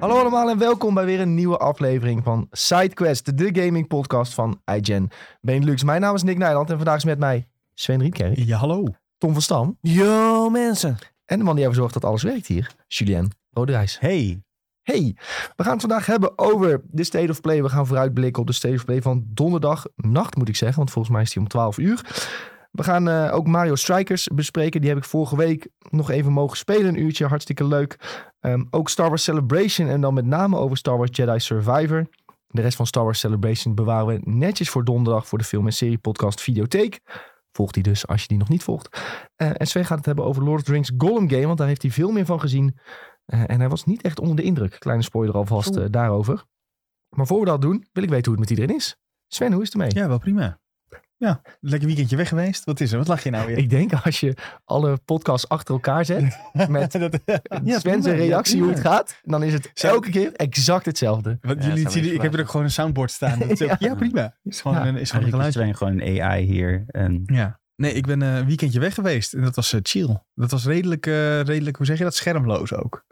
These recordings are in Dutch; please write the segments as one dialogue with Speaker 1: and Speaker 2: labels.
Speaker 1: Hallo allemaal en welkom bij weer een nieuwe aflevering van SideQuest, de gaming podcast van iGen Benelux. Mijn naam is Nick Nijland en vandaag is met mij Sven Rietkerk,
Speaker 2: Ja, hallo.
Speaker 1: Tom van Stam
Speaker 2: Yo, mensen.
Speaker 1: en de man die ervoor zorgt dat alles werkt hier, Julien Roderijs.
Speaker 2: Hey.
Speaker 1: Hey, we gaan het vandaag hebben over de State of Play. We gaan vooruitblikken op de State of Play van donderdag nacht, moet ik zeggen. Want volgens mij is die om 12 uur. We gaan eh, ook Mario Strikers bespreken. Die heb ik vorige week nog even mogen spelen. Een uurtje, hartstikke leuk. Ehm, ook Star Wars Celebration en dan met name over Star Wars Jedi Survivor. De rest van Star Wars Celebration bewaren we netjes voor donderdag... voor de film- en serie-podcast Videotheek. Volg die dus als je die nog niet volgt. Eh, en Sven gaat het hebben over Lord of the Rings Gollum Game... want daar heeft hij veel meer van gezien... Eh, en hij was niet echt onder de indruk. Kleine spoiler alvast
Speaker 2: Oeh.
Speaker 1: eh, daarover. Maar voor we dat doen, wil ik weten hoe het met iedereen is. Sven, hoe is het ermee?
Speaker 2: Ja, wel prima. Ja, lekker weekendje weg geweest. Wat is er? Wat lach je nou weer?
Speaker 1: Ik denk als je alle podcasts achter elkaar zet, met
Speaker 2: Dat-
Speaker 1: Sven zijn
Speaker 2: prima.
Speaker 1: reactie
Speaker 2: Ja,
Speaker 1: hoe het
Speaker 2: prima.
Speaker 1: gaat, dan is het
Speaker 2: Zou-
Speaker 1: elke keer exact hetzelfde.
Speaker 2: Want
Speaker 3: Ja,
Speaker 2: jullie,
Speaker 3: dat zou
Speaker 2: jullie,
Speaker 3: me
Speaker 2: ik heb er ook gewoon een soundboard staan. Dat is ook- ja. prima. Is gewoon
Speaker 1: Ja.
Speaker 2: een, is gewoon een
Speaker 3: Eigenlijk is
Speaker 2: geluidje.
Speaker 3: Sven gewoon een AI hier. En
Speaker 2: Ja. Nee, ik ben eh, een weekendje weg geweest. En dat was eh, chill. Dat was redelijk, eh, redelijk, hoe zeg je dat? Schermloos ook.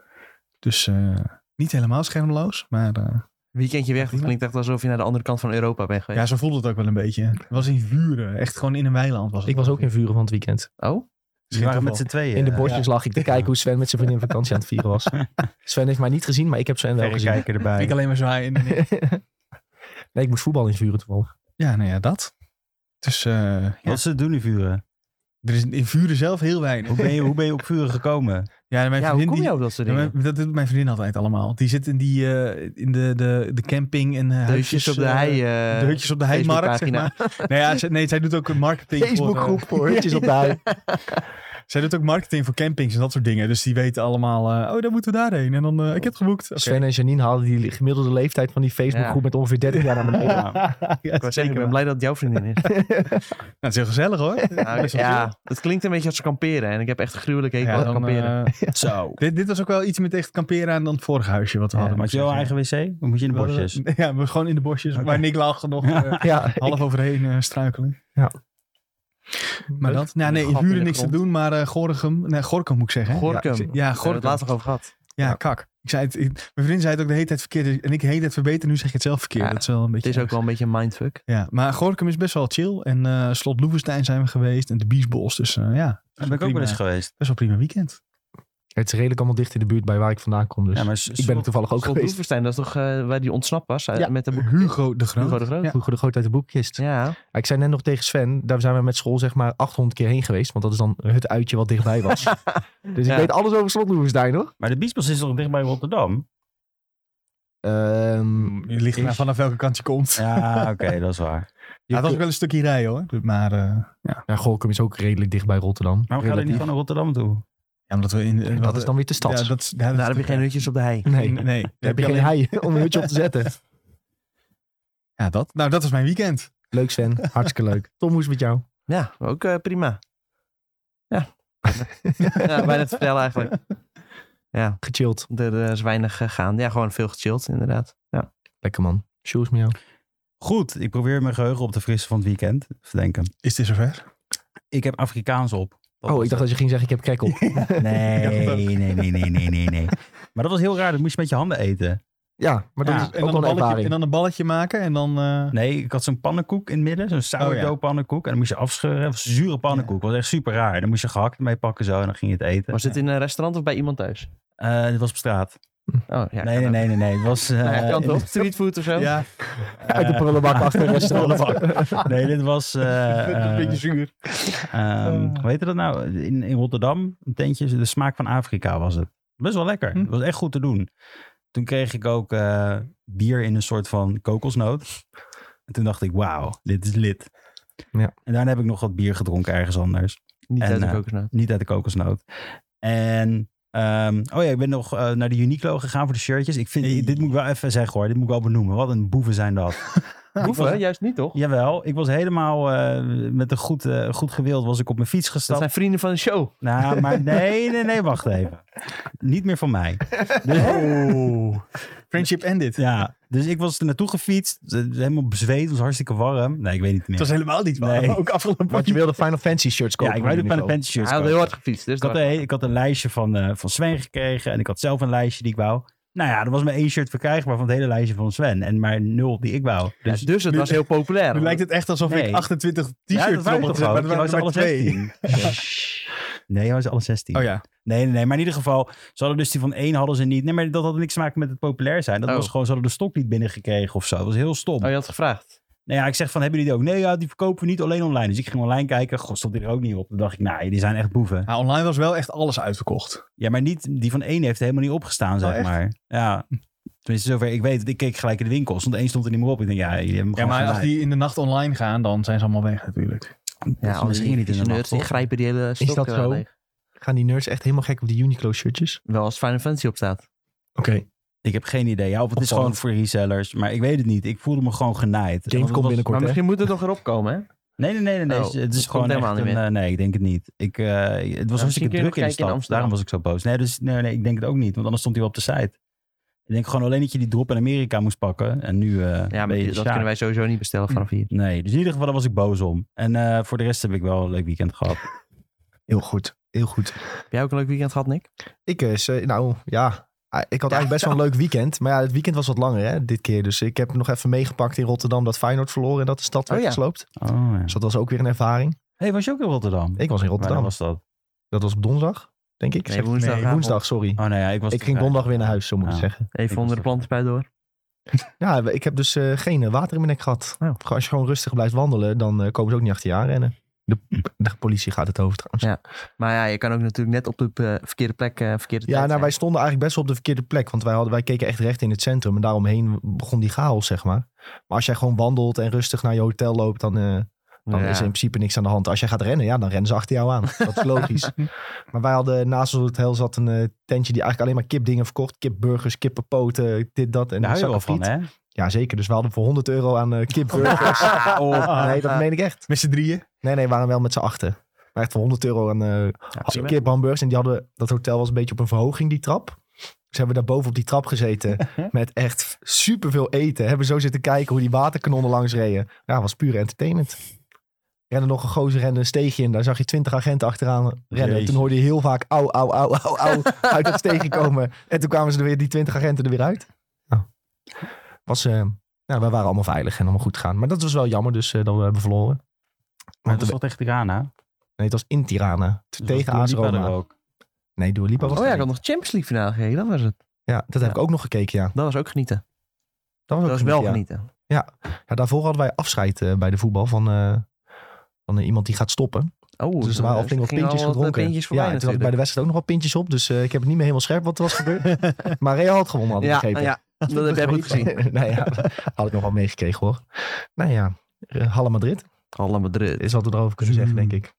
Speaker 2: Dus eh, niet helemaal schermloos, maar eh,
Speaker 4: Weekendje weg, dat
Speaker 2: Prima.
Speaker 4: klinkt echt alsof je naar de andere kant van Europa bent
Speaker 2: ja,
Speaker 4: geweest.
Speaker 2: zo voelde het ook wel een beetje. Het was in vuren. Echt gewoon in een weiland was het.
Speaker 1: Ik was ook in vuren van het weekend.
Speaker 4: Oh?
Speaker 3: we waren met z'n tweeën.
Speaker 1: In de
Speaker 3: eh,
Speaker 1: bosjes lag ik te kijken hoe Sven met zijn vriendin vakantie aan het vieren was. Sven heeft mij niet gezien, maar ik heb Sven wel gezien.
Speaker 3: eh, verrekijker erbij.
Speaker 2: Ik alleen maar zwaaien. en-
Speaker 1: nee, ik moest voetbal in vuren toevallig.
Speaker 2: Ja, nou ja, dat. Dus eh, ja,
Speaker 3: Wat ze doen in vuren?
Speaker 2: er is in vuren zelf heel weinig.
Speaker 3: Hoe ben je, hoe ben je op vuren gekomen?
Speaker 2: Ja, mijn
Speaker 4: Ja, hoe
Speaker 2: vriendin
Speaker 4: kom
Speaker 2: die-
Speaker 4: je op dat soort
Speaker 2: Ja,
Speaker 4: dingen?
Speaker 2: mijn- dat doet mijn vriendin altijd allemaal. Die zit in, die, eh, in de, de, de camping en eh,
Speaker 4: De hutjes op de
Speaker 2: eh,
Speaker 4: hei.
Speaker 2: de
Speaker 4: eh,
Speaker 2: hutjes op de heimarkt, zeg
Speaker 4: Facebookpagina.
Speaker 2: maar. nee, ja, zij, nee, zij doet ook marketing. Voor,
Speaker 1: Facebookgroep voor hutjes op de hei.
Speaker 2: eh, zij doet ook marketing voor campings en dat soort dingen. Dus die weten allemaal, eh, oh, dan moeten we daarheen. En dan, eh, ik heb het geboekt. Oké.
Speaker 1: Sven en Janine haalden die gemiddelde leeftijd van die Facebookgroep met ongeveer 30 jaar naar beneden.
Speaker 3: Ja.
Speaker 2: Ja,
Speaker 4: Ik, wou zeggen, ik ben
Speaker 2: Nou,
Speaker 4: blij dat het jouw vriendin is.
Speaker 2: het is heel gezellig hoor.
Speaker 4: Nou,
Speaker 2: Best wel chill.
Speaker 4: ja, het klinkt een beetje als kamperen. En ik heb echt een gruwelijke hekel
Speaker 2: Ja,
Speaker 4: aan
Speaker 2: dan,
Speaker 4: kamperen.
Speaker 2: eh,
Speaker 3: Zo.
Speaker 2: dit, dit was ook wel iets met echt kamperen aan dan het vorige huisje wat we
Speaker 3: Ja,
Speaker 2: hadden.
Speaker 3: had je wel
Speaker 2: moet
Speaker 3: een
Speaker 2: ik
Speaker 3: eigen wc? Of moet je in de
Speaker 2: zeggen.
Speaker 3: bosjes?
Speaker 2: Ja, maar gewoon in de bosjes.
Speaker 3: Oké.
Speaker 2: Waar Nick lag nog
Speaker 3: Ja.
Speaker 2: eh,
Speaker 1: Ja,
Speaker 2: half overheen eh, struikelen. Maar dat? Nou,
Speaker 4: Een
Speaker 2: nee, in
Speaker 4: gat in
Speaker 2: Vuren
Speaker 4: de
Speaker 2: niks te
Speaker 4: grond.
Speaker 2: doen, maar eh Gorkum, nee, Gorkum moet ik zeggen. hè?
Speaker 4: Gorkum.
Speaker 2: Ja,
Speaker 4: Ja,
Speaker 2: ja,
Speaker 4: we hebben het
Speaker 2: Gorkum.
Speaker 4: laatst nog over gehad.
Speaker 2: Ja, kak. Ik zei het, ik- mijn vriendin zei het ook de hele tijd verkeerd. En ik de hele tijd verbeter, nu zeg je het zelf verkeerd.
Speaker 4: Ja,
Speaker 2: dat is wel een
Speaker 4: Het
Speaker 2: beetje...
Speaker 4: is ook wel een beetje een mindfuck.
Speaker 2: Ja, maar Gorkum is best wel chill. En eh, Slot Loevestein zijn we geweest en de Biesbos. Dus eh, ja,
Speaker 3: Daar ben ik ook wel eens
Speaker 2: Prima.
Speaker 3: geweest.
Speaker 2: best wel prima weekend.
Speaker 1: Het is redelijk allemaal dicht in de buurt bij waar ik vandaan kom. Dus
Speaker 3: Ja, maar
Speaker 1: ik ben er toevallig ook
Speaker 4: Slot
Speaker 1: geweest.
Speaker 4: Roeverstein, dat is toch eh, waar die ontsnapt was? eh,
Speaker 1: Ja.
Speaker 4: Met de boek.
Speaker 2: Hugo de Groot.
Speaker 4: Hugo de Groot.
Speaker 2: Ja.
Speaker 1: Vroeger de groot uit de boekkist.
Speaker 4: Ja. Nou,
Speaker 1: Ik zei net nog tegen Sven, daar zijn we met school zeg maar 800 keer heen geweest. Want dat is dan het uitje wat dichtbij was. dus
Speaker 4: Ja.
Speaker 1: ik weet alles over Slotloevestein hoor.
Speaker 3: Maar de Biesbos is toch dichtbij Rotterdam?
Speaker 1: Ehm,
Speaker 2: Je ligt
Speaker 3: Is-
Speaker 2: maar vanaf welke kant je komt. Ja,
Speaker 3: Ja, oké, dat is waar.
Speaker 2: het was ook wel een stukje rij hoor. Maar eh, ja.
Speaker 1: ja, Gorkum is ook redelijk dicht bij Rotterdam.
Speaker 2: Nou,
Speaker 3: Maar we gaan er niet
Speaker 1: Relatief.
Speaker 3: van naar Rotterdam toe.
Speaker 2: ja, omdat we in... eh,
Speaker 1: En dat is dan weer de stad.
Speaker 2: Ja, dat, is- ja, dat
Speaker 4: Daar
Speaker 2: is-
Speaker 4: heb je geen hutjes op de hei.
Speaker 1: nee,
Speaker 2: Nee,
Speaker 1: daar heb je geen
Speaker 2: alleen-
Speaker 1: hei om een hutje op te zetten.
Speaker 2: Ja, dat. Nou, dat was mijn weekend.
Speaker 1: Leuk Sven, hartstikke leuk. Tom, hoe is het met jou?
Speaker 4: Ja, ook eh, prima. Ja. ja. Bijna te vertellen eigenlijk. Ja.
Speaker 1: Gechilled.
Speaker 4: Er eh, is weinig gegaan. Ja, gewoon veel gechilled, inderdaad. Ja.
Speaker 1: Lekker man. Shoes met jou.
Speaker 3: Goed, ik probeer mijn geheugen op te frissen van het weekend. Verdenken.
Speaker 2: Is dit zover?
Speaker 3: Ik heb Afrikaans op. Dat
Speaker 1: Oh,
Speaker 3: was
Speaker 1: ik dacht dat je ging zeggen, ik heb krekkel.
Speaker 3: Nee,
Speaker 2: Ja, dat ook.
Speaker 3: nee, nee, nee, nee, nee, nee. Maar dat was heel raar. Dat moest je met je handen eten.
Speaker 1: Ja, maar dat is
Speaker 3: Ja,
Speaker 2: En
Speaker 1: ook
Speaker 2: dan, een
Speaker 1: wel een
Speaker 2: balletje,
Speaker 1: ervaring.
Speaker 2: en dan een balletje maken en dan... eh,
Speaker 3: Nee, ik had zo'n pannenkoek in het midden. Zo'n sourdough
Speaker 2: Oh, ja.
Speaker 3: pannenkoek. En dan moest je afscheuren. Dat was een zure pannenkoek. Dat was echt super raar. Dan moest je gehakt mee pakken zo. En dan ging je het eten.
Speaker 4: Was dit in een restaurant of bij iemand thuis?
Speaker 3: Eh, dit was op straat.
Speaker 4: Oh, ja.
Speaker 3: nee, nee, nee, nee, nee. Het was... eh,
Speaker 4: Nou ja, kan toch? Streetfood of zo?
Speaker 2: Ja,
Speaker 3: eh,
Speaker 1: Uit de prullenbak achter een restaurant.
Speaker 3: nee, dit was... eh,
Speaker 2: een beetje zuur. Oh.
Speaker 3: eh, ehm, hoe heet dat nou? In, in Rotterdam, een tentje. De smaak van Afrika was het. Best wel lekker.
Speaker 2: Hm.
Speaker 3: Het was echt goed te doen. Toen kreeg ik ook eh, bier in een soort van kokosnoot. En toen dacht ik, wauw, dit is lit.
Speaker 1: Ja.
Speaker 3: En daarna heb ik nog wat bier gedronken ergens anders.
Speaker 4: Niet
Speaker 3: En,
Speaker 4: uit de
Speaker 3: eh,
Speaker 4: kokosnoot.
Speaker 3: Niet uit de kokosnoot. En, ehm, oh ja, ik ben nog eh, naar de Uniqlo gegaan voor de shirtjes. Ik vind,
Speaker 2: Hey.
Speaker 3: dit moet ik wel even zeggen hoor. Dit moet ik wel benoemen. Wat een boeven zijn dat.
Speaker 4: Hoeven? Juist niet, toch?
Speaker 3: Jawel, ik was helemaal eh, met een goed, eh, goed gewild was ik op mijn fiets
Speaker 4: Dat
Speaker 3: gestapt.
Speaker 4: zijn vrienden van de show.
Speaker 3: Nou, maar nee, nee, nee, wacht even. Niet meer van mij. Dus,
Speaker 2: Oh. Friendship ended.
Speaker 3: Ja, dus ik was er naartoe gefietst. eh, Helemaal bezweet, het was hartstikke warm. Nee, ik weet niet meer.
Speaker 2: Het was helemaal niet waar.
Speaker 3: Nee.
Speaker 2: Ook afgelopen
Speaker 1: Want je wilde Final Fantasy shirts kopen.
Speaker 3: ja, ik wou
Speaker 1: van
Speaker 3: de Pen
Speaker 1: Uniqlo.
Speaker 3: Panty shirts
Speaker 4: Hij had
Speaker 3: kopen.
Speaker 4: heel hard gefietst. Dus
Speaker 3: Ik had,
Speaker 4: dat-
Speaker 3: een, ik had een lijstje van, eh van Sven gekregen en ik had zelf een lijstje die ik wou. Nou ja, er was maar één shirt verkrijgbaar van het hele lijstje van Sven. En maar nul die ik wou. Dus
Speaker 4: Dus, het was heel populair.
Speaker 2: Nu lijkt het echt alsof
Speaker 3: Nee.
Speaker 2: ik 28
Speaker 3: Ja,
Speaker 2: t-shirts
Speaker 3: dat waren
Speaker 2: erop
Speaker 3: toch
Speaker 2: had,
Speaker 3: ook?
Speaker 2: maar
Speaker 3: Jij was
Speaker 2: er
Speaker 3: alle
Speaker 2: maar twee.
Speaker 3: 16. Nee, hij was alle 16.
Speaker 2: Oh ja.
Speaker 3: Nee, nee, nee. Maar in ieder geval, ze hadden dus die van één hadden ze niet. Nee, maar dat had niks te maken met het populair zijn. Dat
Speaker 4: Oh.
Speaker 3: was gewoon, ze hadden de stok niet binnengekregen of zo. Dat was heel stom.
Speaker 4: Oh, je had gevraagd.
Speaker 3: Nou ja, ik zeg van, hebben jullie die ook? Nee, ja, die verkopen we niet alleen online. Dus ik ging online kijken. God, stond die er ook niet op. Dan dacht ik, nou, die zijn echt boeven.
Speaker 2: Nou, online was wel echt alles uitverkocht.
Speaker 3: Ja, maar niet, die van één heeft helemaal niet opgestaan, zeg
Speaker 2: echt?
Speaker 3: maar. Ja, tenminste zover ik weet. want Ik keek gelijk in de winkel. Stond één stond er niet meer op. Ik denk, ja, jullie hebben hem
Speaker 2: Ja,
Speaker 3: gewoon
Speaker 2: maar als
Speaker 3: gelijk.
Speaker 2: die in de nacht online gaan, dan zijn ze allemaal weg natuurlijk.
Speaker 3: Ja, anders ging je niet in de nacht,
Speaker 4: Die
Speaker 3: toch?
Speaker 4: grijpen die hele stok
Speaker 1: dat
Speaker 4: eh,
Speaker 1: zo?
Speaker 4: leeg.
Speaker 1: Gaan die nerds echt helemaal gek op die Uniqlo shirtjes? Dus
Speaker 4: Wel als Final Fantasy op staat.
Speaker 1: Oké.
Speaker 3: Ik heb geen idee. Ja, of het is
Speaker 2: Opvallend.
Speaker 3: gewoon voor resellers. Maar ik weet het niet. Ik voelde me gewoon genaaid. Want
Speaker 1: James
Speaker 3: het
Speaker 1: komt
Speaker 3: was-
Speaker 1: binnenkort,
Speaker 4: maar
Speaker 1: hè?
Speaker 4: misschien moet het nog erop komen, hè?
Speaker 3: Nee, nee, nee, nee. nee.
Speaker 4: Oh,
Speaker 3: het is
Speaker 4: dat
Speaker 3: gewoon
Speaker 4: komt
Speaker 3: echt
Speaker 4: helemaal
Speaker 3: een,
Speaker 4: niet meer. Nou,
Speaker 3: eh, nee, ik denk het niet. Ik, eh, het was
Speaker 4: misschien
Speaker 3: hartstikke
Speaker 4: kun je nog
Speaker 3: druk in de
Speaker 4: kijken in
Speaker 3: stad.
Speaker 4: Amsterdam.
Speaker 3: Daarom was ik zo boos. Nee, dus, nee, nee, ik denk het ook niet. Want anders stond hij wel op de site. Ik denk gewoon alleen dat je die drop in Amerika moest pakken. En nu eh
Speaker 4: Ja, maar
Speaker 3: ben je
Speaker 4: die- dat
Speaker 3: sjaak.
Speaker 4: kunnen wij sowieso niet bestellen vanaf hier.
Speaker 3: Nee, dus in ieder geval daar was ik boos om. En eh, voor de rest heb ik wel een leuk weekend gehad.
Speaker 1: Heel goed. Heel goed.
Speaker 4: Heb jij ook een leuk weekend gehad, Nick?
Speaker 1: Ik, eh, ze- nou ja, Ah, ik had eigenlijk best wel een leuk weekend. Maar ja, het weekend was wat langer hè, dit keer. Dus ik heb nog even meegepakt in Rotterdam dat Feyenoord verloren en dat de stad
Speaker 4: Oh,
Speaker 1: werd
Speaker 4: ja.
Speaker 1: gesloopt.
Speaker 3: Oh, ja.
Speaker 1: Dus dat was ook weer een ervaring.
Speaker 3: hey, was je ook in Rotterdam?
Speaker 1: Ik was in Rotterdam.
Speaker 3: Waar was dat?
Speaker 1: Dat was op donderdag, denk ik. Zeg-
Speaker 4: woensdag.
Speaker 1: nee, woensdag, sorry.
Speaker 3: Oh nee, ja, ik was...
Speaker 1: ik ging donderdag weer naar huis, zo moet ik
Speaker 3: Ja.
Speaker 1: zeggen.
Speaker 4: Even onder de plantenpui door.
Speaker 1: Ja, ik heb dus eh, geen eh, water in mijn nek gehad.
Speaker 4: Oh.
Speaker 1: Gewoon Als je gewoon rustig blijft wandelen, dan eh, komen ze ook niet achter je aan rennen. De, de politie gaat het over trouwens.
Speaker 4: Ja. Maar ja, je kan ook natuurlijk net op de eh, verkeerde plek, eh, verkeerde
Speaker 1: Ja, nou,
Speaker 4: tijd
Speaker 1: wij
Speaker 4: zijn.
Speaker 1: stonden eigenlijk best wel op de verkeerde plek. Want wij, hadden, wij keken echt recht in het centrum. En daaromheen begon die chaos, zeg maar. Maar als jij gewoon wandelt en rustig naar je hotel loopt, dan, eh, dan
Speaker 4: Ja.
Speaker 1: is er in principe niks aan de hand. Als jij gaat rennen, ja, dan rennen ze achter jou aan. Dat is logisch. maar wij hadden naast ons hotel zat een eh, tentje die eigenlijk alleen maar kipdingen verkocht. Kipburgers, kippenpoten, dit, dat. En
Speaker 3: Daar hou je
Speaker 1: zakken
Speaker 3: wel van,
Speaker 1: friet.
Speaker 3: hè?
Speaker 1: Ja, zeker. Dus we hadden voor 100 euro aan eh, kipburgers.
Speaker 3: Oh.
Speaker 1: nee, dat meen ik echt.
Speaker 2: Met z'n drieën.
Speaker 1: Nee, nee, we waren wel met z'n achten. Maar echt voor 100 euro aan eh,
Speaker 4: Ja,
Speaker 1: als een
Speaker 4: prima.
Speaker 1: keer hamburgers. En die hadden, dat hotel was een beetje op een verhoging, die trap. Dus hebben we daar boven op die trap gezeten. met echt superveel eten. Hebben zo zitten kijken hoe die waterkanonnen langs reden. Ja, was pure entertainment. Rende nog een gozer, rende een steegje in. Daar zag je twintig agenten achteraan rennen.
Speaker 3: Jezus.
Speaker 1: Toen hoorde je heel vaak au, au, au, au, au uit dat steegje komen. En toen kwamen ze er weer, die twintig agenten er weer uit. Nou, was, eh, nou, wij waren allemaal veilig en allemaal goed gegaan. Maar dat was wel jammer dus eh, dat we hebben verloren.
Speaker 3: Maar
Speaker 1: Want
Speaker 3: dat
Speaker 1: we-
Speaker 3: was wel tegen Tirana.
Speaker 1: nee, het was in Tirana.
Speaker 3: Dus
Speaker 1: tegen
Speaker 3: was
Speaker 1: AS
Speaker 3: Dua Lipa er
Speaker 1: Roma.
Speaker 3: ook.
Speaker 1: Nee, Dua Lipa was
Speaker 4: Oh ja,
Speaker 1: er
Speaker 4: ik had nog Champions League finale gekeken. Dat was het.
Speaker 1: Ja, dat heb ik ook nog gekeken, ja.
Speaker 4: Dat was ook genieten.
Speaker 1: Dat was,
Speaker 4: Dat
Speaker 1: ook genieten,
Speaker 4: was wel
Speaker 1: ja.
Speaker 4: genieten.
Speaker 1: Ja, daarvoor hadden wij afscheid eh, bij de voetbal van, eh, van eh, iemand die gaat stoppen.
Speaker 4: Oh,
Speaker 1: dus er waren al flink wat pintjes
Speaker 4: gingen al wat, eh,
Speaker 1: gedronken. ja, en
Speaker 4: pintjes voorbij
Speaker 1: toen had ik bij de wedstrijd ook nog wat pintjes op. Dus eh, ik heb het niet meer helemaal scherp wat er was gebeurd. maar Real had gewonnen, had ik
Speaker 4: natuurlijk.
Speaker 1: begrepen.
Speaker 4: Ja, ja, dat heb jij goed gezien.
Speaker 1: nou ja, had ik nog wel meegekregen hoor. Nou ja, eh, Halle Madrid
Speaker 4: Allemaal Madrid.
Speaker 1: is wat we erover kunnen
Speaker 2: Tju.
Speaker 1: zeggen, denk ik.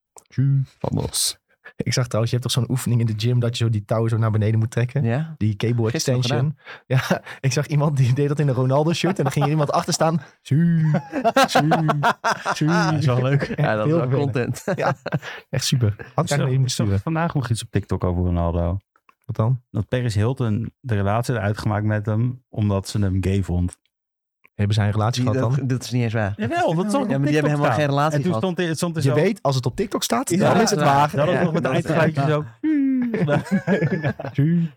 Speaker 4: Vamos.
Speaker 1: Ik zag trouwens, je hebt toch zo'n oefening in de gym dat je zo die touw zo naar beneden moet trekken?
Speaker 4: Ja?
Speaker 1: Die cable
Speaker 4: Gisteren
Speaker 1: extension. Ja, ik zag iemand die deed dat in een Ronaldo shirt. En dan ging er iemand achter staan. Tju, tju, tju.
Speaker 2: Ah, Dat is wel leuk.
Speaker 4: Ja, dat is
Speaker 1: Heel
Speaker 4: wel
Speaker 1: vervelend.
Speaker 4: content.
Speaker 1: Echt super. Had ik
Speaker 3: Ik zag-
Speaker 1: eigenlijk
Speaker 3: ik
Speaker 1: moeten
Speaker 3: zag
Speaker 1: sturen.
Speaker 3: vandaag nog iets op TikTok over Ronaldo.
Speaker 1: Wat dan?
Speaker 3: Dat Paris Hilton de relatie had uitgemaakt met hem, omdat ze hem gay vond.
Speaker 1: Hebben zij een relatie
Speaker 4: Die-
Speaker 1: gehad dan?
Speaker 4: dat, dat is niet eens waar.
Speaker 3: Jawel, dat zag ik
Speaker 4: Ja, maar
Speaker 3: op
Speaker 4: die hebben
Speaker 3: TikTok
Speaker 4: helemaal geen
Speaker 3: staan.
Speaker 4: relatie
Speaker 3: En toen
Speaker 4: gehad.
Speaker 3: stond, er- stond er
Speaker 1: Je
Speaker 3: zo...
Speaker 1: weet, als het op TikTok staat,
Speaker 4: Ja,
Speaker 1: dan is het
Speaker 4: dat is
Speaker 1: waar.
Speaker 3: Dat was
Speaker 4: Ja,
Speaker 3: nog met een
Speaker 4: dat is-
Speaker 3: eindgeluidje zo...
Speaker 1: Tju.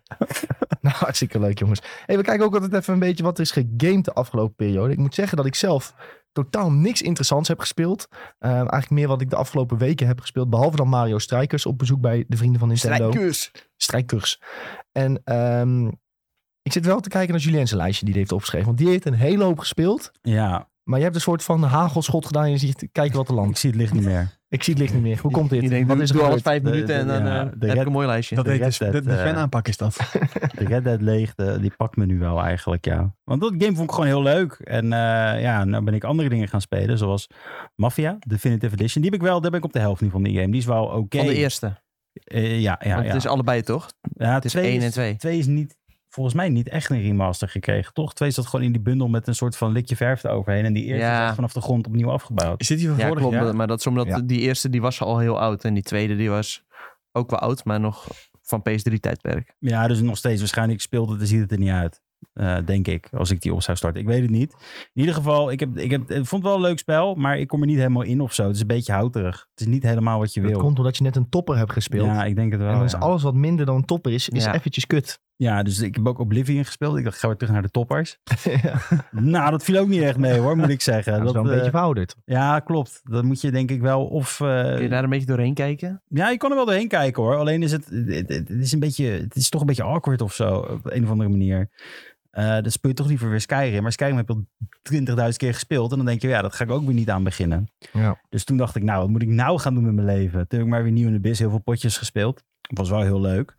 Speaker 1: nou, hartstikke leuk jongens. Hey, we kijken ook altijd even een beetje wat er is gegamed de afgelopen periode. Ik moet zeggen dat ik zelf totaal niks interessants heb gespeeld. Ehm, eigenlijk meer wat ik de afgelopen weken heb gespeeld. Behalve dan Mario Strikers op bezoek bij de vrienden van Nintendo.
Speaker 4: Strijkers.
Speaker 1: strijkers. En ehm, ik zit wel te kijken naar Julien zijn lijstje die hij heeft opgeschreven. Want die heeft een hele hoop gespeeld.
Speaker 3: Ja,
Speaker 1: Maar je hebt een soort van hagelschot gedaan. En je ziet, kijk wat er
Speaker 3: ik
Speaker 1: landt.
Speaker 3: zie het licht niet meer.
Speaker 1: Ik zie het licht niet meer. Hoe komt dit?
Speaker 4: Je denkt,
Speaker 1: wat
Speaker 4: doe,
Speaker 1: is er
Speaker 4: doe alles
Speaker 1: gebeurd?
Speaker 4: vijf
Speaker 3: De-
Speaker 4: minuten en
Speaker 3: de-
Speaker 4: dan
Speaker 3: ja,
Speaker 4: eh,
Speaker 3: de
Speaker 4: heb
Speaker 3: red-
Speaker 4: ik een mooi lijstje.
Speaker 2: Dat
Speaker 3: De
Speaker 2: heet
Speaker 3: Red
Speaker 2: dus, de,
Speaker 3: Dead,
Speaker 2: de
Speaker 3: eh,
Speaker 2: fanaanpak is dat.
Speaker 3: De Red Dead leeg, de- die pakt me nu wel eigenlijk, ja. Want dat game vond ik gewoon heel leuk. En eh, ja, nou ben ik andere dingen gaan spelen, zoals Mafia, Definitive Edition. Die heb ik wel, daar ben ik op de helft nu van die game. Die is wel oké.
Speaker 4: Van de eerste.
Speaker 3: Eh, ja, ja,
Speaker 4: Want
Speaker 3: ja.
Speaker 4: het is allebei toch?
Speaker 3: ja,
Speaker 4: Het is
Speaker 3: twee
Speaker 4: één
Speaker 3: is-
Speaker 4: en twee.
Speaker 3: Twee is niet, volgens mij niet echt een remaster gekregen, toch? Twee zat gewoon in die bundel met een soort van likje verf eroverheen. En die eerste
Speaker 4: Ja.
Speaker 3: is echt vanaf de grond opnieuw afgebouwd.
Speaker 2: Is dit die van
Speaker 4: Ja,
Speaker 2: vorig
Speaker 4: klopt.
Speaker 2: jaar?
Speaker 4: Maar dat is omdat
Speaker 1: Ja.
Speaker 4: die eerste die was al heel oud. En die tweede die was ook wel oud, maar nog van PS3 tijdperk.
Speaker 3: Ja, dus nog steeds. Waarschijnlijk speelt het en ziet het er niet uit. Eh, denk ik, als ik die op zou starten. Ik weet het niet. In ieder geval, ik, heb, ik heb, ik vond het wel een leuk spel, maar ik kom er niet helemaal in of zo. Het is een beetje houterig. Het is niet helemaal wat je
Speaker 1: Dat
Speaker 3: wil.
Speaker 1: komt omdat je net een topper hebt gespeeld.
Speaker 3: Ja, ik denk het wel.
Speaker 1: en dan is
Speaker 3: ja.
Speaker 1: alles wat minder dan een topper is, is
Speaker 4: Ja.
Speaker 1: eventjes kut.
Speaker 3: Ja, dus ik heb ook Oblivion gespeeld. Ik dacht, gaan we terug naar de toppers.
Speaker 1: ja,
Speaker 3: nou, dat viel ook niet echt mee hoor, moet ik zeggen.
Speaker 1: dat is wel een
Speaker 3: eh,
Speaker 1: beetje verouderd.
Speaker 3: ja, klopt. Dat moet je denk ik wel of... eh,
Speaker 4: Kun je daar een beetje doorheen kijken?
Speaker 3: Ja, je kan er wel doorheen kijken hoor. Alleen is het, het, het is een beetje, het is toch een beetje awkward of zo, op een of andere manier. Eh dan speel je toch liever weer Skyrim. Maar Skyrim heb je al 20.000 keer gespeeld. En dan denk je, ja, dat ga ik ook weer niet aan beginnen.
Speaker 1: Ja.
Speaker 3: Dus toen dacht ik, nou, wat moet ik nou gaan doen met mijn leven? Toen heb ik maar weer nieuw in de biz heel veel potjes gespeeld. Was wel heel leuk.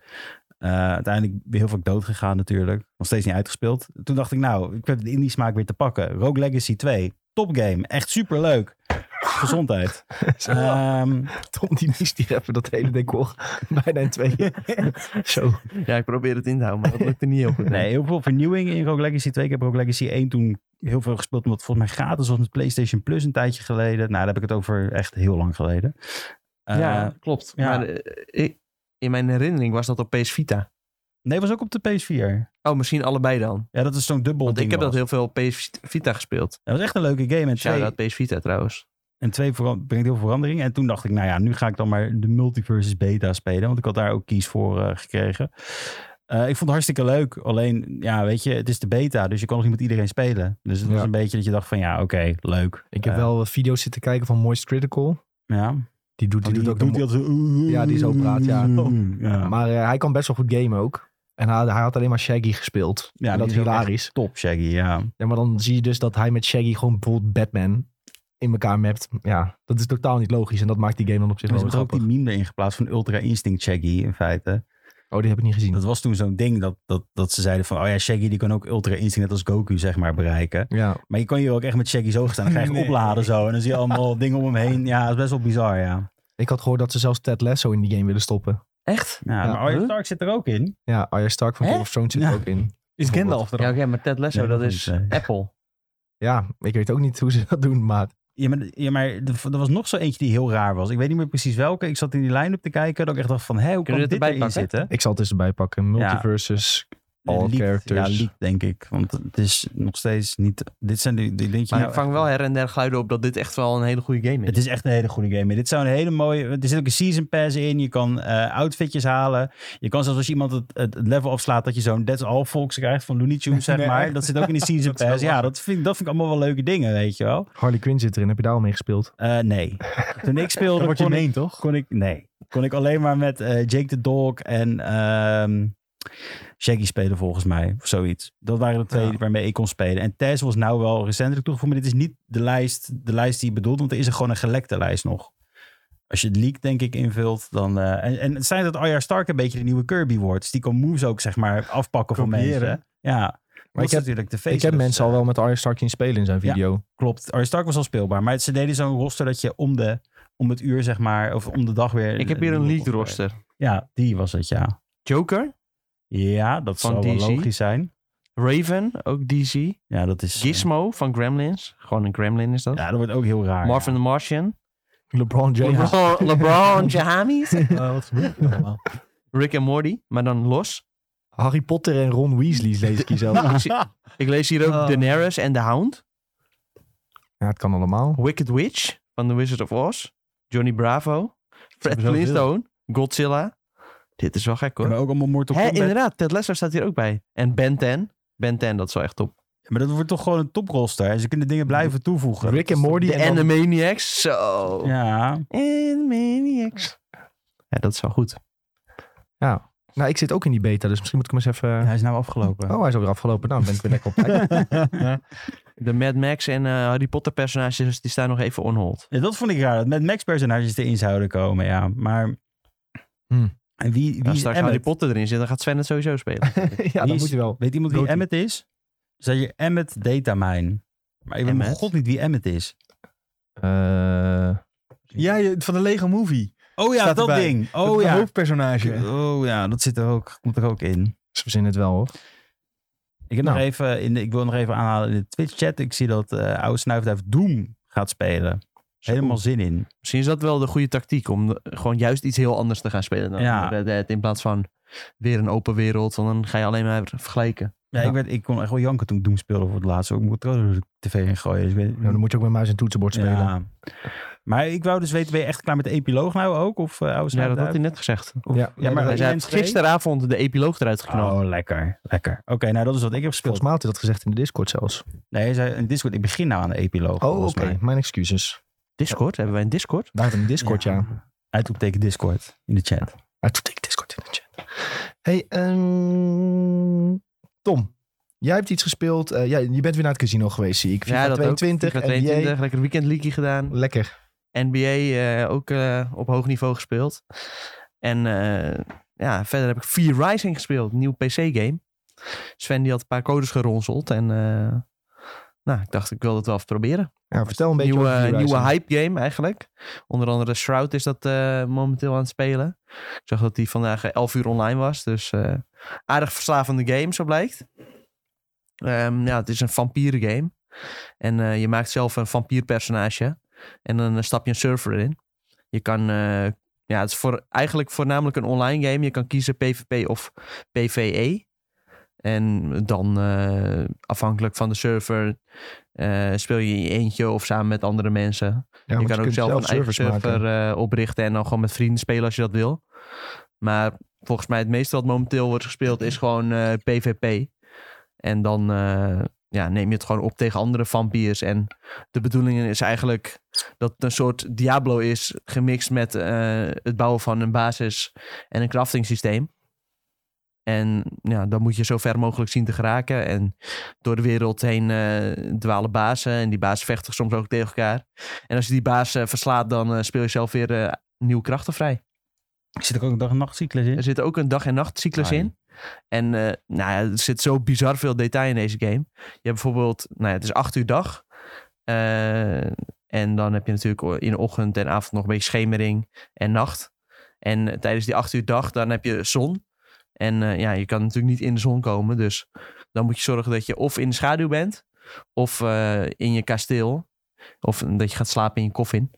Speaker 3: Eh, uiteindelijk weer heel vaak dood gegaan natuurlijk. Nog steeds niet uitgespeeld. Toen dacht ik, nou, ik heb de indie smaak weer te pakken. Rogue Legacy 2. Top game. Echt super leuk. Gezondheid.
Speaker 1: Zo,
Speaker 3: Ehm
Speaker 1: Tom die mist die even dat hele decor bijna in tweeën. Zo.
Speaker 4: Ja, ik probeer het in te houden, maar dat lukt er niet heel goed.
Speaker 3: Nee, heel veel vernieuwing in Rogue Legacy 2. Ik heb Rogue Legacy 1 toen heel veel gespeeld. Omdat het volgens mij gratis was met PlayStation Plus een tijdje geleden. Nou, daar heb ik het over echt heel lang geleden. Eh,
Speaker 4: ja, klopt.
Speaker 3: ja.
Speaker 4: Maar eh, ik- in mijn herinnering was dat op PS Vita.
Speaker 3: Nee, was ook op de PS4.
Speaker 4: Oh, misschien allebei dan.
Speaker 3: Ja, dat is zo'n dubbel
Speaker 4: Want ik
Speaker 3: ding
Speaker 4: heb dat
Speaker 3: was.
Speaker 4: heel veel op PS Vita gespeeld.
Speaker 3: Dat was echt een leuke game. En twee,
Speaker 4: Shout-out PS Vita trouwens.
Speaker 3: en twee vera- brengt heel veel verandering. En toen dacht ik, nou ja, nu ga ik dan maar de multiverses beta spelen. Want ik had daar ook kies voor eh, gekregen. Eh, ik vond het hartstikke leuk. Alleen, ja, weet je, het is de beta. Dus je kan nog niet met iedereen spelen. Dus het was
Speaker 1: Ja.
Speaker 3: een beetje dat je dacht van, ja, oké, leuk.
Speaker 1: Ik heb
Speaker 3: Eh,
Speaker 1: wel wat video's zitten kijken van Moist Critical.
Speaker 3: Ja.
Speaker 1: Die doet, die
Speaker 3: Oh,
Speaker 1: doet ook de mo- Ja, die zo praat, ja.
Speaker 3: ja.
Speaker 1: Maar eh, hij kan best wel goed gamen ook. En hij, hij had alleen maar Shaggy gespeeld.
Speaker 3: Ja,
Speaker 1: Ja,
Speaker 3: die
Speaker 1: dat is
Speaker 3: is ook echt-
Speaker 1: hilarisch.
Speaker 3: Top Shaggy, ja.
Speaker 1: Ja, maar dan zie je dus dat hij met Shaggy gewoon bijvoorbeeld Batman in elkaar mapt. Ja, dat is totaal niet logisch. En dat maakt die game dan op zich
Speaker 3: Er is
Speaker 1: wel
Speaker 3: ook
Speaker 1: grappig.
Speaker 3: die meme erin geplaatst van Ultra Instinct Shaggy in feite.
Speaker 1: Oh, die heb ik niet gezien.
Speaker 3: Dat was toen zo'n ding dat, dat, dat ze zeiden van... Oh ja, Shaggy die kan ook Ultra Instinct net als Goku zeg maar bereiken.
Speaker 1: Ja,
Speaker 3: Maar je kan hier ook echt met Shaggy zo staan. Dan ga je echt
Speaker 2: Nee.
Speaker 3: opladen zo. En dan zie je allemaal dingen om hem heen. Ja, dat is best wel bizar, ja.
Speaker 1: ik had gehoord dat ze zelfs Ted Lasso in die game willen stoppen.
Speaker 4: Echt?
Speaker 3: ja,
Speaker 1: Ja.
Speaker 3: Maar Arya
Speaker 4: Huh?
Speaker 3: Stark zit er ook in.
Speaker 1: Ja, Arya Stark van
Speaker 4: Hè?
Speaker 1: Game of Thrones zit er
Speaker 3: Ja.
Speaker 1: ook in.
Speaker 2: Is Gandalf er
Speaker 4: Ja,
Speaker 2: al?
Speaker 4: oké, maar Ted Lasso,
Speaker 3: Nee,
Speaker 4: dat
Speaker 3: nog
Speaker 4: is
Speaker 3: niet, nee.
Speaker 4: Apple.
Speaker 1: Ja, ik weet ook niet hoe ze dat doen, maar...
Speaker 3: Ja, maar, ja, maar er er was nog zo eentje die heel raar was. Ik weet niet meer precies welke. Ik zat in die line-up te kijken. Dat ik echt dacht van... Hé, hoe kan
Speaker 4: Kunnen we
Speaker 3: dit
Speaker 4: dit erbij
Speaker 3: erbij
Speaker 4: pakken?
Speaker 3: zitten?
Speaker 1: Ik zal het eens erbij pakken. Multiverses. All
Speaker 3: Leaked,
Speaker 1: characters.
Speaker 3: Ja, leaked, denk ik. Want het is nog steeds niet... Dit zijn die, die denk je
Speaker 4: Maar
Speaker 3: nou
Speaker 4: ik vang
Speaker 3: echt-
Speaker 4: wel her en der geluiden op dat dit echt wel een hele goede game
Speaker 3: Het
Speaker 4: is.
Speaker 3: is echt een hele goede game. Dit zou een hele mooie... Er zit ook een season pass in. Je kan eh, outfitjes halen. Je kan zelfs als iemand het, het level afslaat... dat je zo'n That's All Folks krijgt van Looney Tunes, zeg
Speaker 2: Nee,
Speaker 3: maar.
Speaker 2: echt?
Speaker 3: Dat zit ook in die season
Speaker 2: Dat is wel
Speaker 3: pass. Ja,
Speaker 2: lachen.
Speaker 3: dat vind, ik- dat vind ik allemaal wel leuke dingen, weet je wel.
Speaker 1: Harley Quinn zit erin. Heb je daar al mee gespeeld?
Speaker 3: Eh, nee. Toen ik
Speaker 2: Dat
Speaker 3: speelde
Speaker 2: wordt je
Speaker 3: kon ik,
Speaker 2: meen, toch?
Speaker 3: kon ik... Nee. Kon ik alleen maar met eh, Jake the Dog en ehm, Shaggy spelen volgens mij. Of zoiets. Dat waren de twee
Speaker 2: Ja.
Speaker 3: waarmee ik kon spelen. En Tess was nou wel recentelijk toegevoegd. Maar dit is niet de lijst, de lijst die je bedoelt. Want er is er gewoon een gelekte lijst nog. Als je het leak, denk ik, invult, dan... eh, en, en het zijn dat Arya Stark een beetje de nieuwe Kirby wordt. Dus die kan moves ook, zeg maar, afpakken van
Speaker 2: Kopiëren.
Speaker 3: mensen. Ja. Maar
Speaker 1: ik
Speaker 3: ik
Speaker 1: heb-
Speaker 3: heb natuurlijk de
Speaker 1: ik heb
Speaker 3: faceless,
Speaker 1: mensen
Speaker 3: eh,
Speaker 1: al wel met Arya Stark zien spelen in zijn
Speaker 3: Ja.
Speaker 1: video.
Speaker 3: Klopt. Arya Stark was al speelbaar. Maar ze deden zo'n roster dat je om, de, om het uur, zeg maar, of om de dag weer...
Speaker 4: Ik heb hier een
Speaker 3: nieuwe
Speaker 4: lead
Speaker 3: roster-
Speaker 4: roster.
Speaker 3: Ja, die was het, ja.
Speaker 4: Joker,
Speaker 3: Ja, dat
Speaker 4: Van
Speaker 3: zou wel
Speaker 4: DC?
Speaker 3: logisch zijn.
Speaker 4: Raven, ook DC.
Speaker 3: Ja, dat is... eh,
Speaker 4: Gizmo van Gremlins. Gewoon een Gremlin is dat.
Speaker 3: Ja, dat wordt ook heel raar.
Speaker 4: Marvin the Martian.
Speaker 1: LeBron James.
Speaker 4: LeBron, LeBron James.
Speaker 2: Eh, wat gebeurt er allemaal?
Speaker 4: Rick en Morty, maar dan los.
Speaker 1: Harry Potter en Ron Weasley lees ik hier zelf.
Speaker 4: Ik zie- Ik lees hier ook
Speaker 2: Oh.
Speaker 4: Daenerys en The Hound.
Speaker 1: Ja, het kan allemaal.
Speaker 4: Wicked Witch van The Wizard of Oz. Johnny Bravo. Fred
Speaker 2: hebben zoveel.
Speaker 4: Flintstone. Godzilla. Dit is wel gek hoor.
Speaker 3: Maar ook allemaal Mortal
Speaker 4: Hè,
Speaker 3: Kombat.
Speaker 4: inderdaad, Ted Lasso staat hier ook bij. En Ben 10. Ben 10, dat is wel echt top.
Speaker 3: Maar dat wordt toch gewoon een toproster. En ze kunnen dingen blijven toevoegen.
Speaker 1: Rick en Morty
Speaker 4: De
Speaker 1: en dan-
Speaker 4: Animaniacs. Zo.
Speaker 3: Ja,
Speaker 4: Animaniacs. Ja, dat is wel goed.
Speaker 1: Nou, ik zit ook in die beta, dus misschien moet ik hem eens even...
Speaker 3: hij is nou afgelopen.
Speaker 1: Oh, hij is ook weer afgelopen. Nou, dan ben ik weer lekker op tijd.
Speaker 4: De Mad Max en eh, Harry Potter personages die staan nog even on hold.
Speaker 3: Ja, dat vond ik raar. Dat met Max personages erin zouden komen, ja. Maar
Speaker 1: Hmm.
Speaker 3: en wie, wie
Speaker 4: Als
Speaker 3: is
Speaker 4: Hm. straks Harry
Speaker 3: Emmet?
Speaker 4: Potter erin zit, dan gaat Sven het sowieso spelen.
Speaker 1: ja,
Speaker 3: Wie
Speaker 1: dat
Speaker 3: is-
Speaker 1: moet je wel.
Speaker 3: Weet iemand wie
Speaker 1: Doty.
Speaker 3: Emmet is? Dus dat je Emmet Datamine. Maar ik weet mijn
Speaker 4: Emmet?
Speaker 3: god niet wie Emmet is.
Speaker 1: Eh,
Speaker 2: ja, je- van de Lego Movie.
Speaker 3: Oh ja,
Speaker 2: Staat
Speaker 3: dat
Speaker 2: erbij.
Speaker 3: ding.
Speaker 2: Oh
Speaker 3: Oh ja.
Speaker 2: hoofdpersonage.
Speaker 3: Oh ja, dat zit er ook, komt er ook in.
Speaker 1: ze verzinnen het wel, hoor.
Speaker 3: Ik, heb
Speaker 1: Nou.
Speaker 3: nog even in de, ik wil nog even aanhalen in de Twitch-chat. Ik zie dat eh oude snuifduif Doom gaat spelen. Helemaal zin in.
Speaker 4: Misschien is dat wel de goede tactiek om de- gewoon juist iets heel anders te gaan spelen dan
Speaker 3: Ja.
Speaker 4: Red Dead in plaats van weer een open wereld. Want dan ga je alleen maar vergelijken.
Speaker 3: Ja,
Speaker 1: Ja.
Speaker 3: Ik, werd, ik kon echt wel janken toen ik Doom speelde voor het laatst. Ook mijn controller door de tv heen gooien. Dus ik weet,
Speaker 1: Ja, Nou, dan moet je ook met muis en toetsenbord spelen.
Speaker 3: Ja. Maar ik wou dus weten, ben je echt klaar met de epiloog nou ook? Of eh oude
Speaker 4: Ja,
Speaker 3: Snuit
Speaker 4: dat had
Speaker 3: uit?
Speaker 4: hij net gezegd.
Speaker 3: Of-
Speaker 1: Ja.
Speaker 3: ja,
Speaker 1: Ja,
Speaker 3: maar
Speaker 1: dat
Speaker 4: Hij zei,
Speaker 3: Rayman
Speaker 4: heeft
Speaker 3: 2?
Speaker 4: gisteravond de epiloog eruit geknald.
Speaker 3: Oh, lekker, lekker. Oké, nou dat is wat ik heb gespeeld.
Speaker 1: Volgens mij had hij dat gezegd in de Discord zelfs.
Speaker 4: Oh,
Speaker 3: Nee, hij zei in Discord, ik begin nou aan de epiloog.
Speaker 1: Oh, oké.
Speaker 3: volgens mij.
Speaker 1: Mijn excuses.
Speaker 4: Discord? Hebben wij een Discord?
Speaker 1: Daar in Discord, ja.
Speaker 3: Uitroepteken Discord in de chat.
Speaker 1: Maar toen deed ik Discord in de chat. hey, ehm, Tom. Jij hebt iets gespeeld. Eh, ja, je bent weer naar het casino geweest, zie ik. FIFA
Speaker 4: ja, dat
Speaker 1: 22,
Speaker 4: ook.
Speaker 1: NBA.
Speaker 4: FIFA 22, lekker weekend league gedaan.
Speaker 1: Lekker.
Speaker 4: NBA eh, ook eh, op hoog niveau gespeeld. En eh, ja, verder heb ik Fear Rising gespeeld, een nieuw PC-game. Sven die had een paar codes geronseld en eh, nou, ik dacht ik wil dat wel even proberen.
Speaker 1: Ja, vertel een beetje
Speaker 4: nieuwe,
Speaker 1: over Horizon.
Speaker 4: nieuwe hype game eigenlijk. Onder andere Shroud is dat eh, momenteel aan het spelen. Ik zag dat die vandaag eh, 11 uur online was. Dus eh, aardig verslavende game, zo blijkt. Ehm, ja, het is een vampieren game. En eh, je maakt zelf een vampierpersonage. En dan eh, stap je een server in. Je kan... eh, ja, het is voor, eigenlijk voornamelijk een online game. Je kan kiezen PvP of PvE. En dan eh, afhankelijk van de server eh, speel je in je eentje of samen met andere mensen.
Speaker 1: Ja, want
Speaker 4: je kan ook
Speaker 1: kunt
Speaker 4: zelf een eigen
Speaker 1: servers maken.
Speaker 4: server eh, oprichten en dan gewoon met vrienden spelen als je dat wil. Maar volgens mij het meeste wat momenteel wordt gespeeld is gewoon eh, PvP. En dan eh, ja, neem je het gewoon op tegen andere vampiers. En de bedoeling is eigenlijk dat het een soort Diablo is gemixt met eh, het bouwen van een basis en een crafting systeem. En ja, dan moet je zo ver mogelijk zien te geraken. En door de wereld heen eh, dwalen bazen. En die bazen vechten soms ook tegen elkaar. En als je die baas eh, verslaat, dan eh, speel je zelf weer eh, nieuwe krachten vrij.
Speaker 3: Zit er ook een dag- en nachtcyclus in?
Speaker 4: Er zit ook een dag- en nachtcyclus
Speaker 3: Ah, ja.
Speaker 4: in. En eh, nou ja, er zit zo bizar veel detail in deze game. Je hebt bijvoorbeeld, nou ja, het is acht uur dag. Eh, en dan heb je natuurlijk in de ochtend en avond nog een beetje schemering en nacht. En eh, tijdens die acht uur dag, dan heb je zon. En eh, ja, je kan natuurlijk niet in de zon komen. Dus dan moet je zorgen dat je of in de schaduw bent, of eh, in je kasteel. Of dat je gaat slapen in je koffin.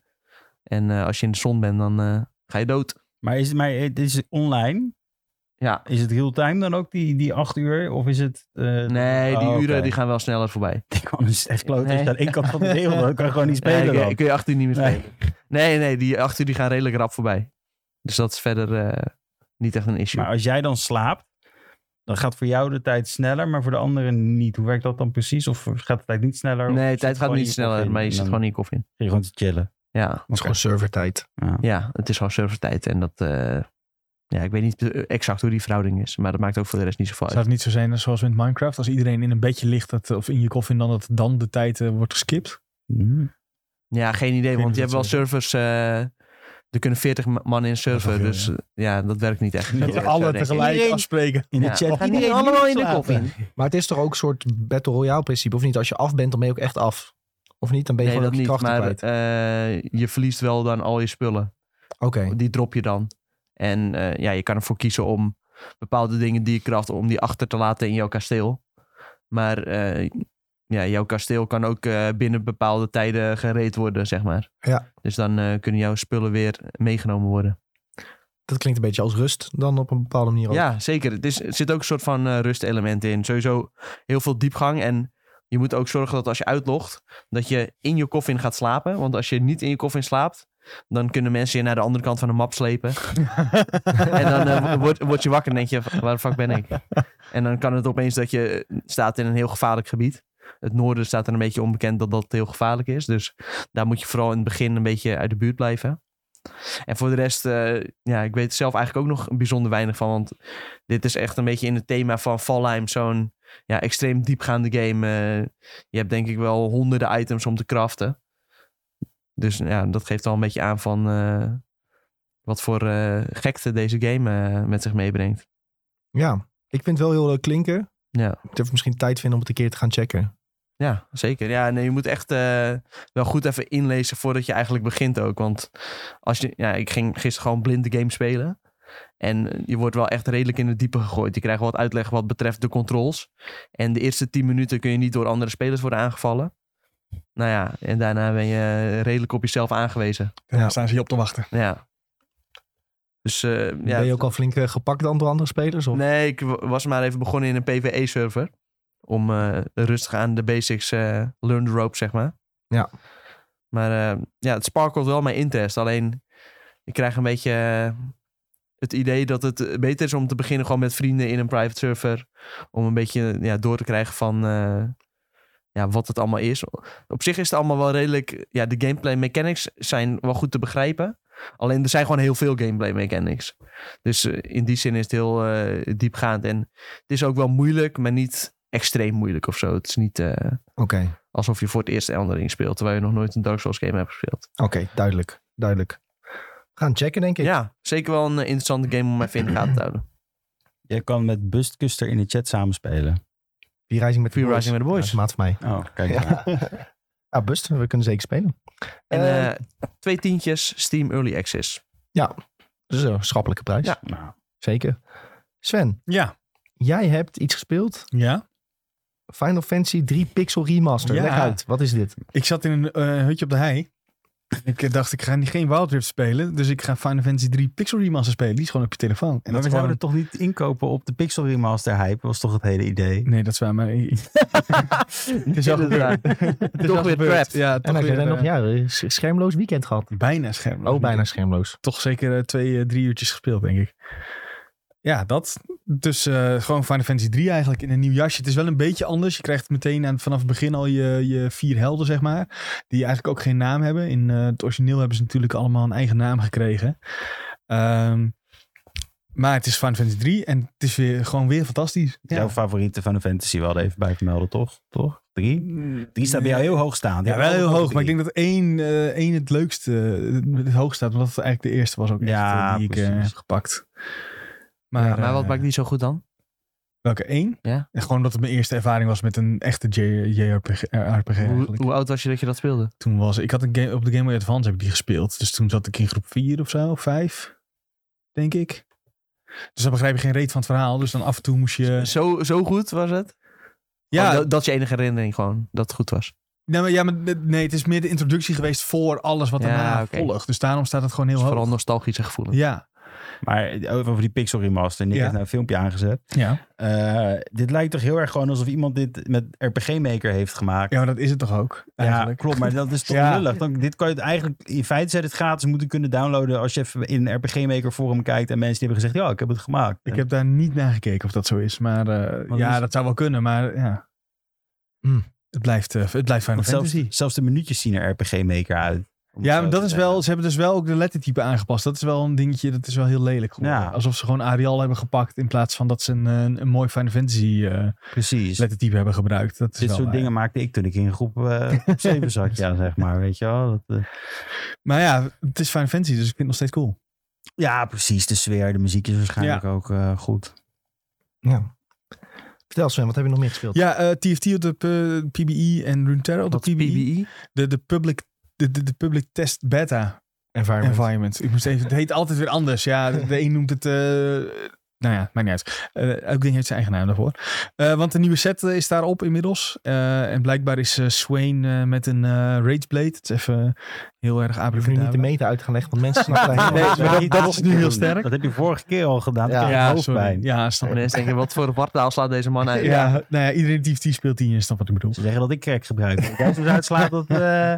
Speaker 4: En eh, als je in de zon bent, dan eh, ga je dood.
Speaker 3: Maar is het, maar het is online?
Speaker 4: Ja,
Speaker 3: Is het real-time dan ook, die, die acht uur? Of is het... eh,
Speaker 4: Nee, die
Speaker 3: oh, oké.
Speaker 4: uren die gaan wel sneller voorbij.
Speaker 3: Ik kan dus echt kloot.
Speaker 4: Nee.
Speaker 3: Is aan één kant van de wereld. Ik kan gewoon niet
Speaker 4: Nee,
Speaker 3: spelen
Speaker 4: kun-
Speaker 3: dan.
Speaker 4: kun je acht uur niet meer
Speaker 3: Nee.
Speaker 4: spelen. Nee, nee, die acht uur die gaan redelijk rap voorbij. Dus dat is verder eh, niet echt een issue.
Speaker 3: Maar als jij dan slaapt, dan gaat voor jou de tijd sneller, maar voor de anderen niet. Hoe werkt dat dan precies? Of gaat de tijd niet sneller?
Speaker 4: nee,
Speaker 3: de
Speaker 4: de tijd gaat niet sneller, maar je zit gewoon in je koffie. in.
Speaker 3: Ga je gewoon te chillen.
Speaker 4: Ja,
Speaker 1: Het is gewoon servertijd.
Speaker 3: Ja.
Speaker 4: ja, het is gewoon servertijd. En dat, eh, ja, ik weet niet eh, exact hoe die verhouding is. Maar dat maakt ook voor de rest niet zoveel
Speaker 2: Zou
Speaker 4: uit.
Speaker 2: het niet zo zijn als zoals in Minecraft? Als iedereen in een bedje ligt dat, of in je koffie, dan dat dan de tijd eh, wordt geskipt?
Speaker 3: Mm.
Speaker 4: Ja, geen idee,
Speaker 2: weet
Speaker 4: want je
Speaker 2: niet
Speaker 4: hebt wel
Speaker 2: of
Speaker 4: servers... eh, er kunnen 40 man in een
Speaker 2: Dat
Speaker 4: server,
Speaker 2: is wel
Speaker 4: dus
Speaker 2: veel,
Speaker 4: eh, ja, dat werkt niet echt.
Speaker 2: Dat we alle tegelijk
Speaker 3: Iedereen-
Speaker 2: afspreken.
Speaker 3: In de
Speaker 4: Ja.
Speaker 3: chat.
Speaker 4: Gaan iedereen allemaal in de
Speaker 3: slapen.
Speaker 4: koffie?
Speaker 1: Maar het is toch ook een soort Battle Royale principe, of niet? Als je af bent, dan ben je ook echt af. Of niet? Dan ben je
Speaker 4: Nee, dat
Speaker 1: gewoon ook je
Speaker 4: niet,
Speaker 1: krachten
Speaker 4: maar
Speaker 1: kwijt.
Speaker 4: eh, je verliest wel dan al je spullen.
Speaker 1: Oké.
Speaker 4: Die drop je dan. En eh, ja, je kan ervoor kiezen om bepaalde dingen die je kracht, om die achter te laten in jouw kasteel. Maar eh, ja, jouw kasteel kan ook eh, binnen bepaalde tijden gereed worden, zeg maar.
Speaker 1: Ja.
Speaker 4: Dus dan eh, kunnen jouw spullen weer meegenomen worden.
Speaker 1: Dat klinkt een beetje als rust dan op een bepaalde manier. ook.
Speaker 4: Ja, zeker. Het is, er zit ook een soort van eh, rustelement in. Sowieso heel veel diepgang. En je moet ook zorgen dat als je uitlogt, dat je in je koffin gaat slapen. Want als je niet in je koffin slaapt, dan kunnen mensen je naar de andere kant van de map slepen. En dan eh, wo- word, word je wakker en denk je, "Wa- waar de fuck ben ik? En dan kan het opeens dat je staat in een heel gevaarlijk gebied. Het noorden staat er een beetje onbekend dat dat heel gevaarlijk is. Dus daar moet je vooral in het begin een beetje uit de buurt blijven. En voor de rest, eh, ja, ik weet er zelf eigenlijk ook nog bijzonder weinig van. Want dit is echt een beetje in het thema van Valheim. Zo'n ja, extreem diepgaande game. Eh, je hebt denk ik wel honderden items om te craften. Dus ja, dat geeft al een beetje aan van... eh, wat voor eh, gekte deze game eh, met zich meebrengt.
Speaker 1: ja. Ik vind het wel heel leuk klinken.
Speaker 4: Ja.
Speaker 1: Ik durf misschien tijd vinden om het een keer te gaan checken.
Speaker 4: Ja, zeker. Ja, nee, je moet echt eh, wel goed even inlezen voordat je eigenlijk begint ook. Want als je, ja, ik ging gisteren gewoon blind de game spelen. En je wordt wel echt redelijk in het diepe gegooid. Je krijgt wat uitleg wat betreft de controls. En de eerste 10 minuten kun je niet door andere spelers worden aangevallen. Nou ja, en daarna ben je redelijk op jezelf aangewezen.
Speaker 2: Daar staan ze je op te wachten.
Speaker 4: Ja. Dus eh, ja,
Speaker 1: ben je ook al flink eh, gepakt dan door andere spelers? Of?
Speaker 4: Nee, ik wa- was maar even begonnen in een PvE-server. Om eh, rustig aan de basics, eh learn the rope, zeg maar.
Speaker 1: Ja.
Speaker 4: Maar eh, ja, het sparkelt wel mijn interest. Alleen, ik krijg een beetje eh, het idee dat het eh, beter is om te beginnen gewoon met vrienden in een private server. Om een beetje ja, door te krijgen van eh, ja, wat het allemaal is. Op zich is het allemaal wel redelijk... Ja, de gameplay mechanics zijn wel goed te begrijpen. Alleen, er zijn gewoon heel veel gameplay mechanics. Dus eh, in die zin is het heel eh, diepgaand. En het is ook wel moeilijk, maar niet extreem moeilijk of zo. Het is niet eh,
Speaker 1: Oké,
Speaker 4: alsof je voor het eerst Eldering speelt, terwijl je nog nooit een Dark Souls game hebt gespeeld.
Speaker 1: oké, duidelijk, duidelijk. We gaan checken, denk ik.
Speaker 4: Ja, zeker wel een eh, interessante game om even in de gaten te houden.
Speaker 3: Je kan met Bustkuster in de chat samenspelen.
Speaker 1: Free Rising met de
Speaker 4: Free
Speaker 1: Boys.
Speaker 4: Rising with
Speaker 1: Ja,
Speaker 4: the
Speaker 1: dat is
Speaker 4: Boys.
Speaker 1: maat voor mij.
Speaker 3: Oh, kijk.
Speaker 1: Ja. ja, bust, we kunnen zeker spelen.
Speaker 4: En
Speaker 1: Eh,
Speaker 4: eh, twee tientjes Steam Early Access.
Speaker 1: dat is een schappelijke prijs,
Speaker 4: ja.
Speaker 3: Nou,
Speaker 1: zeker. Sven,
Speaker 2: Ja.
Speaker 1: jij hebt iets gespeeld.
Speaker 2: Ja.
Speaker 1: Final Fantasy 3 Pixel Remaster.
Speaker 2: Ja.
Speaker 1: Leg uit, wat is dit?
Speaker 2: Ik zat in een eh, hutje op de hei. Ik eh, dacht, ik ga niet- geen Wild Rift spelen. Dus ik ga Final Fantasy 3 Pixel Remaster spelen. Die is gewoon op je telefoon. En
Speaker 3: maar we
Speaker 2: is
Speaker 3: zouden
Speaker 2: gewoon-
Speaker 3: er toch niet inkopen op de Pixel Remaster hype? was toch het hele idee?
Speaker 2: Nee, dat is waar. Maar het is al
Speaker 4: Inderdaad.
Speaker 2: gebeurd. Het is
Speaker 4: Toch
Speaker 2: al
Speaker 4: weer
Speaker 2: gebeurd.
Speaker 4: trapped.
Speaker 2: Ja,
Speaker 1: En
Speaker 2: toch
Speaker 1: dan
Speaker 2: weer,
Speaker 1: heb jij
Speaker 2: eh,
Speaker 1: nog ja, sch- schermloos weekend gehad.
Speaker 2: Bijna scherm.
Speaker 1: Oh, bijna schermloos.
Speaker 2: Toch zeker eh, twee, eh, drie uurtjes gespeeld, denk ik. Ja, dat. Dus eh, gewoon Final Fantasy 3 eigenlijk in een nieuw jasje. Het is wel een beetje anders. Je krijgt meteen aan, vanaf het begin al je, je vier helden, zeg maar. Die eigenlijk ook geen naam hebben. In eh, het origineel hebben ze natuurlijk allemaal een eigen naam gekregen. Ehm, maar het is Final Fantasy 3 en het is weer, gewoon weer fantastisch.
Speaker 3: Jouw favoriete van de fantasy wel even bij vermelden, toch? Toch? Drie? Drie staat bij jou heel hoog staan.
Speaker 2: Ja, wel heel hoog. Maar ik denk dat één, eh, één het leukste, eh, het hoogst staat. Omdat het eigenlijk de eerste was ook echt,
Speaker 3: Ja,
Speaker 2: eh, die ik eh,
Speaker 3: precies.
Speaker 2: heb gepakt.
Speaker 4: Ja, maar wat
Speaker 2: eh,
Speaker 4: maakt die zo goed dan?
Speaker 2: Welke één?
Speaker 4: Ja.
Speaker 2: En gewoon dat het mijn eerste ervaring was met een echte J- JRPG. RPG
Speaker 4: Hoe,
Speaker 2: eigenlijk.
Speaker 4: hoe oud was je dat je dat speelde?
Speaker 2: Toen was ik had een game op de Game Boy Advance heb ik die gespeeld. Dus toen zat ik in groep 4 of zo, 5, denk ik. Dus dan begrijp je geen reet van het verhaal. Dus dan af en toe moest je.
Speaker 4: Zo, zo goed was het?
Speaker 2: Ja, Oh,
Speaker 4: Gewoon dat, dat is je enige herinnering gewoon, dat het goed was.
Speaker 2: nee, maar, ja, maar nee, het is meer de introductie geweest voor alles wat
Speaker 4: Ja,
Speaker 2: daarna
Speaker 4: oké.
Speaker 2: volgt. Dus daarom staat het gewoon
Speaker 4: Dus
Speaker 2: heel
Speaker 4: vooral
Speaker 2: hoog.
Speaker 4: nostalgische gevoelens.
Speaker 2: Ja,
Speaker 3: Maar eh, over over die Pixel Remaster. Nick
Speaker 2: Ja.
Speaker 3: heeft nou een filmpje aangezet.
Speaker 2: ja.
Speaker 3: Eh, dit lijkt toch heel erg gewoon alsof iemand dit met RPG Maker heeft gemaakt.
Speaker 2: ja, maar dat is het toch ook?
Speaker 3: Ja,
Speaker 2: Eigenlijk.
Speaker 3: klopt, maar dat is toch
Speaker 2: Ja.
Speaker 3: lullig. Dan, dit kan je het eigenlijk, in feite zou je het gratis moeten kunnen downloaden als je even in een RPG Maker forum kijkt en mensen die hebben gezegd, ja, ik heb het gemaakt.
Speaker 2: Ik heb daar niet naar gekeken of dat zo is. Maar eh,
Speaker 3: dat
Speaker 2: ja,
Speaker 3: is-
Speaker 2: dat zou wel kunnen. Maar ja.
Speaker 1: Hm.
Speaker 2: Het blijft, eh, het blijft Final
Speaker 3: Want zelfs,
Speaker 2: Fantasy.
Speaker 3: zelfs de minuutjes zien er RPG Maker uit. Om het
Speaker 2: Ja,
Speaker 3: zo
Speaker 2: maar
Speaker 3: te
Speaker 2: dat is
Speaker 3: zeggen.
Speaker 2: wel. Ze hebben dus wel ook de lettertype aangepast. Dat is wel een dingetje. Dat is wel heel lelijk. geworden.
Speaker 3: Ja.
Speaker 2: Alsof ze gewoon Arial hebben gepakt. In plaats van dat ze een, eh, een, een mooi Final Fantasy eh,
Speaker 3: Precies.
Speaker 2: lettertype hebben gebruikt. Dat is
Speaker 3: Dit
Speaker 2: wel eh,
Speaker 3: soort
Speaker 2: waar.
Speaker 3: dingen maakte ik toen ik in groep eh, groep 7 zat, ja, zeg maar. Weet je wel? Dat, eh,
Speaker 2: Maar ja, het is Final Fantasy. Dus ik vind het nog steeds cool.
Speaker 3: ja, precies. De sfeer, de muziek is waarschijnlijk ook eh, goed.
Speaker 1: Ja. Vertel Sven, wat heb je nog meer gespeeld?
Speaker 2: Ja, eh, TFT op de eh, PBE en Runeterra op de E.
Speaker 4: Wat E?
Speaker 2: PBE.
Speaker 4: PBI?
Speaker 2: De, de, public, de, de, de public test beta
Speaker 1: Environment.
Speaker 2: environment. Ik moest even, het heet altijd weer anders. Ja, de, de een noemt het... eh, nou ja, maakt niet uit. Eh, elk ding heeft zijn eigen naam daarvoor. Eh, want de nieuwe set eh, is daarop inmiddels. Eh, en blijkbaar is eh, Swain eh, met een eh, Rageblade. Het is even heel erg
Speaker 1: We hoeven nu niet de
Speaker 2: abracadabra.
Speaker 1: meta uit te gaan leggen, want mensen snappen daar helemaal niks
Speaker 2: maar
Speaker 1: van.
Speaker 2: dat- dat is nu heel sterk.
Speaker 3: Dat heb je vorige keer al gedaan.
Speaker 1: Ja.
Speaker 3: Ja,
Speaker 2: Ja, sorry.
Speaker 3: hoofdpijn.
Speaker 2: Ja, snap ik.
Speaker 4: Mensen denken, wat voor wartaal slaat deze man uit?
Speaker 2: Ja, nou ja, iedereen die TFT speelt 10, je snapt wat ik bedoel.
Speaker 3: Ze zeggen dat ik crack gebruik. Als jij soms uitslaat, dat... eh,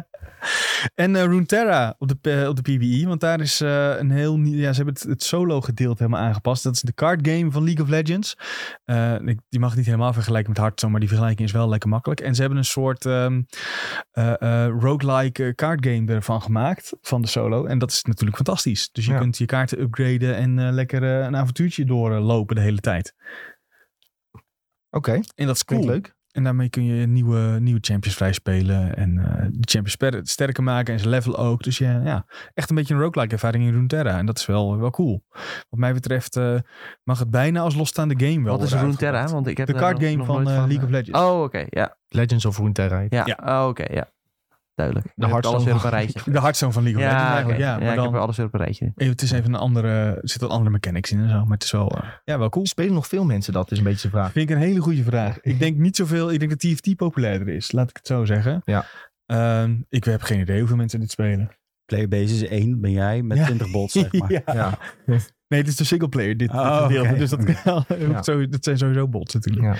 Speaker 2: En eh, Runeterra op de, P- op de PBE. Want daar is eh, een heel nieuw... Ja, ze hebben het, het solo gedeelte helemaal aangepast. Dat is de card game van League of Legends. Eh, ik, die mag ik niet helemaal vergelijken met Hearthstone. Maar die vergelijking is wel lekker makkelijk. En ze hebben een soort ehm, eh, eh, roguelike eh, card game ervan gemaakt. Van de solo. En dat is natuurlijk fantastisch. Dus je
Speaker 1: Ja.
Speaker 2: kunt je kaarten upgraden. En eh, lekker eh, een avontuurtje doorlopen de hele tijd.
Speaker 1: Oké,
Speaker 2: En dat is cool.
Speaker 1: klinkt leuk.
Speaker 2: En daarmee kun je nieuwe, nieuwe champions vrij spelen. En eh, de champions sper- sterker maken. En ze level ook. Dus ja, ja, echt een beetje een roguelike ervaring in Runeterra. En dat is wel, wel cool. Wat mij betreft eh, mag het bijna als losstaande game wel
Speaker 4: Wat is
Speaker 2: worden
Speaker 4: Runeterra?
Speaker 2: uitgebracht.
Speaker 4: Want ik heb
Speaker 2: De
Speaker 4: daar
Speaker 2: card
Speaker 4: nog-
Speaker 2: game
Speaker 4: nog
Speaker 2: van
Speaker 4: nooit
Speaker 2: eh, League of Legends.
Speaker 4: Oh, oké, ja.
Speaker 1: Legends of Runeterra.
Speaker 4: ja.
Speaker 2: Ja.
Speaker 4: Oh, oké, ja. Duidelijk.
Speaker 1: De
Speaker 4: Je hebt alles weer
Speaker 1: Hearthstone
Speaker 4: op een rijtje.
Speaker 2: De hartzoon van League of Legends
Speaker 4: Ja, oké.
Speaker 2: eigenlijk. Ja,
Speaker 4: ja,
Speaker 2: maar
Speaker 4: ik heb weer
Speaker 2: dan...
Speaker 4: alles weer op een rijtje.
Speaker 2: eh, Het is even een andere... Er zit wat andere mechanics in en zo. Maar het is wel, eh, ja, wel cool.
Speaker 1: Spelen nog veel mensen dat, is een beetje de vraag.
Speaker 2: Vind ik een hele goede vraag. Ik denk niet zoveel. Ik denk dat TFT populairder is. Laat ik het zo zeggen.
Speaker 1: Ja.
Speaker 2: Ehm, ik heb geen idee hoeveel mensen dit spelen.
Speaker 3: Player base is één, ben jij, met
Speaker 2: Ja.
Speaker 3: 20 bots, zeg maar.
Speaker 2: Ja.
Speaker 1: Ja.
Speaker 2: Nee, het is de singleplayer, dit,
Speaker 3: Oh,
Speaker 2: dit gedeelte.
Speaker 3: oké.
Speaker 2: Dus dat,
Speaker 1: Ja.
Speaker 2: zo, dat zijn sowieso bots natuurlijk.
Speaker 1: Ja.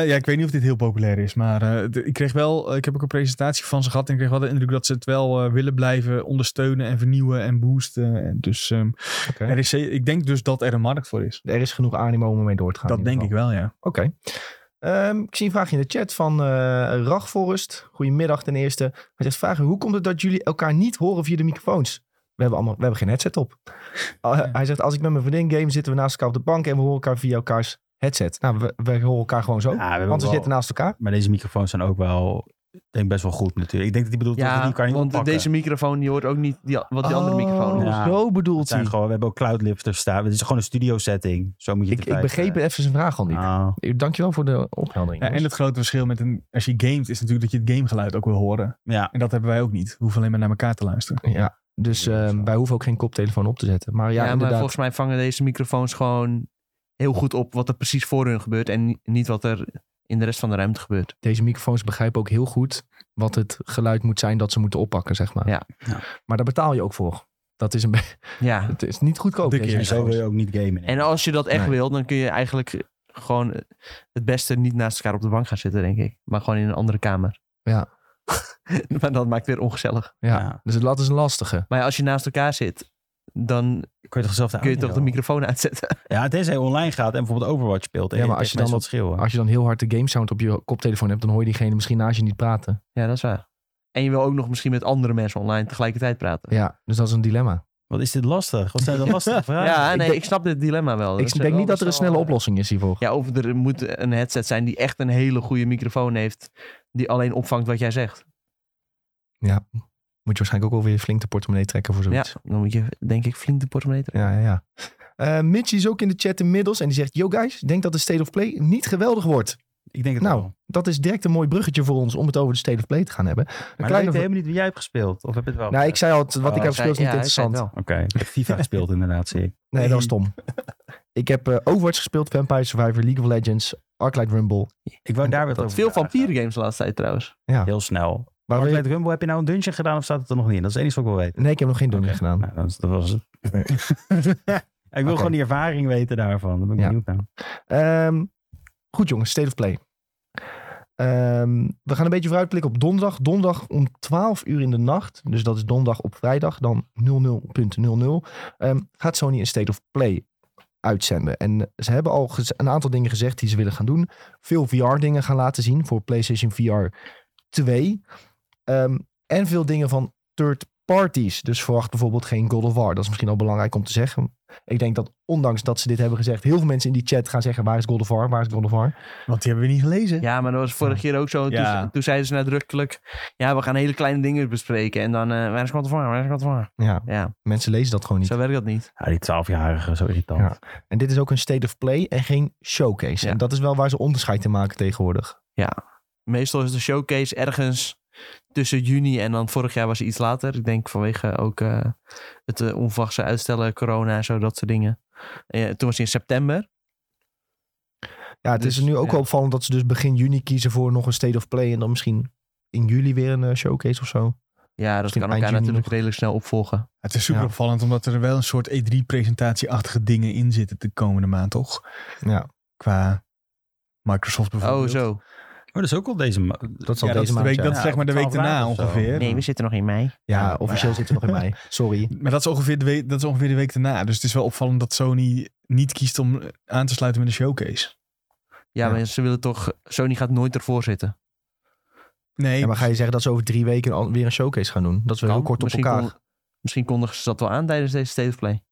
Speaker 2: Eh, ja, ik weet niet of dit heel populair is, maar eh, de- ik kreeg wel, ik heb ook een presentatie van ze gehad en ik kreeg wel de indruk dat ze het wel eh, willen blijven ondersteunen en vernieuwen en boosten. En dus ehm,
Speaker 1: Oké.
Speaker 2: er is, ze- ik denk dus dat er een markt voor is.
Speaker 1: Er is genoeg animo om ermee door te gaan.
Speaker 2: dat
Speaker 1: in ieder
Speaker 2: denk ik wel, ja.
Speaker 1: geval. Oké. Ehm, ik zie een vraagje in de chat van eh Rach Forrest. Goedemiddag ten eerste. Hij zegt, vragen, hoe komt het dat jullie elkaar niet horen via de microfoons? We hebben, allemaal, we hebben geen headset op. Ah, Hij zegt, als ik met mijn vriendin game, zitten we naast elkaar op de bank en we horen elkaar via elkaars headset. Nou, we, we horen elkaar gewoon zo.
Speaker 3: Ja, we hebben
Speaker 1: want we
Speaker 3: wel-
Speaker 1: zitten naast elkaar.
Speaker 3: Maar deze microfoons zijn ook wel, ik denk best wel goed natuurlijk. Ik denk dat die bedoelt dat
Speaker 4: Ja,
Speaker 3: die kan je niet
Speaker 4: want
Speaker 3: oppakken.
Speaker 4: deze microfoon die hoort ook niet die, wat
Speaker 2: Oh.
Speaker 4: die andere microfoon hoort.
Speaker 3: Ja.
Speaker 1: Oh, zo bedoelt
Speaker 3: Het zijn
Speaker 1: hij.
Speaker 3: gewoon, we hebben ook cloudlifter staan. Het is gewoon een studio setting. Zo moet je
Speaker 1: Ik,
Speaker 3: het
Speaker 1: ik
Speaker 3: erbij
Speaker 1: begreep
Speaker 3: zeggen.
Speaker 1: even zijn vraag al niet.
Speaker 3: eh.
Speaker 1: Eh,
Speaker 3: Ah,
Speaker 1: Dankjewel voor de opheldering.
Speaker 2: Ja, en
Speaker 1: jongens.
Speaker 2: het grote verschil met een, als je gamet is natuurlijk dat je het gamegeluid ook wil horen.
Speaker 3: ja.
Speaker 2: En dat hebben wij ook niet. We hoeven alleen maar naar elkaar te luisteren.
Speaker 1: ja, dus
Speaker 3: Ja,
Speaker 1: eh,
Speaker 3: zo.
Speaker 1: wij hoeven ook geen koptelefoon op te zetten. Maar ja,
Speaker 4: Ja, maar
Speaker 1: inderdaad.
Speaker 4: volgens mij vangen deze microfoons gewoon heel goed op wat er precies voor hun gebeurt en ni- niet wat er in de rest van de ruimte gebeurt.
Speaker 1: deze microfoons begrijpen ook heel goed wat het geluid moet zijn dat ze moeten oppakken, zeg maar.
Speaker 4: Ja.
Speaker 3: Ja.
Speaker 1: Maar daar betaal je ook voor. Dat is, een be-
Speaker 4: Ja.
Speaker 1: het is niet goedkoop.
Speaker 2: Dikke
Speaker 1: deze
Speaker 2: eer.
Speaker 3: En zo
Speaker 1: microfoons.
Speaker 3: wil je ook niet gamen.
Speaker 4: En als je dat echt
Speaker 1: Nee.
Speaker 4: wil, dan kun je eigenlijk gewoon eh, het beste niet naast elkaar op de bank gaan zitten, denk ik. Maar gewoon in een andere kamer.
Speaker 1: Ja.
Speaker 4: maar dat maakt het weer ongezellig.
Speaker 1: ja.
Speaker 3: Ja.
Speaker 1: dus dat is een lastige.
Speaker 4: Maar ja, als je naast elkaar zit, dan
Speaker 3: kun je toch zelf de
Speaker 4: kun je
Speaker 3: audio-
Speaker 4: toch de microfoon uitzetten.
Speaker 3: Ja, tenzij je online gaat en bijvoorbeeld Overwatch speelt. En
Speaker 1: Ja,
Speaker 3: je
Speaker 1: maar als je
Speaker 3: tegen
Speaker 1: dan
Speaker 3: mensen wat schreeuwen.
Speaker 1: Als je dan heel hard de game sound op je koptelefoon hebt, dan hoor je diegene misschien naast je niet praten.
Speaker 4: Ja, dat is waar. En je wil ook nog misschien met andere mensen online tegelijkertijd praten.
Speaker 1: Ja, dus dat is een dilemma.
Speaker 3: Wat is dit lastig? Wat zijn dat lastige
Speaker 4: Ja,
Speaker 3: vragen?
Speaker 4: nee, ik,
Speaker 1: denk-
Speaker 4: snap dit dilemma wel.
Speaker 1: ik
Speaker 4: Dat is
Speaker 1: denk
Speaker 4: wel
Speaker 1: niet dat er een
Speaker 4: best
Speaker 1: snelle
Speaker 4: wel, eh,
Speaker 1: oplossing is hiervoor.
Speaker 4: Ja, of er moet een headset zijn die echt een hele goede microfoon heeft. Die alleen opvangt wat jij zegt.
Speaker 1: Moet je waarschijnlijk ook wel weer flink de portemonnee trekken voor
Speaker 4: Ja,
Speaker 1: zoiets.
Speaker 4: dan moet je denk ik flink de portemonnee trekken.
Speaker 1: Ja, ja, ja. Eh, Mitch is ook in de chat inmiddels en die zegt... Yo guys, ik denk dat de State of Play niet geweldig wordt.
Speaker 3: Ik denk het
Speaker 1: Nou,
Speaker 3: wel.
Speaker 1: Dat is direct een mooi bruggetje voor ons om het over de State of Play te gaan hebben. Een
Speaker 3: Maar dan weet
Speaker 1: kleine
Speaker 3: ik helemaal niet wie jij hebt gespeeld. Of heb je het wel
Speaker 1: Nou, ik
Speaker 3: gezegd?
Speaker 1: zei al, het- wat
Speaker 3: Oh,
Speaker 1: ik heb
Speaker 4: eh, Hij zei-
Speaker 1: gespeeld is niet
Speaker 4: ja, hij zei het
Speaker 1: interessant.
Speaker 4: wel.
Speaker 3: Oké, ik heb FIFA gespeeld inderdaad, zie ik.
Speaker 1: Nee, dat was stom. ik heb eh, Overwatch gespeeld, Vampire Survivor, League of Legends, Arclight Rumble.
Speaker 3: Ik wou daar weer
Speaker 1: Oh,
Speaker 3: wat over
Speaker 4: Veel
Speaker 3: vragen.
Speaker 4: vampierengames de laatste tijd trouwens.
Speaker 3: Heel snel.
Speaker 1: Waar wil
Speaker 3: Maar
Speaker 1: je-
Speaker 3: met Rumble, heb je nou een dungeon gedaan of staat het er nog niet in? Dat is het enige wat ik wil weten.
Speaker 1: Nee, ik heb nog geen dungeon
Speaker 3: Oké.
Speaker 1: gedaan.
Speaker 3: Nou, dat, dat was het. Ik wil
Speaker 1: Oké.
Speaker 3: gewoon die ervaring weten daarvan. Daar ben ik
Speaker 1: Ja.
Speaker 3: benieuwd naar.
Speaker 1: Ehm, goed jongens, State of Play. Ehm, we gaan een beetje vooruitblikken op donderdag. Donderdag om 12 uur in de nacht. Dus dat is donderdag op vrijdag. Dan 00.00 ehm, gaat Sony een State of Play uitzenden. En ze hebben al gez- een aantal dingen gezegd die ze willen gaan doen. Veel VR dingen gaan laten zien voor PlayStation VR 2. Ehm, en veel dingen van third parties. Dus verwacht bijvoorbeeld geen God of War. Dat is misschien al belangrijk om te zeggen. Ik denk dat ondanks dat ze dit hebben gezegd, heel veel mensen in die chat gaan zeggen: waar is God of War? Waar is God of War?
Speaker 2: Want die hebben we niet gelezen.
Speaker 4: Ja, maar dat was vorige keer ook zo.
Speaker 2: Ja.
Speaker 4: Toen, toen zeiden ze nadrukkelijk... Ja, we gaan hele kleine dingen bespreken. En dan... eh waar is God of War? Waar is God of War?
Speaker 1: Ja,
Speaker 4: Ja,
Speaker 1: mensen lezen dat gewoon niet.
Speaker 4: zo werkt dat niet.
Speaker 3: Ja, die 12-jarige, zo irritant.
Speaker 1: Ja.
Speaker 2: Oh,
Speaker 1: En dit is ook een state of play en geen showcase.
Speaker 4: Ja.
Speaker 1: En dat is wel waar ze onderscheid in maken tegenwoordig.
Speaker 4: Meestal is de showcase ergens tussen juni en dan vorig jaar was het iets later. Ik denk vanwege ook eh, het eh, onverwachte uitstellen, corona en zo, dat soort dingen. Eh, toen was het in september.
Speaker 1: Ja, het is
Speaker 4: Dus,
Speaker 1: nu ook
Speaker 4: ja.
Speaker 1: wel opvallend dat ze dus begin juni kiezen voor nog een state of play. En dan misschien in juli weer een eh, showcase of zo.
Speaker 4: Ja, dat
Speaker 1: Misschien
Speaker 4: kan
Speaker 1: eind
Speaker 4: elkaar
Speaker 1: juni
Speaker 4: natuurlijk
Speaker 1: nog.
Speaker 4: redelijk snel opvolgen. Oh,
Speaker 2: Het is super
Speaker 1: Ja.
Speaker 2: opvallend, omdat er wel een soort E3-presentatieachtige dingen in zitten de komende maand, toch?
Speaker 1: Ja,
Speaker 2: Qua Microsoft bijvoorbeeld.
Speaker 4: Oh, zo.
Speaker 3: Oh, dat is ook al deze... ma-
Speaker 1: dat zal
Speaker 2: Ja, dat
Speaker 1: deze
Speaker 2: is, de
Speaker 1: maand
Speaker 2: week,
Speaker 1: zijn.
Speaker 2: dat is
Speaker 3: ja.
Speaker 2: zeg maar de week
Speaker 3: 12 dagen
Speaker 2: daarna
Speaker 3: of zo.
Speaker 2: ongeveer.
Speaker 4: Nee, we zitten nog in mei.
Speaker 1: Ja, officieel zitten we nog in mei. Sorry.
Speaker 2: Maar dat is, ongeveer de week, dat is ongeveer de week daarna. Dus het is wel opvallend dat Sony niet kiest om aan te sluiten met een showcase.
Speaker 4: Ja,
Speaker 1: Ja.
Speaker 4: maar ze willen toch... Sony gaat nooit ervoor zitten.
Speaker 2: Nee,
Speaker 1: Ja, maar ga je zeggen dat ze over drie weken al weer een showcase gaan doen? Dat is wel heel
Speaker 4: Kan.
Speaker 1: kort op
Speaker 4: Misschien
Speaker 1: elkaar.
Speaker 4: kon- misschien kondigen ze dat wel aan tijdens deze State of Play.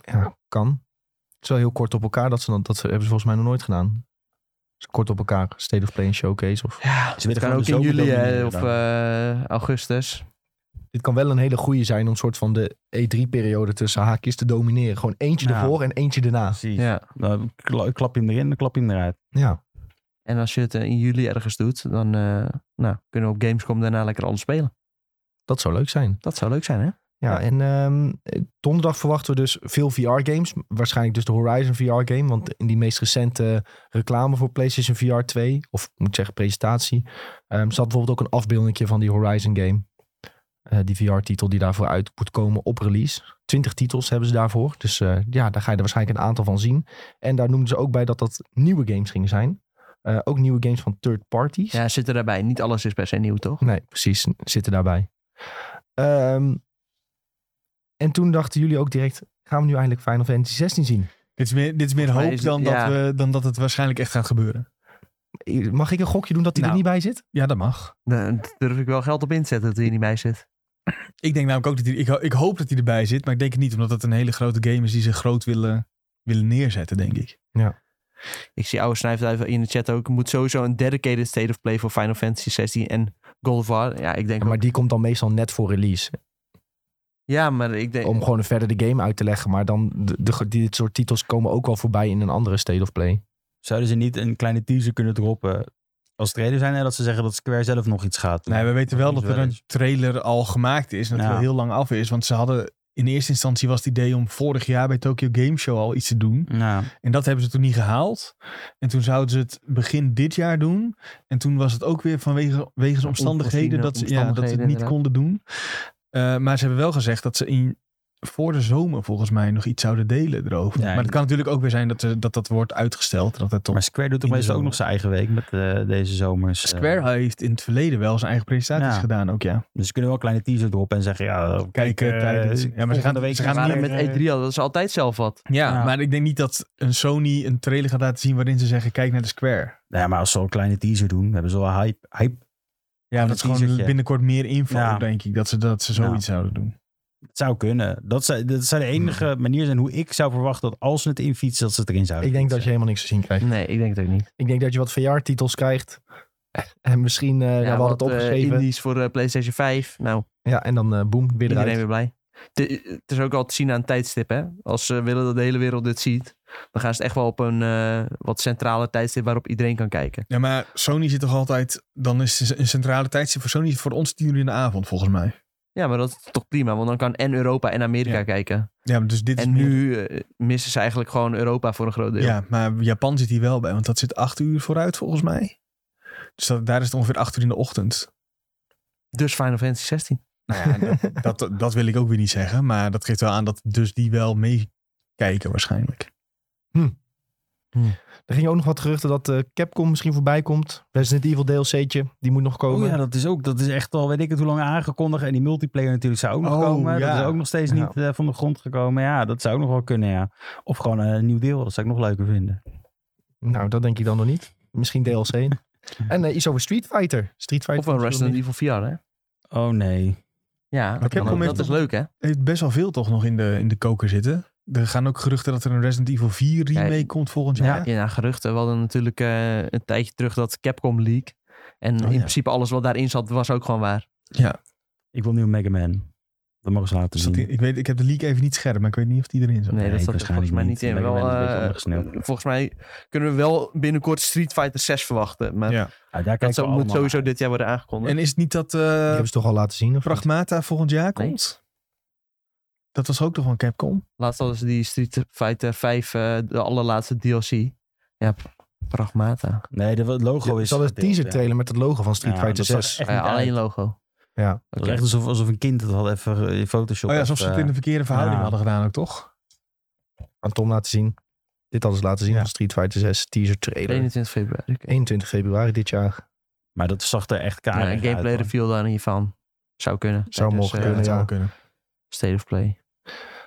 Speaker 1: Ja, kan. Het is wel heel kort op elkaar. Dat, ze dan, dat ze- hebben ze volgens mij nog nooit gedaan. Dus kort op elkaar. State of Play en Showcase. Of...
Speaker 4: Ja,
Speaker 3: Ze weten
Speaker 4: kan
Speaker 3: gewoon
Speaker 4: ook
Speaker 3: de
Speaker 4: in
Speaker 3: zomer
Speaker 4: juli hè,
Speaker 3: domineren
Speaker 4: of
Speaker 3: dan.
Speaker 4: eh, augustus.
Speaker 1: Dit kan wel een hele goede zijn om een soort van de E3-periode tussen haakjes te domineren. Gewoon eentje
Speaker 3: Ja.
Speaker 1: ervoor en eentje daarna.
Speaker 3: Precies.
Speaker 4: Ja.
Speaker 3: Dan kla- klap je hem erin, dan klap je hem eruit.
Speaker 1: Ja,
Speaker 4: En als je het eh, in juli ergens doet, dan eh, nou, kunnen we op Gamescom daarna lekker anders spelen.
Speaker 1: dat zou leuk zijn.
Speaker 4: Dat zou leuk zijn, hè?
Speaker 1: Ja,
Speaker 4: Ja.
Speaker 1: en ehm, eh, donderdag verwachten we dus veel VR-games. Waarschijnlijk dus de Horizon VR-game. Want in die meest recente reclame voor PlayStation VR 2, of ik moet zeggen presentatie, ehm, zat bijvoorbeeld ook een afbeeldingje van die Horizon-game. eh, die VR-titel die daarvoor uit moet komen op release. Twintig titels hebben ze daarvoor. Dus eh, ja, daar ga je er waarschijnlijk een aantal van zien. En daar noemden ze ook bij dat dat nieuwe games gingen zijn. Eh, ook nieuwe games van third parties.
Speaker 4: Ja, zitten daarbij. Niet alles is per se nieuw, toch?
Speaker 1: Nee, precies. Zitten daarbij. Ehm, en toen dachten jullie ook direct, gaan we nu eindelijk Final Fantasy 16 zien?
Speaker 2: Dit is meer, dit is meer
Speaker 4: Volgens mij
Speaker 2: hoop
Speaker 4: is het-
Speaker 2: dan,
Speaker 4: ja.
Speaker 2: dat we, dan dat het waarschijnlijk echt gaat gebeuren.
Speaker 1: Eh, Mag ik een gokje doen dat die
Speaker 2: Nou.
Speaker 1: er niet bij zit?
Speaker 2: Ja, dat mag.
Speaker 4: Daar durf ik wel geld op inzetten dat hij er niet bij zit.
Speaker 2: Ik denk namelijk ook dat hij... Ik, ho- ik hoop dat hij erbij zit, maar ik denk het niet. Omdat dat een hele grote game is die ze groot willen, willen neerzetten, denk ik.
Speaker 4: Ik zie oude snuifduiven in de chat ook. Er moet sowieso een dedicated state of play voor Final Fantasy 16 en God of War. Ja, ik denk
Speaker 1: Maar
Speaker 4: ook-
Speaker 1: die komt dan meestal net voor release.
Speaker 4: Ja, maar ik denk...
Speaker 1: Om gewoon verder de game uit te leggen. Maar dan, de, de- dit soort titels komen ook wel voorbij in een andere State of Play.
Speaker 3: Zouden ze niet een kleine teaser kunnen droppen als trainer zijn? En dat ze zeggen dat Square zelf nog iets gaat. doen?
Speaker 2: Nee, we weten wel
Speaker 3: doen
Speaker 2: dat
Speaker 3: ze
Speaker 2: er
Speaker 3: wel
Speaker 2: een
Speaker 3: eens.
Speaker 2: trailer al gemaakt is. En dat het
Speaker 3: Ja.
Speaker 2: wel heel lang af is. Want ze hadden... In eerste instantie was het idee om vorig jaar bij Tokyo Game Show al iets te doen.
Speaker 3: Ja.
Speaker 2: En dat hebben ze toen niet gehaald. En toen zouden ze het begin dit jaar doen. En toen was het ook weer vanwege wegens omstandigheden dat ze, ja, dat ze het
Speaker 4: omstandigheden,
Speaker 2: niet
Speaker 4: inderdaad.
Speaker 2: konden doen. Eh, maar ze hebben wel gezegd dat ze in, voor de zomer volgens mij nog iets zouden delen erover.
Speaker 3: Ja, en-
Speaker 2: maar het kan natuurlijk ook weer zijn dat ze- dat, dat wordt uitgesteld. Dat het toch...
Speaker 3: Maar Square doet
Speaker 2: in
Speaker 3: toch
Speaker 2: de
Speaker 3: meestal ook
Speaker 2: zomer.
Speaker 3: nog zijn eigen week met eh, deze zomers. eh.
Speaker 2: Square heeft in het verleden wel zijn eigen presentaties
Speaker 3: Ja.
Speaker 2: gedaan ook, ja.
Speaker 3: dus ze kunnen wel een kleine teaser droppen en zeggen, ja, kijk,
Speaker 2: Kijken
Speaker 3: eh,
Speaker 2: tijdens- Ja, maar ze gaan-
Speaker 3: volgende week
Speaker 2: ze gaan
Speaker 4: Maar
Speaker 2: niet-
Speaker 4: met E3 al, dat is altijd zelf wat.
Speaker 2: Ja,
Speaker 3: Ja.
Speaker 2: maar ik denk niet dat een Sony een trailer gaat laten zien waarin ze zeggen, kijk naar de Square.
Speaker 3: Nou ja, maar als ze al een kleine teaser doen, hebben ze wel hype. hype.
Speaker 2: Ja, dat
Speaker 3: dat
Speaker 2: is gewoon
Speaker 3: teasertje.
Speaker 2: binnenkort meer info,
Speaker 3: Ja.
Speaker 2: denk ik, dat ze, dat ze zoiets zouden doen.
Speaker 3: Het zou kunnen. Dat zou, dat zou de enige
Speaker 2: Hmm.
Speaker 3: manier zijn hoe ik zou verwachten dat als ze het infietsen, dat ze het erin zouden
Speaker 1: Ik denk dat je
Speaker 3: fietsen.
Speaker 1: helemaal niks te zien krijgt.
Speaker 4: Nee, ik denk het ook niet.
Speaker 1: Ik denk dat je wat VR-titels krijgt. En misschien, eh, ja, we hadden
Speaker 4: wat,
Speaker 1: het
Speaker 4: eh,
Speaker 1: opgeschreven.
Speaker 4: indies voor eh, PlayStation 5. Nou,
Speaker 1: ja, en dan eh boom, weer
Speaker 4: iedereen
Speaker 1: eruit.
Speaker 4: weer blij. Het- Het is ook al te zien aan een tijdstip, hè. Als ze willen dat de hele wereld dit ziet, dan gaan ze het echt wel op een eh, wat centrale tijdstip waarop iedereen kan kijken.
Speaker 2: Ja, maar Sony zit toch altijd... Dan is een centrale tijdstip voor Sony is voor ons tien uur in de avond, volgens mij.
Speaker 4: Ja, maar dat is toch prima, want dan kan en Europa en Amerika
Speaker 2: Ja.
Speaker 4: kijken.
Speaker 2: Ja, maar dus dit is
Speaker 4: En
Speaker 2: meer-
Speaker 4: nu eh, missen ze eigenlijk gewoon Europa voor een groot deel.
Speaker 2: Ja, maar Japan zit hier wel bij, want dat zit acht uur vooruit, volgens mij. Dus dat, daar is het ongeveer acht uur in de ochtend.
Speaker 4: Dus Final Fantasy 16.
Speaker 2: Nou ja, dat, dat, dat wil ik ook weer niet zeggen, maar dat geeft wel aan dat dus die wel meekijken waarschijnlijk.
Speaker 1: Er gingen ook nog wat geruchten dat eh, Capcom misschien voorbij komt. Resident Evil DLC'tje, die moet nog komen.
Speaker 3: Oh ja, dat is ook. Dat is echt al, weet ik het hoe lang aangekondigd. En die multiplayer natuurlijk zou ook nog
Speaker 2: Oh,
Speaker 3: komen. Dat
Speaker 2: ja.
Speaker 3: is ook nog steeds
Speaker 1: Ja.
Speaker 3: niet eh, van de grond gekomen. Ja, dat zou ook nog wel kunnen, ja. Of gewoon een nieuw deel. Dat zou ik nog leuker vinden.
Speaker 1: Nou, dat denk ik dan nog niet. Misschien DLC. en eh, iets over Street Fighter. Street Fighter
Speaker 4: Of een Resident
Speaker 1: misschien
Speaker 4: Evil VR, hè?
Speaker 3: Oh nee.
Speaker 4: Ja, dat,
Speaker 2: Capcom
Speaker 4: kan ook.
Speaker 2: heeft
Speaker 4: dat is
Speaker 2: toch-
Speaker 4: leuk, hè?
Speaker 2: Er heeft Eh, best wel veel toch nog in de, in de koker zitten. Er gaan ook geruchten dat er een Resident Evil 4 remake
Speaker 4: Ja,
Speaker 2: komt volgend jaar.
Speaker 4: Ja, ja, geruchten. We hadden natuurlijk eh, een tijdje terug dat Capcom leak. En
Speaker 2: Oh, ja.
Speaker 4: in principe alles wat daarin zat, was ook gewoon waar.
Speaker 3: Ik wil nu een Mega Man. Dat mogen ze laten
Speaker 2: Dus
Speaker 3: zien.
Speaker 2: dat- ik, weet, ik heb de leak even niet scherp, maar ik weet niet of die erin zat.
Speaker 4: Nee,
Speaker 3: Nee,
Speaker 4: dat zat er
Speaker 3: waarschijnlijk
Speaker 4: volgens mij niet
Speaker 3: niet.
Speaker 4: in. Wel,
Speaker 3: Mega Man is een beetje
Speaker 4: eh,
Speaker 3: ondergesneeuwd.
Speaker 4: volgens mij kunnen we wel binnenkort Street Fighter 6 verwachten. Maar
Speaker 2: Ja,
Speaker 3: Ah, daar
Speaker 4: dat
Speaker 3: kijken
Speaker 4: zou-
Speaker 3: we
Speaker 4: moet
Speaker 3: allemaal
Speaker 4: sowieso
Speaker 3: naar uit.
Speaker 4: dit jaar worden aangekondigd.
Speaker 2: En is het niet dat... eh,
Speaker 1: Die hebben ze toch al laten zien? Of niet?
Speaker 2: Pragmata volgend jaar
Speaker 4: Nee.
Speaker 2: komt. Dat was ook toch van Capcom? Oh
Speaker 4: Laatst hadden ze die Street Fighter 5, eh, de allerlaatste DLC. Ja, p- pragmata.
Speaker 3: Nee, de- het logo
Speaker 1: Ze
Speaker 3: is...
Speaker 1: hadden een
Speaker 3: gedeeld,
Speaker 1: teaser
Speaker 3: ja.
Speaker 1: trailer met het logo van Street
Speaker 3: Ja,
Speaker 1: Fighter
Speaker 3: dat zag
Speaker 1: 6.
Speaker 3: echt
Speaker 4: Ah ja,
Speaker 3: niet uit.
Speaker 4: alleen logo.
Speaker 1: Ja.
Speaker 3: Het
Speaker 4: Oké.
Speaker 3: was echt alsof, alsof een kind het had even eh, in Photoshop.
Speaker 2: Oh ja, alsof ze
Speaker 3: even,
Speaker 2: het in de
Speaker 3: eh,
Speaker 2: verkeerde verhouding
Speaker 3: ja.
Speaker 2: hadden gedaan ook, toch?
Speaker 1: Aan Tom laten zien. Dit hadden ze laten zien
Speaker 2: Ja.
Speaker 1: van Street Fighter 6 teaser trailer.
Speaker 4: 21 februari. oké.
Speaker 1: 21 februari dit jaar.
Speaker 3: Maar dat zag er echt
Speaker 4: Ja,
Speaker 3: karig
Speaker 4: een
Speaker 3: uit.
Speaker 4: gameplay
Speaker 3: hoor.
Speaker 4: review dan hiervan. Zou kunnen.
Speaker 1: Zou
Speaker 4: Tijdens,
Speaker 1: mogen
Speaker 4: eh,
Speaker 1: kunnen,
Speaker 2: dat
Speaker 1: ja.
Speaker 2: zou wel kunnen.
Speaker 4: State of Play.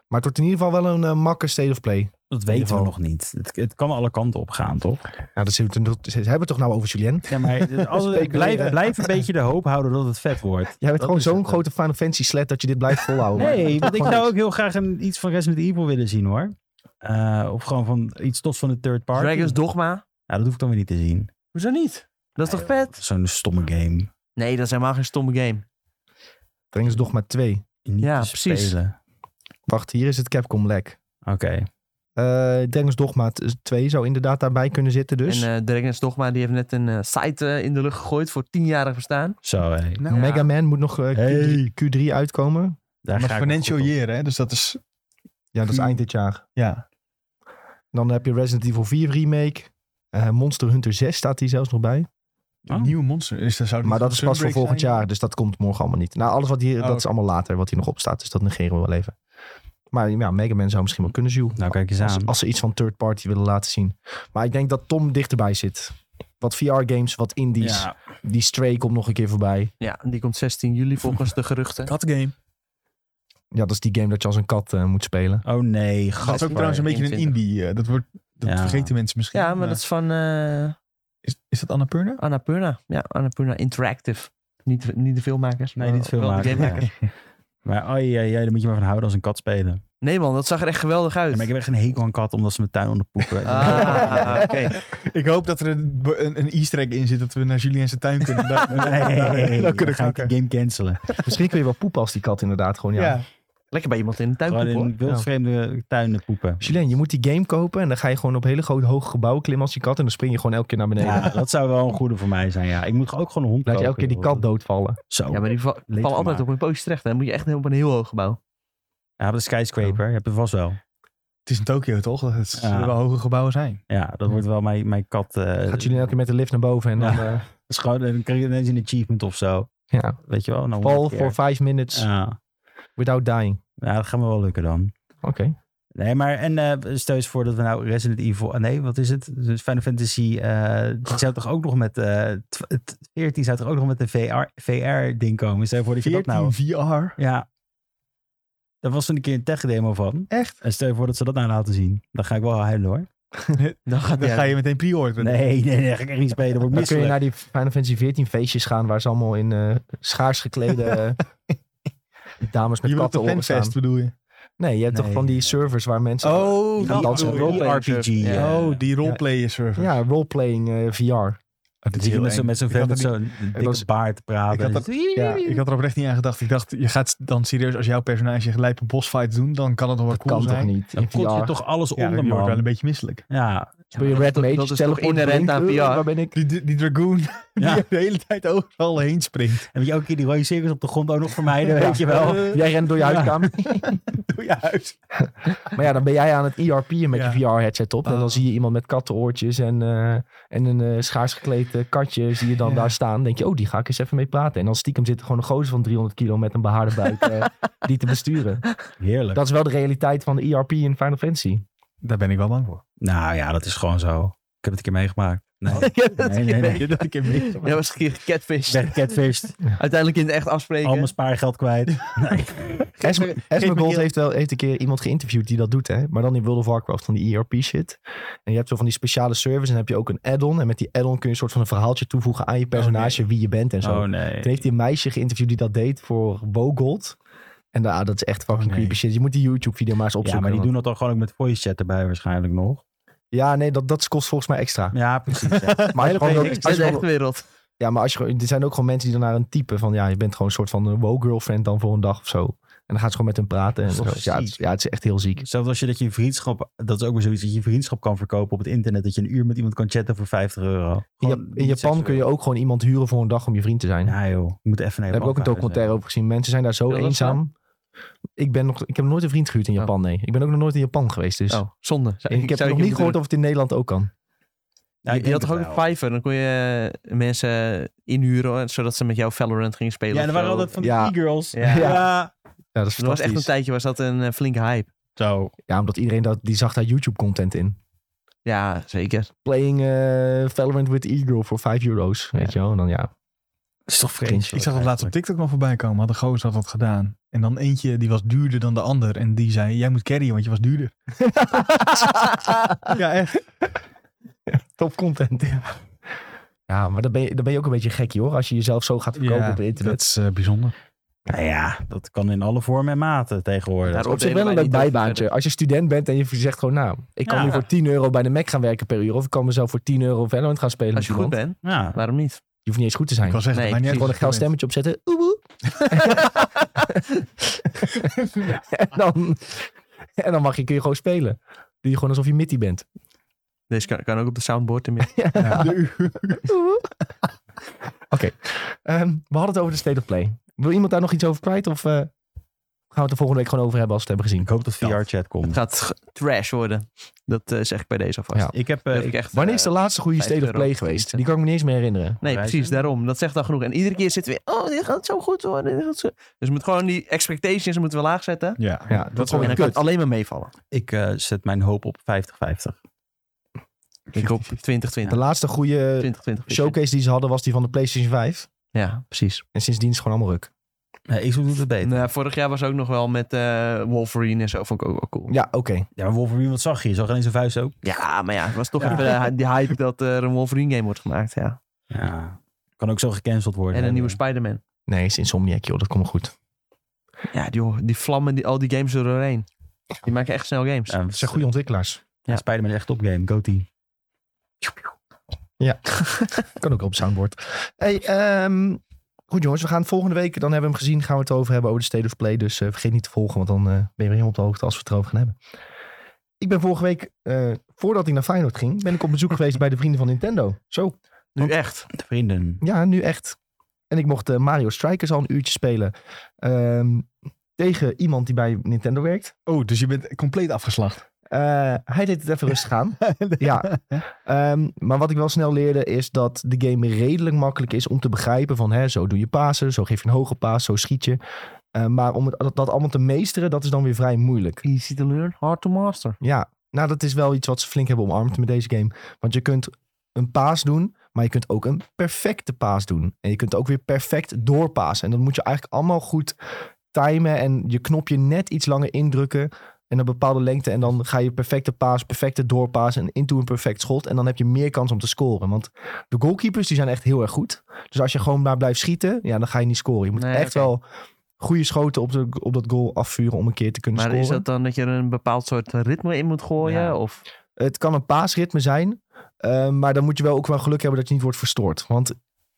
Speaker 1: Maar het wordt in ieder geval wel een eh, makke state of play.
Speaker 3: Dat
Speaker 1: ieder
Speaker 3: weten we
Speaker 1: geval.
Speaker 3: nog niet. Het, het kan alle kanten op gaan, toch?
Speaker 1: Ja, dat zitten we toen- ze hebben het toch nou over Julien?
Speaker 3: Ja, maar als,
Speaker 1: Speculeren.
Speaker 3: ik blijf, blijf een beetje de hoop houden dat het vet wordt.
Speaker 1: Jij bent
Speaker 3: Dat
Speaker 1: gewoon
Speaker 3: is
Speaker 1: zo'n
Speaker 3: het.
Speaker 1: grote Final Fantasy slet dat je dit blijft volhouden.
Speaker 3: Nee, want
Speaker 1: Dat
Speaker 3: ik
Speaker 1: kan
Speaker 3: zou
Speaker 1: niet.
Speaker 3: ook heel graag een, iets van Resident Evil willen zien hoor. Eh, of gewoon van iets tofs van de third party.
Speaker 4: Dragon's Dogma?
Speaker 3: Ja, dat hoef ik dan weer niet te zien.
Speaker 4: Hoezo niet? Dat is toch vet?
Speaker 3: Zo'n stomme game.
Speaker 4: Nee, dat is helemaal geen stomme game.
Speaker 1: Breng eens Dogma 2.
Speaker 3: Niet
Speaker 4: Ja,
Speaker 3: te
Speaker 4: precies.
Speaker 3: spelen.
Speaker 1: Wacht, hier is het Capcom lek.
Speaker 3: Oké.
Speaker 1: Eh Dragon's Dogma t- 2 zou inderdaad daarbij kunnen zitten dus.
Speaker 4: En eh Dragon's Dogma die heeft net een eh, site eh, in de lucht gegooid voor 10-jarig bestaan.
Speaker 3: Zo hé. Daar
Speaker 4: ja.
Speaker 1: Mega Man moet nog eh,
Speaker 3: Hey.
Speaker 1: Q3, Q3 uitkomen.
Speaker 2: Maar
Speaker 3: ga ik
Speaker 2: financial
Speaker 3: wel goed op.
Speaker 2: year, hè? Dus dat is...
Speaker 1: Ja, dat is
Speaker 2: Q-
Speaker 1: eind dit jaar.
Speaker 2: Ja.
Speaker 1: Dan heb je Resident Evil 4 remake. Eh, Monster Hunter 6 staat hier zelfs nog bij.
Speaker 2: Een
Speaker 3: Oh.
Speaker 2: nieuwe monster. Is, dat zou het
Speaker 1: Maar
Speaker 2: niet
Speaker 1: dat is
Speaker 2: een
Speaker 1: pas voor
Speaker 2: Sunbreak
Speaker 1: volgend
Speaker 2: zijn?
Speaker 1: jaar, dus dat komt morgen allemaal niet. Nou, alles wat hier, dat is
Speaker 3: Oh.
Speaker 2: oké.
Speaker 1: allemaal later wat hier nog op staat, dus dat negeren we wel even. Maar ja, Mega Man zou misschien wel kunnen, Jules.
Speaker 3: Nou, kijk eens
Speaker 1: Als,
Speaker 3: aan.
Speaker 1: als ze iets van third party willen laten zien. Maar ik denk dat Tom dichterbij zit. Wat VR-games, wat indies.
Speaker 3: Ja,
Speaker 1: Die Stray komt nog een keer voorbij.
Speaker 4: Ja, die komt 16 juli volgens de geruchten.
Speaker 2: Dat game.
Speaker 1: Ja, dat is die game dat je als een kat eh, moet spelen.
Speaker 3: Oh nee,
Speaker 2: Dat
Speaker 3: gat.
Speaker 2: is ook trouwens een beetje een
Speaker 4: 21.
Speaker 2: indie. eh, dat wordt, dat
Speaker 3: Ja.
Speaker 2: vergeten mensen misschien.
Speaker 4: Ja, maar dat is van eh
Speaker 2: Is, is dat Annapurna?
Speaker 4: Annapurna. Ja, Annapurna Interactive. Niet, niet de filmmakers.
Speaker 3: Nee,
Speaker 4: maar
Speaker 3: niet
Speaker 4: wel de
Speaker 3: filmmakers,
Speaker 4: gamemakers.
Speaker 3: Maar oh, ja, ja, daar moet je maar van houden als een kat spelen.
Speaker 4: Nee man, dat zag er echt geweldig uit.
Speaker 3: Ja, maar ik heb echt een hekel aan kat omdat ze mijn tuin onderpoepen.
Speaker 4: Ah, oké.
Speaker 2: Ik hoop dat er een, een, een easter egg in zit dat we naar Julien zijn tuin kunnen. Dat,
Speaker 3: Nee,
Speaker 2: dat
Speaker 3: dan
Speaker 2: kunnen
Speaker 3: ga ik
Speaker 2: kakken.
Speaker 3: de game cancelen.
Speaker 1: Misschien kun je wel poepen als die kat inderdaad gewoon... Ja.
Speaker 2: Ja.
Speaker 4: Lekker bij iemand in de tuin
Speaker 3: Gewoon
Speaker 4: poepen,
Speaker 3: in
Speaker 4: hoor. Ja.
Speaker 3: wildvreemde tuinen poepen.
Speaker 1: Julien, je moet die game kopen en dan ga je gewoon op hele grote hoge gebouwen klimmen als die kat. En dan spring je gewoon elke keer naar beneden.
Speaker 3: Ja, dat zou wel een goede voor mij zijn, ja. Ik moet ook gewoon een hond
Speaker 1: Laat je elke
Speaker 3: kopen,
Speaker 1: keer die
Speaker 3: joh.
Speaker 1: kat doodvallen.
Speaker 3: Zo.
Speaker 4: Ja, maar die va- vallen
Speaker 3: gemaakt.
Speaker 4: altijd op een pootje terecht. hè. Dan moet je echt op een heel hoog gebouw.
Speaker 3: Ja, maar de skyscraper heb je vast wel.
Speaker 2: Het is in Tokio toch? Dat zullen
Speaker 3: Ja.
Speaker 2: wel hoge gebouwen zijn.
Speaker 3: Ja, dat wordt wel mijn, mijn kat. eh,
Speaker 1: Gaat jullie elke keer met de lift naar boven en dan... eh,
Speaker 3: dat is gewoon, dan krijg je ineens een achievement of zo.
Speaker 1: ja.
Speaker 3: Weet je wel? Nou,
Speaker 1: Fall
Speaker 3: honderd keer.
Speaker 1: for five minutes
Speaker 3: Ja.
Speaker 1: without dying.
Speaker 3: ja, dat gaat me wel lukken dan.
Speaker 1: Oké.
Speaker 3: Nee, maar en eh, stel eens voor dat we nou Resident Evil... ah, Nee, wat is het? Dus Final Fantasy... eh die zou toch ook nog met... eh, tw- t- 14 zou toch ook nog met een VR, VR-ding komen? Stel je voor dat je dat
Speaker 2: 14
Speaker 3: nou...
Speaker 2: VR.
Speaker 3: Ja. Daar was toen een keer een tech-demo van.
Speaker 2: Echt?
Speaker 3: En stel je voor dat ze dat nou laten zien. Dan ga ik wel huilen hoor.
Speaker 4: Dan gaat
Speaker 2: Dan
Speaker 4: die
Speaker 2: ga je meteen pre-orderen.
Speaker 3: Nee, nee, nee. Dan ga ik echt niet spelen. Dan word ik
Speaker 1: Dan kun je
Speaker 3: misselijk.
Speaker 1: naar die Final Fantasy 14 feestjes gaan waar ze allemaal in eh, schaars geklede eh, dames met
Speaker 2: Je wilt
Speaker 1: katten
Speaker 2: de
Speaker 1: op staan.
Speaker 2: fanfest bedoel je?
Speaker 1: Nee, je hebt toch
Speaker 3: Nee.
Speaker 1: van die servers waar mensen...
Speaker 2: Oh,
Speaker 1: die-
Speaker 2: die,
Speaker 1: dansen
Speaker 2: oh,
Speaker 1: rond.
Speaker 2: die-
Speaker 3: RPG, ja.
Speaker 2: oh, die roleplayer server.
Speaker 1: Ja, roleplaying eh, VR.
Speaker 3: Dan zie je met zo'n- met zo'n
Speaker 2: Ik had
Speaker 3: vent met
Speaker 2: er
Speaker 3: zo'n dikke
Speaker 1: was-
Speaker 3: baard te praten.
Speaker 2: ik had
Speaker 1: Ja,
Speaker 2: Ik had er oprecht niet aan gedacht. Ik dacht, je gaat dan serieus als jouw personage een lijpe bossfight doen, dan kan het nog wel
Speaker 1: dat
Speaker 2: cool
Speaker 1: kan
Speaker 2: zijn.
Speaker 1: toch niet?
Speaker 3: Dan
Speaker 1: In
Speaker 3: kot je
Speaker 1: VR.
Speaker 3: toch alles
Speaker 2: Ja, dan
Speaker 3: onder,
Speaker 2: wordt wel een
Speaker 3: man.
Speaker 2: beetje misselijk.
Speaker 3: Ja,
Speaker 1: Speel je Red
Speaker 4: dat-
Speaker 1: Mage,
Speaker 4: dat is
Speaker 1: teleport
Speaker 4: toch inherent
Speaker 1: blink,
Speaker 4: aan
Speaker 1: eh,
Speaker 4: VR?
Speaker 1: Waar ben ik?
Speaker 2: Die, die, die dragoon
Speaker 3: Ja.
Speaker 2: die de hele tijd overal heen springt.
Speaker 3: en moet je ook keer die rode cirkels op de grond ook nog vermijden, weet je wel.
Speaker 2: Eh,
Speaker 1: Jij rent door je
Speaker 3: Ja.
Speaker 1: huiskamer.
Speaker 2: Doe je huis.
Speaker 1: Maar ja, dan ben jij aan het IRP'en met
Speaker 2: Ja.
Speaker 1: je VR-headset op. En
Speaker 2: Oh.
Speaker 1: dan zie je iemand met kattenoortjes en, eh, en een eh, schaars gekleed eh, katje. Zie je dan
Speaker 2: Ja.
Speaker 1: daar staan. denk je, oh, die ga ik eens even mee praten. En dan stiekem zit er gewoon een gozer van 300 kilo met een behaarde buik eh, die te besturen.
Speaker 3: Heerlijk.
Speaker 1: Dat is wel de realiteit van de IRP in Final Fantasy.
Speaker 2: Daar ben ik wel bang voor.
Speaker 3: Nou ja, dat is gewoon zo. Ik heb het een keer meegemaakt. Nee, nee, nee. nee.
Speaker 2: Je dat ik heb meegemaakt.
Speaker 4: Ja, was een keer
Speaker 3: Ik
Speaker 4: catfish.
Speaker 3: werd catfished,
Speaker 4: Uiteindelijk in het echt afspreken.
Speaker 3: al mijn spaargeld kwijt. Nee.
Speaker 1: Esme
Speaker 2: geef me
Speaker 1: Esme Gold
Speaker 2: heel-
Speaker 1: heeft wel heeft een keer iemand geïnterviewd die dat doet, hè? Maar dan in World of Warcraft van die ERP shit. En je hebt zo van die speciale service en dan heb je ook een add-on. En met die add-on kun je een soort van een verhaaltje toevoegen aan je personage, wie je bent en zo.
Speaker 3: Oh
Speaker 1: Toen
Speaker 3: nee.
Speaker 1: heeft hij een meisje geïnterviewd die dat deed voor Wogold. En nou, dat is echt fucking
Speaker 2: Oh, nee.
Speaker 1: creepy shit. Je moet die YouTube-video maar eens
Speaker 3: Ja,
Speaker 1: opzoeken.
Speaker 3: maar die
Speaker 1: want-
Speaker 3: doen dat dan gewoon ook met voice chat erbij waarschijnlijk nog.
Speaker 1: ja nee, dat, dat kost volgens mij extra.
Speaker 3: Ja, precies. ja.
Speaker 1: Maar als je gewoon,
Speaker 4: Ik
Speaker 1: dat- als
Speaker 4: zit
Speaker 1: je
Speaker 4: de
Speaker 1: gewoon-
Speaker 4: echte wereld.
Speaker 1: ja, maar als je gewoon, er zijn ook gewoon mensen die dan naar een type van... Ja, je bent gewoon een soort van eh, wow-girlfriend dan voor een dag of zo. En dan gaat ze gewoon met hem praten. En
Speaker 3: Dat is toch
Speaker 1: of- ja, het, is-
Speaker 3: ziek?
Speaker 1: ja, het is echt heel ziek.
Speaker 3: Zelfs als je dat je vriendschap, dat is ook weer zoiets, dat je vriendschap kan verkopen op het internet. Dat je een uur met iemand kan chatten voor 50 euro.
Speaker 1: In,
Speaker 3: Gewoon
Speaker 1: Ja- in
Speaker 3: niet
Speaker 1: Japan kun je
Speaker 3: seksueel.
Speaker 1: ook gewoon iemand huren voor een dag om je vriend te zijn.
Speaker 3: Ja joh, ik moet even naar
Speaker 1: Daar heb ik ook een
Speaker 3: Japan
Speaker 1: documentaire over gezien. Mensen zijn daar zo
Speaker 4: Wil je dat
Speaker 1: eenzaam. Ik, ben nog, ik heb nooit een vriend gehuurd in
Speaker 4: Oh.
Speaker 1: Japan, nee. Ik ben ook nog nooit in Japan geweest, dus...
Speaker 4: Oh, zonde.
Speaker 1: En ik heb nog niet gehoord of het in Nederland ook kan.
Speaker 3: Ja, ik
Speaker 4: je
Speaker 3: denk
Speaker 4: had toch
Speaker 3: het
Speaker 4: ook een
Speaker 3: wel.
Speaker 4: Fiverr? Dan kon je eh, mensen inhuren, eh, zodat ze met jou Valorant gingen spelen.
Speaker 3: Ja,
Speaker 4: of
Speaker 3: er waren
Speaker 4: zo.
Speaker 3: altijd van die
Speaker 1: Ja.
Speaker 3: e-girls.
Speaker 4: Ja.
Speaker 3: ja.
Speaker 1: Ja, dat is
Speaker 4: Er was echt een
Speaker 1: fantastisch.
Speaker 4: tijdje, was dat een eh, flinke hype.
Speaker 3: Zo.
Speaker 1: Ja, omdat iedereen dat, die zag daar YouTube-content in.
Speaker 4: Ja, zeker.
Speaker 1: Playing eh, Valorant with Eagle voor 5 euro's, weet je wel. En dan ja,
Speaker 3: Dat is toch
Speaker 1: vreemd.
Speaker 2: Ik zag dat laatst op
Speaker 3: TikTok.
Speaker 2: TikTok nog voorbij komen. Had een gozer had dat gedaan. En dan eentje, die was duurder dan de ander. En die zei, jij moet carryen, want je was duurder. ja, echt.
Speaker 1: top content. Ja, ja maar dan ben, je, dan ben je ook een beetje gek, joh. Als je jezelf zo gaat verkopen
Speaker 2: Ja,
Speaker 1: op het
Speaker 2: dat
Speaker 1: internet.
Speaker 2: is eh, bijzonder.
Speaker 3: Nou ja, dat kan in alle vormen en maten tegenwoordig.
Speaker 4: Daarop-
Speaker 1: Op zich wel een leuk
Speaker 4: oordelen wij niet
Speaker 1: bijbaantje. Als je student bent en je zegt gewoon, nou, ik kan
Speaker 3: Ja.
Speaker 1: nu voor 10 euro bij de Mac gaan werken per uur. Of ik kan mezelf voor 10 euro Valorant gaan spelen.
Speaker 4: Als je
Speaker 1: met
Speaker 4: goed
Speaker 1: iemand.
Speaker 4: bent,
Speaker 3: Ja.
Speaker 4: waarom niet?
Speaker 1: Je hoeft niet eens goed te
Speaker 2: Ik
Speaker 1: zijn.
Speaker 2: was echt
Speaker 4: Nee,
Speaker 2: maar niet
Speaker 4: precies.
Speaker 2: uit
Speaker 1: Gewoon een
Speaker 2: wat
Speaker 1: geil
Speaker 2: je bent.
Speaker 1: stemmetje opzetten. Oeh, oeh. en, dan, en dan mag je, kun je gewoon spelen. Doe je gewoon alsof je Mitty bent.
Speaker 4: Deze kan, kan ook op de soundboard inmiddels.
Speaker 1: Oké, ehm, we hadden het over de State of Play. Wil iemand daar nog iets over kwijt? Of eh, we het de volgende week gewoon over hebben als we het hebben gezien.
Speaker 3: Ik hoop dat
Speaker 4: Dat.
Speaker 3: VR-chat
Speaker 4: Het
Speaker 3: komt.
Speaker 4: gaat g- trash worden. Dat eh, zeg ik bij deze alvast.
Speaker 1: Ja.
Speaker 3: Ik heb...
Speaker 4: Dat
Speaker 3: eh,
Speaker 4: heb ik echt,
Speaker 1: Wanneer
Speaker 4: eh,
Speaker 1: is de laatste goede
Speaker 4: 5
Speaker 1: State of
Speaker 4: euro
Speaker 1: Play
Speaker 4: of
Speaker 1: geweest?
Speaker 4: zoiets.
Speaker 1: Die kan ik me niet eens meer herinneren.
Speaker 4: Nee,
Speaker 3: prijzen?
Speaker 4: precies, daarom. Dat zegt al genoeg. En iedere keer zitten we, oh, dit gaat zo goed worden. Dit gaat zo... Dus moet gewoon die expectations moeten we laag zetten.
Speaker 2: Ja.
Speaker 1: Ja, dat is
Speaker 4: en
Speaker 1: gewoon
Speaker 4: dan
Speaker 1: een
Speaker 4: kan het
Speaker 1: kut.
Speaker 4: alleen maar meevallen.
Speaker 3: ik eh, zet mijn hoop op 50-50.
Speaker 4: Ik hoop 2020.
Speaker 1: De laatste goede
Speaker 4: 2020.
Speaker 1: showcase die ze hadden was die van de PlayStation 5.
Speaker 4: Ja, precies.
Speaker 1: En sindsdien is het gewoon allemaal ruk.
Speaker 3: Nee, Xbox Eh, doet het beter.
Speaker 4: Nou, vorig jaar was ook nog wel met eh, Wolverine en zo. Vond ik ook wel cool.
Speaker 1: Ja, oké.
Speaker 3: Ja, maar Wolverine, wat zag je? Je zag alleen zijn vuist ook.
Speaker 4: Ja, maar ja, het was toch even eh, die hype dat er een Wolverine game wordt gemaakt. Ja.
Speaker 3: Ja. Kan ook zo gecanceld worden. eh,
Speaker 4: En een nieuwe Spider-Man.
Speaker 1: Nee, het is Insomniac, joh. Dat komt wel goed.
Speaker 4: Ja, die, die vlammen, die, al die games er doorheen. Die maken echt snel games.
Speaker 3: Ja,
Speaker 1: Het zijn goede ontwikkelaars.
Speaker 3: ja, Spider-Man is echt top game. Go team.
Speaker 1: Kan ook op soundboard. Hey, ehm, goed jongens. We gaan volgende week, dan hebben we hem gezien, gaan we het over hebben over de State of Play. Dus eh, vergeet niet te volgen, want dan eh, ben je weer helemaal op de hoogte als we het erover gaan hebben. Ik ben vorige week, eh, voordat ik naar Feyenoord ging, ben ik op bezoek geweest bij de vrienden van Nintendo. Zo.
Speaker 4: Nu echt.
Speaker 3: De vrienden.
Speaker 1: Ja, nu echt. En ik mocht eh, Mario Strikers al een uurtje spelen. Ehm, tegen iemand die bij Nintendo werkt.
Speaker 2: Oh, dus je bent compleet afgeslacht.
Speaker 1: Eh, hij deed het even rustig aan. ja. Ehm, maar wat ik wel snel leerde is dat de game redelijk makkelijk is om te begrijpen van... Hè, zo doe je pasen, zo geef je een hoge paas, zo schiet je. Eh, maar om het, dat, dat allemaal te meesteren, dat is dan weer vrij moeilijk.
Speaker 4: Easy to learn, hard to master.
Speaker 1: Ja, nou dat is wel iets wat ze flink hebben omarmd met deze game. Want je kunt een paas doen, maar je kunt ook een perfecte paas doen. En je kunt ook weer perfect doorpasen. En dat moet je eigenlijk allemaal goed timen en je knopje net iets langer indrukken. En een bepaalde lengte. En dan ga je perfecte paas, perfecte doorpaas en into een perfect schot. En dan heb je meer kans om te scoren. Want de goalkeepers die zijn echt heel erg goed. Dus als je gewoon maar blijft schieten, ja, dan ga je niet scoren. Je moet
Speaker 4: Nee,
Speaker 1: echt
Speaker 4: oké.
Speaker 1: wel goede schoten op, de, op dat goal afvuren om een keer te kunnen
Speaker 4: Maar
Speaker 1: scoren.
Speaker 4: is dat dan dat je er een bepaald soort ritme in moet gooien?
Speaker 1: Ja.
Speaker 4: Of
Speaker 1: Het kan een paasritme zijn. eh, maar dan moet je wel ook wel geluk hebben dat je niet wordt verstoord. Want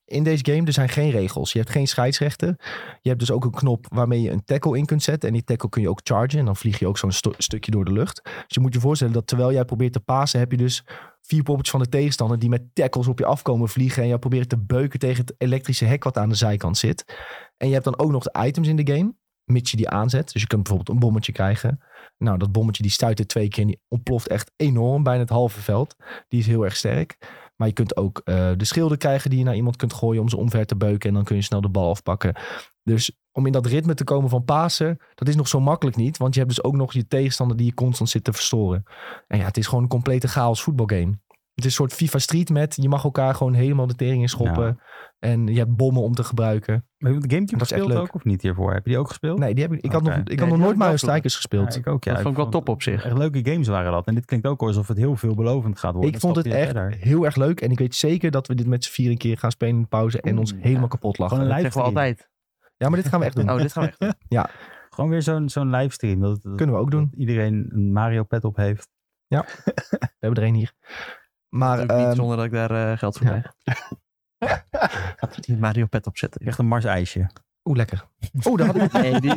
Speaker 1: in deze game, er zijn geen regels. Je hebt geen scheidsrechten. Je hebt dus ook een knop waarmee je een tackle in kunt zetten. En die tackle kun je ook chargen. En dan vlieg je ook zo'n sto- stukje door de lucht. Dus je moet je voorstellen dat terwijl jij probeert te pasen... heb je dus vier poppetjes van de tegenstander... die met tackles op je afkomen vliegen. En jij probeert te beuken tegen het elektrische hek wat aan de zijkant zit. En je hebt dan ook nog de items in de game. Mits je die aanzet. Dus je kunt bijvoorbeeld een bommetje krijgen. Nou, dat bommetje die stuit er twee keer en die ontploft echt enorm. Bijna het halve veld. Die is heel erg sterk. Maar je kunt ook eh, de schilden krijgen die je naar iemand kunt gooien om ze omver te beuken. En dan kun je snel de bal afpakken. Dus om in dat ritme te komen van Pasen, dat is nog zo makkelijk niet. Want je hebt dus ook nog je tegenstander die je constant zit te verstoren. En ja, het is gewoon een complete chaos voetbalgame. Het is een soort FIFA Street met, je mag elkaar gewoon helemaal de tering in schoppen. En je hebt bommen om te gebruiken.
Speaker 3: Maar heb je de Gamecube
Speaker 1: Dat is echt
Speaker 3: gespeeld
Speaker 1: leuk.
Speaker 3: ook of niet hiervoor? Heb je die ook gespeeld?
Speaker 1: Nee, die heb ik, ik had
Speaker 3: Oké.
Speaker 1: nog, ik
Speaker 4: Nee,
Speaker 1: had
Speaker 4: die
Speaker 1: nog
Speaker 4: heb ik
Speaker 1: nooit Mario
Speaker 4: wel
Speaker 1: Strikers gespeeld.
Speaker 3: Ja, ik ook, ja.
Speaker 4: dat vond ik wel top op zich.
Speaker 3: Echt leuke games waren dat. En dit klinkt ook alsof het heel veelbelovend gaat worden.
Speaker 1: Ik vond het
Speaker 3: Stapje
Speaker 1: echt
Speaker 3: verder.
Speaker 1: heel erg leuk. En ik weet zeker dat we dit met z'n vieren een keer gaan spelen in de pauze. En ons
Speaker 3: Oeh,
Speaker 1: helemaal
Speaker 3: ja.
Speaker 1: kapot
Speaker 3: Gewoon een
Speaker 1: lachen.
Speaker 4: Dat zeggen we
Speaker 3: livestream.
Speaker 4: altijd.
Speaker 1: Ja, maar dit gaan we echt doen.
Speaker 4: Oh, dit gaan we echt doen.
Speaker 3: Gewoon weer zo'n zo'n livestream. Dat, dat-
Speaker 1: Kunnen we ook doen.
Speaker 3: dat iedereen een Mario pet op heeft.
Speaker 1: We hebben er één hier. Maar
Speaker 4: Natuurlijk niet
Speaker 1: ehm,
Speaker 4: zonder dat ik daar eh, geld voor
Speaker 1: ja.
Speaker 4: krijg. Gaat er die Mario pet opzetten.
Speaker 3: Echt een Mars ijsje.
Speaker 1: Oeh, lekker. Oeh, daar had ik...
Speaker 4: Nee, die,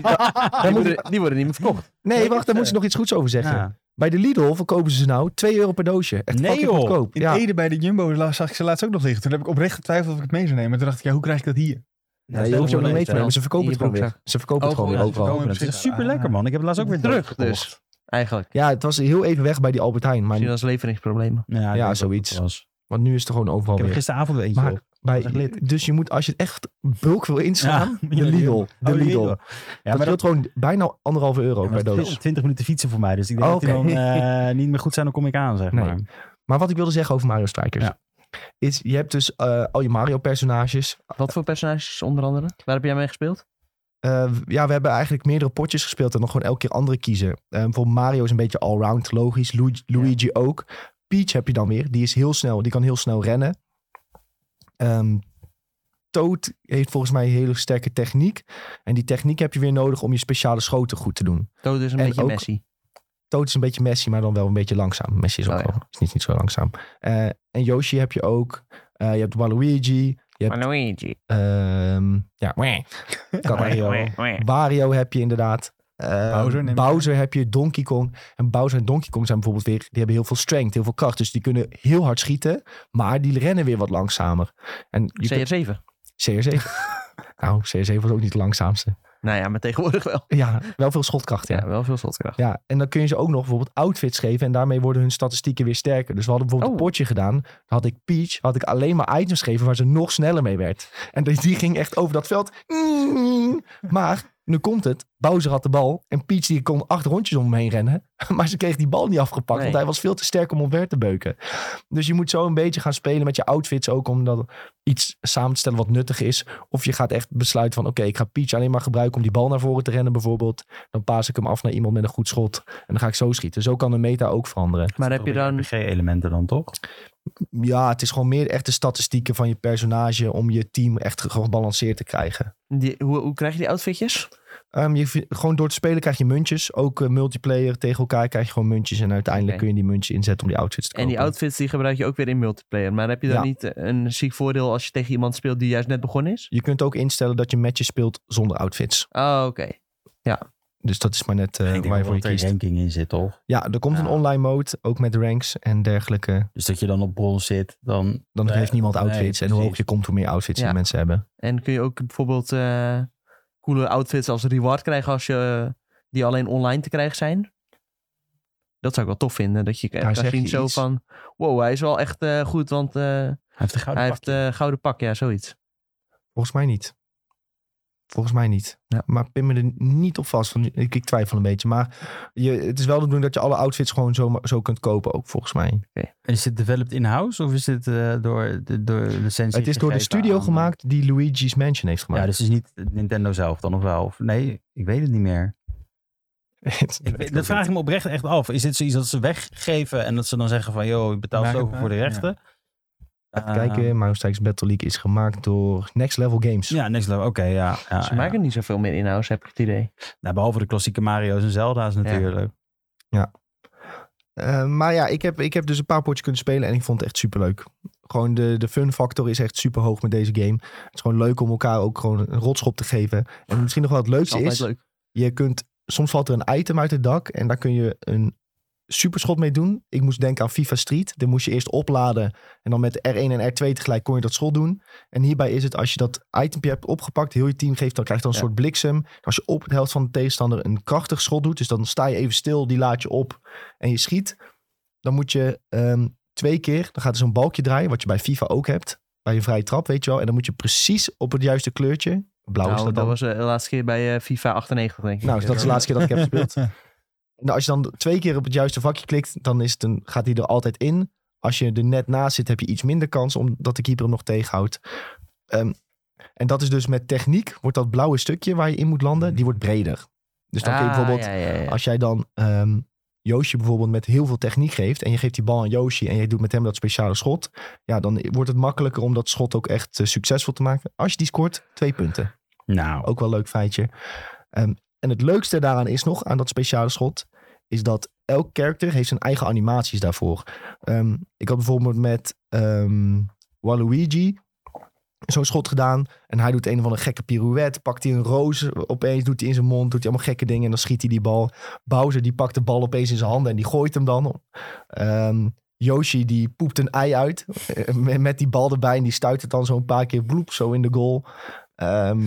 Speaker 4: die, worden, die worden niet meer verkocht.
Speaker 1: Nee, wacht, daar
Speaker 3: eh,
Speaker 1: moet ze nog iets goeds over zeggen. Bij de Lidl verkopen ze ze nou 2 euro per doosje. Echt
Speaker 3: Nee,
Speaker 1: fucking
Speaker 3: joh.
Speaker 1: goedkoop.
Speaker 2: In
Speaker 1: Ja.
Speaker 2: Ede bij de Jumbo la- zag ik ze laatst ook nog liggen. Toen heb ik oprecht getwijfeld of ik het mee zou nemen. Toen dacht ik, ja, hoe krijg ik dat hier?
Speaker 1: Nee, je hoeft je ook niet mee te
Speaker 3: Ja,
Speaker 1: nemen. Ze verkopen
Speaker 4: In
Speaker 1: het
Speaker 4: je
Speaker 1: gewoon weer.
Speaker 4: broekzak.
Speaker 1: Ze verkopen het
Speaker 4: Oh,
Speaker 1: gewoon weer
Speaker 4: gewoon, ja,
Speaker 1: overal.
Speaker 2: gewoon.
Speaker 3: Dat is super lekker man. Ik heb het laatst ook weer
Speaker 4: Terug
Speaker 3: doodgekocht.
Speaker 4: dus, eigenlijk.
Speaker 1: Ja, het was heel even weg bij die Albert Heijn. Maar
Speaker 4: Misschien als leveringsproblemen.
Speaker 3: Ja, ik denk dat het
Speaker 1: zoiets.
Speaker 3: was.
Speaker 1: want nu is het er gewoon overal
Speaker 3: Ik heb er
Speaker 1: weer.
Speaker 3: gisteravond weer eentje
Speaker 1: Maar-
Speaker 3: op.
Speaker 1: Bij,
Speaker 3: dat is echt
Speaker 1: dus je moet, als je het echt bulk wil inslaan,
Speaker 3: Ja,
Speaker 1: de Lidl. De
Speaker 3: Oh,
Speaker 1: Lidl.
Speaker 3: Ja,
Speaker 1: Dat
Speaker 3: maar dat
Speaker 1: scheelt gewoon bijna anderhalve euro
Speaker 3: Ja, maar
Speaker 1: per
Speaker 3: het is
Speaker 1: doos.
Speaker 3: 20 minuten fietsen voor mij, dus ik denk
Speaker 1: Oh,
Speaker 3: dat die
Speaker 1: oké.
Speaker 3: dan eh, niet meer goed zijn, dan kom ik aan, zeg
Speaker 1: Nee.
Speaker 3: maar.
Speaker 1: Maar wat ik wilde zeggen over Mario Strikers.
Speaker 3: Ja.
Speaker 1: Is, je hebt dus eh, al je Mario-personages.
Speaker 4: Wat voor personages onder andere? Waar heb jij mee gespeeld?
Speaker 1: Eh, ja, we hebben eigenlijk meerdere potjes gespeeld en dan gewoon elke keer andere kiezen. Eh, bijvoorbeeld Mario is een beetje allround, logisch. Lu- Luigi ook. Peach heb je dan weer. Die is heel snel. Die kan heel snel rennen. Ehm Toad heeft volgens mij een hele sterke techniek. En die techniek heb je weer nodig om je speciale schoten goed te doen.
Speaker 4: Toad is een
Speaker 1: En
Speaker 4: beetje
Speaker 1: ook-
Speaker 4: Messi.
Speaker 1: Toad is een beetje Messi, maar dan wel een beetje langzaam. Messi is ook
Speaker 4: Oh, ja.
Speaker 1: wel, is niet, niet zo langzaam. Eh, en Yoshi heb je ook. Eh, je hebt Waluigi. Je hebt
Speaker 4: Luigi.
Speaker 1: Ehm, ja, wah. Kan
Speaker 3: Mario.
Speaker 1: Wario heb je inderdaad. Ehm,
Speaker 2: Bowser neem ik
Speaker 1: Bowser heb je, Donkey Kong. En Bowser en Donkey Kong zijn bijvoorbeeld weer... Die hebben heel veel strength, heel veel kracht. Dus die kunnen heel hard schieten. Maar die rennen weer wat langzamer. En je
Speaker 4: CR7.
Speaker 1: kunt- CR7. nou, CR7 was ook niet de langzaamste.
Speaker 4: Nou ja, maar tegenwoordig wel.
Speaker 1: Ja, wel veel schotkracht, ja.
Speaker 4: Ja, wel veel slotkracht.
Speaker 1: Ja, en dan kun je ze ook nog bijvoorbeeld outfits geven. En daarmee worden hun statistieken weer sterker. Dus we hadden bijvoorbeeld
Speaker 4: Oh.
Speaker 1: een potje gedaan. Dan had ik Peach, had ik alleen maar items gegeven waar ze nog sneller mee werd. En die die ging echt over dat veld. Maar, nu komt het. Bowser had de bal. En Peach die kon acht rondjes om hem heen rennen. Maar ze kreeg die bal niet afgepakt.
Speaker 4: Nee.
Speaker 1: Want hij was veel te sterk om omver te beuken. Dus je moet zo een beetje gaan spelen met je outfits. Ook om dat iets samen te stellen wat nuttig is. Of je gaat echt besluiten van... Oké, ik ga Peach alleen maar gebruiken om die bal naar voren te rennen bijvoorbeeld. Dan paas ik hem af naar iemand met een goed schot. En dan ga ik zo schieten. Zo kan de meta ook veranderen.
Speaker 4: Maar heb je dan...
Speaker 3: RPG-elementen dan toch?
Speaker 1: Ja, het is gewoon meer echt de statistieken van je personage... om je team echt ge- gebalanceerd te krijgen.
Speaker 4: Die, hoe, hoe krijg je die outfitjes?
Speaker 1: Ehm, je, vi- gewoon door te spelen krijg je muntjes. Ook eh, multiplayer tegen elkaar krijg je gewoon muntjes. En uiteindelijk
Speaker 4: Oké.
Speaker 1: kun je die muntjes inzetten om die outfits te kopen.
Speaker 4: En die outfits die gebruik je ook weer in multiplayer. Maar heb je dan
Speaker 1: Ja.
Speaker 4: niet een ziek voordeel als je tegen iemand speelt die juist net begonnen is?
Speaker 1: Je kunt ook instellen dat je matches speelt zonder outfits.
Speaker 4: Oh, oké.
Speaker 1: Dus dat is maar net eh,
Speaker 3: ik denk
Speaker 1: waar je
Speaker 3: wel
Speaker 1: voor je
Speaker 3: dat er
Speaker 1: kiest.
Speaker 3: ranking in zit, toch?
Speaker 1: Ja, er komt
Speaker 3: Ja.
Speaker 4: Ah.
Speaker 1: een online mode, ook met ranks en dergelijke.
Speaker 3: Dus dat je dan op brons zit, dan...
Speaker 1: Dan
Speaker 3: Nee,
Speaker 1: heeft niemand
Speaker 3: nee,
Speaker 1: outfits. en hoe
Speaker 3: precies.
Speaker 1: hoog je komt, hoe meer outfits
Speaker 4: Ja.
Speaker 1: die mensen hebben.
Speaker 4: En kun je ook bijvoorbeeld eh, coole outfits als reward krijgen als je eh, die alleen online te krijgen zijn? Dat zou ik wel tof vinden. Dat je kan
Speaker 1: zeg
Speaker 4: zien
Speaker 1: je
Speaker 4: zo
Speaker 1: iets.
Speaker 4: van, wow, hij is wel echt eh, goed, want eh,
Speaker 3: Hij heeft een gouden
Speaker 4: hij heeft
Speaker 3: pakje.
Speaker 4: eh gouden pak. Ja, zoiets.
Speaker 1: Volgens mij niet. Volgens mij niet.
Speaker 4: Ja.
Speaker 1: Maar pin me er niet op vast. want Ik, ik twijfel een beetje. Maar je, het is wel de bedoeling dat je alle outfits gewoon zo, ma- zo kunt kopen. Ook volgens mij.
Speaker 3: En eh, is dit developed in-house of is dit eh, door, de- door licentie
Speaker 1: het is door de
Speaker 3: gegeven
Speaker 1: studio
Speaker 3: aan- eh,
Speaker 1: gemaakt die Luigi's Mansion heeft
Speaker 3: Ja,
Speaker 1: gemaakt.
Speaker 3: dus het is niet Nintendo zelf dan of wel? Of, nee, ik weet het niet meer.
Speaker 1: Het-
Speaker 3: Ik weet- dat vraag ik me oprecht echt af. Is dit zoiets dat ze weggeven en dat ze dan zeggen van... joh, je betaalt
Speaker 2: Maak het
Speaker 3: zoveel voor de
Speaker 2: maar,
Speaker 3: rechten?
Speaker 1: Even
Speaker 3: Eh,
Speaker 1: kijken. Mouse Strikes Battle League is gemaakt door Next Level Games.
Speaker 3: Ja, next level. Oké, ja.
Speaker 1: Ah,
Speaker 3: ja,
Speaker 4: Ze
Speaker 3: ja.
Speaker 4: maken niet zoveel meer in-house, heb ik het idee.
Speaker 3: Nou, behalve de klassieke Mario's en Zelda's natuurlijk.
Speaker 1: Eh, maar ja, ik heb, ik heb dus een paar potjes kunnen spelen en ik vond het echt superleuk. Gewoon de, de fun factor is echt super hoog met deze game. Het is gewoon leuk om elkaar ook gewoon een rotschop te geven. En misschien nog wel het
Speaker 4: Dat is
Speaker 1: leukste
Speaker 4: altijd
Speaker 1: is,
Speaker 4: leuk.
Speaker 1: je kunt, soms valt er een item uit het dak en daar kun je een superschot mee doen. Ik moest denken aan FIFA Street. Dan moest je eerst opladen en dan met R1 en R2 tegelijk kon je dat schot doen. En hierbij is het, als je dat itempje hebt opgepakt, heel je team geeft, dan krijg je dan een
Speaker 4: Ja.
Speaker 1: soort bliksem. En Als je op de helft van de tegenstander een krachtig schot doet, dus dan sta je even stil, die laat je op en je schiet. Dan moet je ehm, twee keer, dan gaat er zo'n balkje draaien, wat je bij FIFA ook hebt. Bij een vrije trap, weet je wel. En dan moet je precies op het juiste kleurtje. Blauw
Speaker 4: Nou,
Speaker 1: is
Speaker 4: dat
Speaker 1: dat dan.
Speaker 4: was eh, de laatste keer bij eh, FIFA 98, denk ik.
Speaker 1: Nou, dat is de laatste keer dat ik heb gespeeld. Nou, als je dan twee keer op het juiste vakje klikt, dan is het een, gaat hij er altijd in. Als je er net naast zit, heb je iets minder kans omdat de keeper hem nog tegenhoudt. Ehm, en dat is dus met techniek, wordt dat blauwe stukje waar je in moet landen, die wordt breder. Dus dan kun je
Speaker 4: Ah,
Speaker 1: bijvoorbeeld,
Speaker 4: ja, ja, ja.
Speaker 1: als jij dan ehm Yoshi bijvoorbeeld met heel veel techniek geeft en je geeft die bal aan Yoshi en je doet met hem dat speciale schot, ja, dan wordt het makkelijker om dat schot ook echt eh, succesvol te maken. Als je die scoort, twee punten.
Speaker 3: Nou,
Speaker 1: Ook wel een leuk feitje. Ehm, en het leukste daaraan is nog, aan dat speciale schot, is dat elk character heeft zijn eigen animaties daarvoor. Ehm, ik had bijvoorbeeld met ehm, Waluigi zo'n schot gedaan. En hij doet een of andere gekke pirouette. Pakt hij een roos opeens, doet hij in zijn mond, doet hij allemaal gekke dingen. En dan schiet hij die bal. Bowser die pakt de bal opeens in zijn handen en die gooit hem dan. Ehm, Yoshi die poept een ei uit eh, met- met die bal erbij. En die stuit het dan zo'n paar keer bloep zo in de goal. Ehm,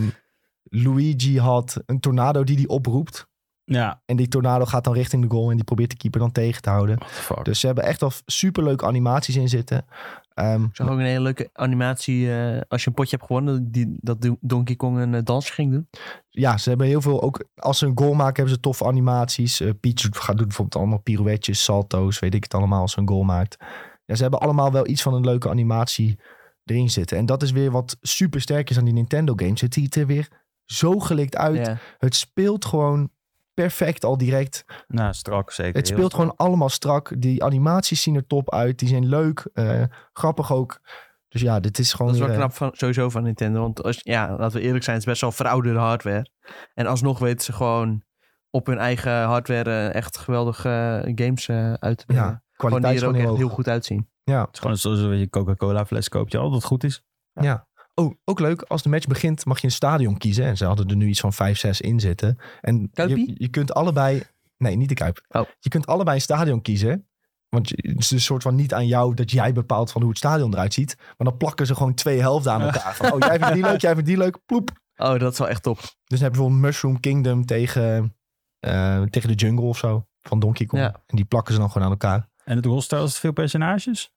Speaker 1: Luigi had een tornado die hij oproept.
Speaker 3: ja.
Speaker 1: En die tornado gaat dan richting de goal en die probeert de keeper dan tegen te houden.
Speaker 3: What the fuck.
Speaker 1: Dus ze hebben echt wel superleuke animaties in zitten. Ehm,
Speaker 4: Ik zag ook een hele leuke animatie eh, als je een potje hebt gewonnen, die, dat Do- Donkey Kong een eh, dansje ging doen.
Speaker 1: ja, ze hebben heel veel ook... Als ze een goal maken, hebben ze toffe animaties. Eh, Peach doet- gaat doet bijvoorbeeld allemaal pirouetjes, salto's, weet ik het allemaal, als ze een goal maakt. Ja, ze hebben allemaal wel iets van een leuke animatie erin zitten. En dat is weer wat super sterk is aan die Nintendo games. Het ziet er weer zo gelikt uit.
Speaker 4: Ja.
Speaker 1: Het speelt gewoon perfect al direct.
Speaker 3: nou, strak zeker.
Speaker 1: Het
Speaker 3: Heel
Speaker 1: speelt
Speaker 3: strak.
Speaker 1: gewoon allemaal strak. Die animaties zien er top uit. Die zijn leuk. eh, grappig ook. Dus ja, dit is gewoon...
Speaker 4: Dat is wel
Speaker 1: weer, eh,
Speaker 4: knap van, sowieso van Nintendo. Want als, ja, laten we eerlijk zijn, het is best wel verouderde hardware. En alsnog weten ze gewoon op hun eigen hardware eh, echt geweldige eh, games eh, uit te brengen.
Speaker 1: ja,
Speaker 4: gewoon die
Speaker 1: kwaliteit is
Speaker 4: er ook
Speaker 1: gewoon heel
Speaker 4: echt
Speaker 1: hoog.
Speaker 4: heel goed uitzien.
Speaker 1: Ja.
Speaker 3: Het is gewoon zoals dat je een Coca-Cola fles koopt. Je altijd goed is.
Speaker 1: Oh, ook leuk. Als de match begint mag je een stadion kiezen. En ze hadden er nu iets van 5, 6 in zitten. En je,
Speaker 4: Kuipie?
Speaker 1: je kunt allebei... Nee, niet de Kuip.
Speaker 4: Oh.
Speaker 1: Je kunt allebei een stadion kiezen. Want je- het is een soort van niet aan jou dat jij bepaalt van hoe het stadion eruit ziet. Maar dan plakken ze gewoon twee helften aan elkaar. Van, oh, jij vindt die leuk, jij vindt die leuk. Ploep.
Speaker 4: Oh, dat is wel echt top.
Speaker 1: Dus dan heb je bijvoorbeeld Mushroom Kingdom tegen, eh, tegen de jungle of zo. Van Donkey Kong.
Speaker 4: Ja.
Speaker 1: En die plakken ze dan gewoon aan elkaar.
Speaker 3: En het rolstel is het veel personages?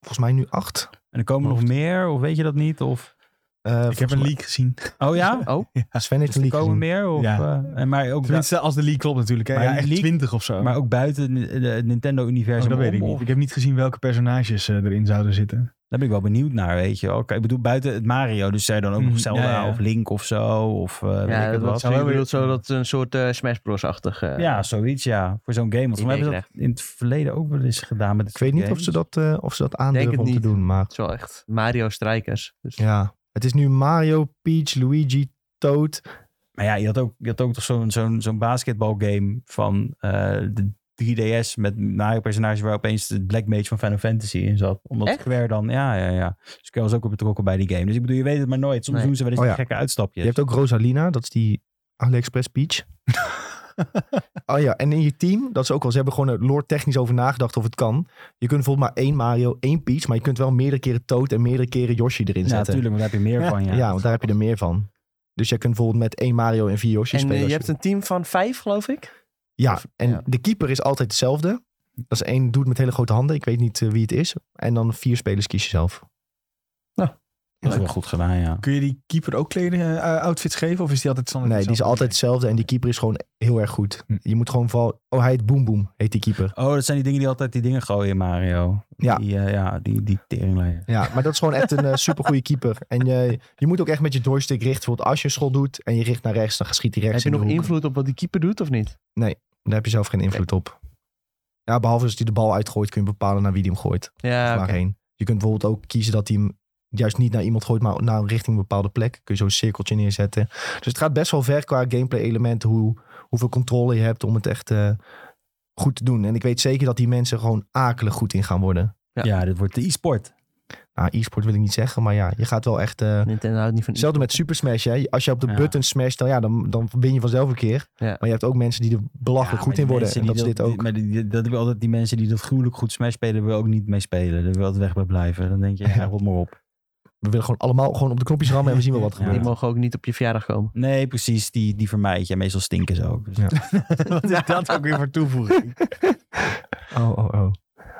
Speaker 1: Volgens mij nu acht.
Speaker 3: En er komen nog meer, of weet je dat niet? Of...
Speaker 1: Eh,
Speaker 2: Ik
Speaker 1: volgens
Speaker 2: heb een
Speaker 1: mij-
Speaker 2: leak gezien.
Speaker 3: Oh ja?
Speaker 4: Oh,
Speaker 1: Ja, Sven heeft
Speaker 3: Dus
Speaker 1: een
Speaker 3: er
Speaker 1: leak gezien.
Speaker 3: komen meer? Of,
Speaker 2: Ja.
Speaker 3: eh, en maar, ook bui-
Speaker 2: Tenminste, als de leak klopt natuurlijk. Hè?
Speaker 3: Maar
Speaker 2: Ja,
Speaker 3: die
Speaker 2: echt
Speaker 3: leak-
Speaker 2: 20 of zo.
Speaker 3: maar ook buiten het
Speaker 2: Oh,
Speaker 3: Nintendo-universum.
Speaker 2: dat weet
Speaker 3: om,
Speaker 2: ik
Speaker 3: of-
Speaker 2: niet. Ik heb niet gezien welke personages eh, erin zouden zitten.
Speaker 3: Daar ben ik wel benieuwd naar, weet je wel. Kijk, Ik bedoel, buiten het Mario, dus zijn er dan ook
Speaker 2: Mhm,
Speaker 3: nog Zelda
Speaker 2: ja, ja.
Speaker 3: of Link of zo. Of eh, weet ik
Speaker 4: ja,
Speaker 3: het
Speaker 4: dat
Speaker 3: wat.
Speaker 4: zou wel
Speaker 2: weer-
Speaker 4: bedoeld zo dat het een soort eh, Smash Bros-achtig. eh,
Speaker 3: Ja, zoiets, ja. Voor zo'n game. Want
Speaker 4: Idee
Speaker 3: we hebben ze dat in het verleden ook wel eens gedaan. Met
Speaker 1: Ik weet niet of ze dat, eh, of ze dat
Speaker 4: het
Speaker 1: aandurven om te
Speaker 4: niet.
Speaker 1: doen. Maar
Speaker 4: Het is wel echt Mario Strikers. Dus
Speaker 1: ja, het is nu Mario, Peach, Luigi, Toad.
Speaker 3: Maar ja, je had ook, je had ook toch zo'n zo'n zo'n basketbalgame van eh, de 3DS met Mario-personage waar opeens de Black Mage van Final Fantasy in zat. Omdat
Speaker 4: Echt?
Speaker 3: Square dan, ja, ja, ja. Square was ook op betrokken bij die game. Dus ik bedoel, je weet het maar nooit. Soms
Speaker 4: Nee.
Speaker 3: doen ze wel eens
Speaker 1: Oh
Speaker 3: die
Speaker 1: ja.
Speaker 3: gekke uitstapjes.
Speaker 1: Je hebt ook Rosalina, dat is die AliExpress Peach. oh ja, en in je team, dat is ook al, ze hebben gewoon er lore technisch over nagedacht of het kan. Je kunt bijvoorbeeld maar één Mario, één Peach, maar je kunt wel meerdere keren Toad en meerdere keren Yoshi erin
Speaker 3: ja,
Speaker 1: zetten.
Speaker 3: natuurlijk, maar daar heb je meer
Speaker 2: Ja.
Speaker 3: van, ja.
Speaker 1: Ja, want daar heb je er meer van. Dus jij kunt bijvoorbeeld met één Mario en vier Yoshi
Speaker 4: En eh,
Speaker 1: spelen. als
Speaker 4: je
Speaker 1: je
Speaker 4: hebt een team van vijf, geloof ik.
Speaker 1: Ja,
Speaker 4: Of-
Speaker 1: en
Speaker 4: ja.
Speaker 1: de keeper is altijd hetzelfde. Dat is één doet met hele grote handen. Ik weet niet eh, wie het is. En dan vier spelers kies je zelf.
Speaker 3: Dat is wel goed gedaan, ja.
Speaker 2: Kun je die keeper ook kleding, eh, outfits geven? Of is die altijd standaard?
Speaker 1: Nee, die is
Speaker 2: hetzelfde?
Speaker 1: altijd hetzelfde. En die keeper is gewoon heel erg goed.
Speaker 2: Hm.
Speaker 1: Je moet gewoon vooral... Oh, hij heet Boom Boom, heet die keeper.
Speaker 3: Oh, dat zijn die dingen die altijd die dingen gooien in Mario.
Speaker 1: Ja.
Speaker 3: Die, eh, ja, die, die teringleier.
Speaker 1: Ja, maar dat is gewoon echt een eh, supergoeie keeper. En je, je moet ook echt met je joystick richten. Bijvoorbeeld als je een schot doet en je richt naar rechts, dan schiet hij
Speaker 4: Heb
Speaker 1: rechts
Speaker 4: je nog
Speaker 1: in de hoek.
Speaker 4: invloed op wat die keeper doet of niet?
Speaker 1: Daar heb je zelf geen invloed op. Ja, behalve als hij de bal uitgooit, kun je bepalen naar wie die hem gooit.
Speaker 4: Ja,
Speaker 1: Of
Speaker 4: oké.
Speaker 1: waarheen. Je kunt bijvoorbeeld ook kiezen dat hij hem juist niet naar iemand gooit, maar naar richting een bepaalde plek. Kun je zo'n cirkeltje neerzetten. Dus het gaat best wel ver qua gameplay elementen, hoe, hoeveel controle je hebt om het echt eh, goed te doen. En ik weet zeker dat die mensen gewoon akelig goed in gaan worden.
Speaker 3: Ja.
Speaker 4: Ja.
Speaker 3: dit wordt de e-sport.
Speaker 1: Nou, e-sport wil ik niet zeggen, maar ja, je gaat wel echt... eh,
Speaker 4: Nintendo houdt niet van...
Speaker 1: Hetzelfde met Super Smash. Hè? Als je op de
Speaker 3: Ja.
Speaker 1: button smash, dan, ja, dan, dan win je vanzelf een keer.
Speaker 4: Ja.
Speaker 1: Maar je hebt ook mensen die er belachelijk
Speaker 3: Ja, maar
Speaker 1: goed
Speaker 3: die
Speaker 1: in worden.
Speaker 3: mensen
Speaker 1: En dat is
Speaker 3: die
Speaker 1: dit ook.
Speaker 3: maar die, die- dat hebben altijd die mensen die dat gruwelijk goed Smash spelen, wil ook niet mee spelen. Daar wil altijd weg bij blijven. Dan denk je, ja, rot maar op.
Speaker 1: We willen gewoon allemaal gewoon op de knopjes rammen en we zien wel wat
Speaker 3: Ja.
Speaker 1: gebeurt.
Speaker 4: Die mogen ook niet op je verjaardag komen.
Speaker 3: Nee, precies. Die, die vermijd je. Meestal stinken ze ook. Dus-
Speaker 1: Ja.
Speaker 2: Wat is dat ook weer voor toevoeging?
Speaker 1: Oh, oh, oh.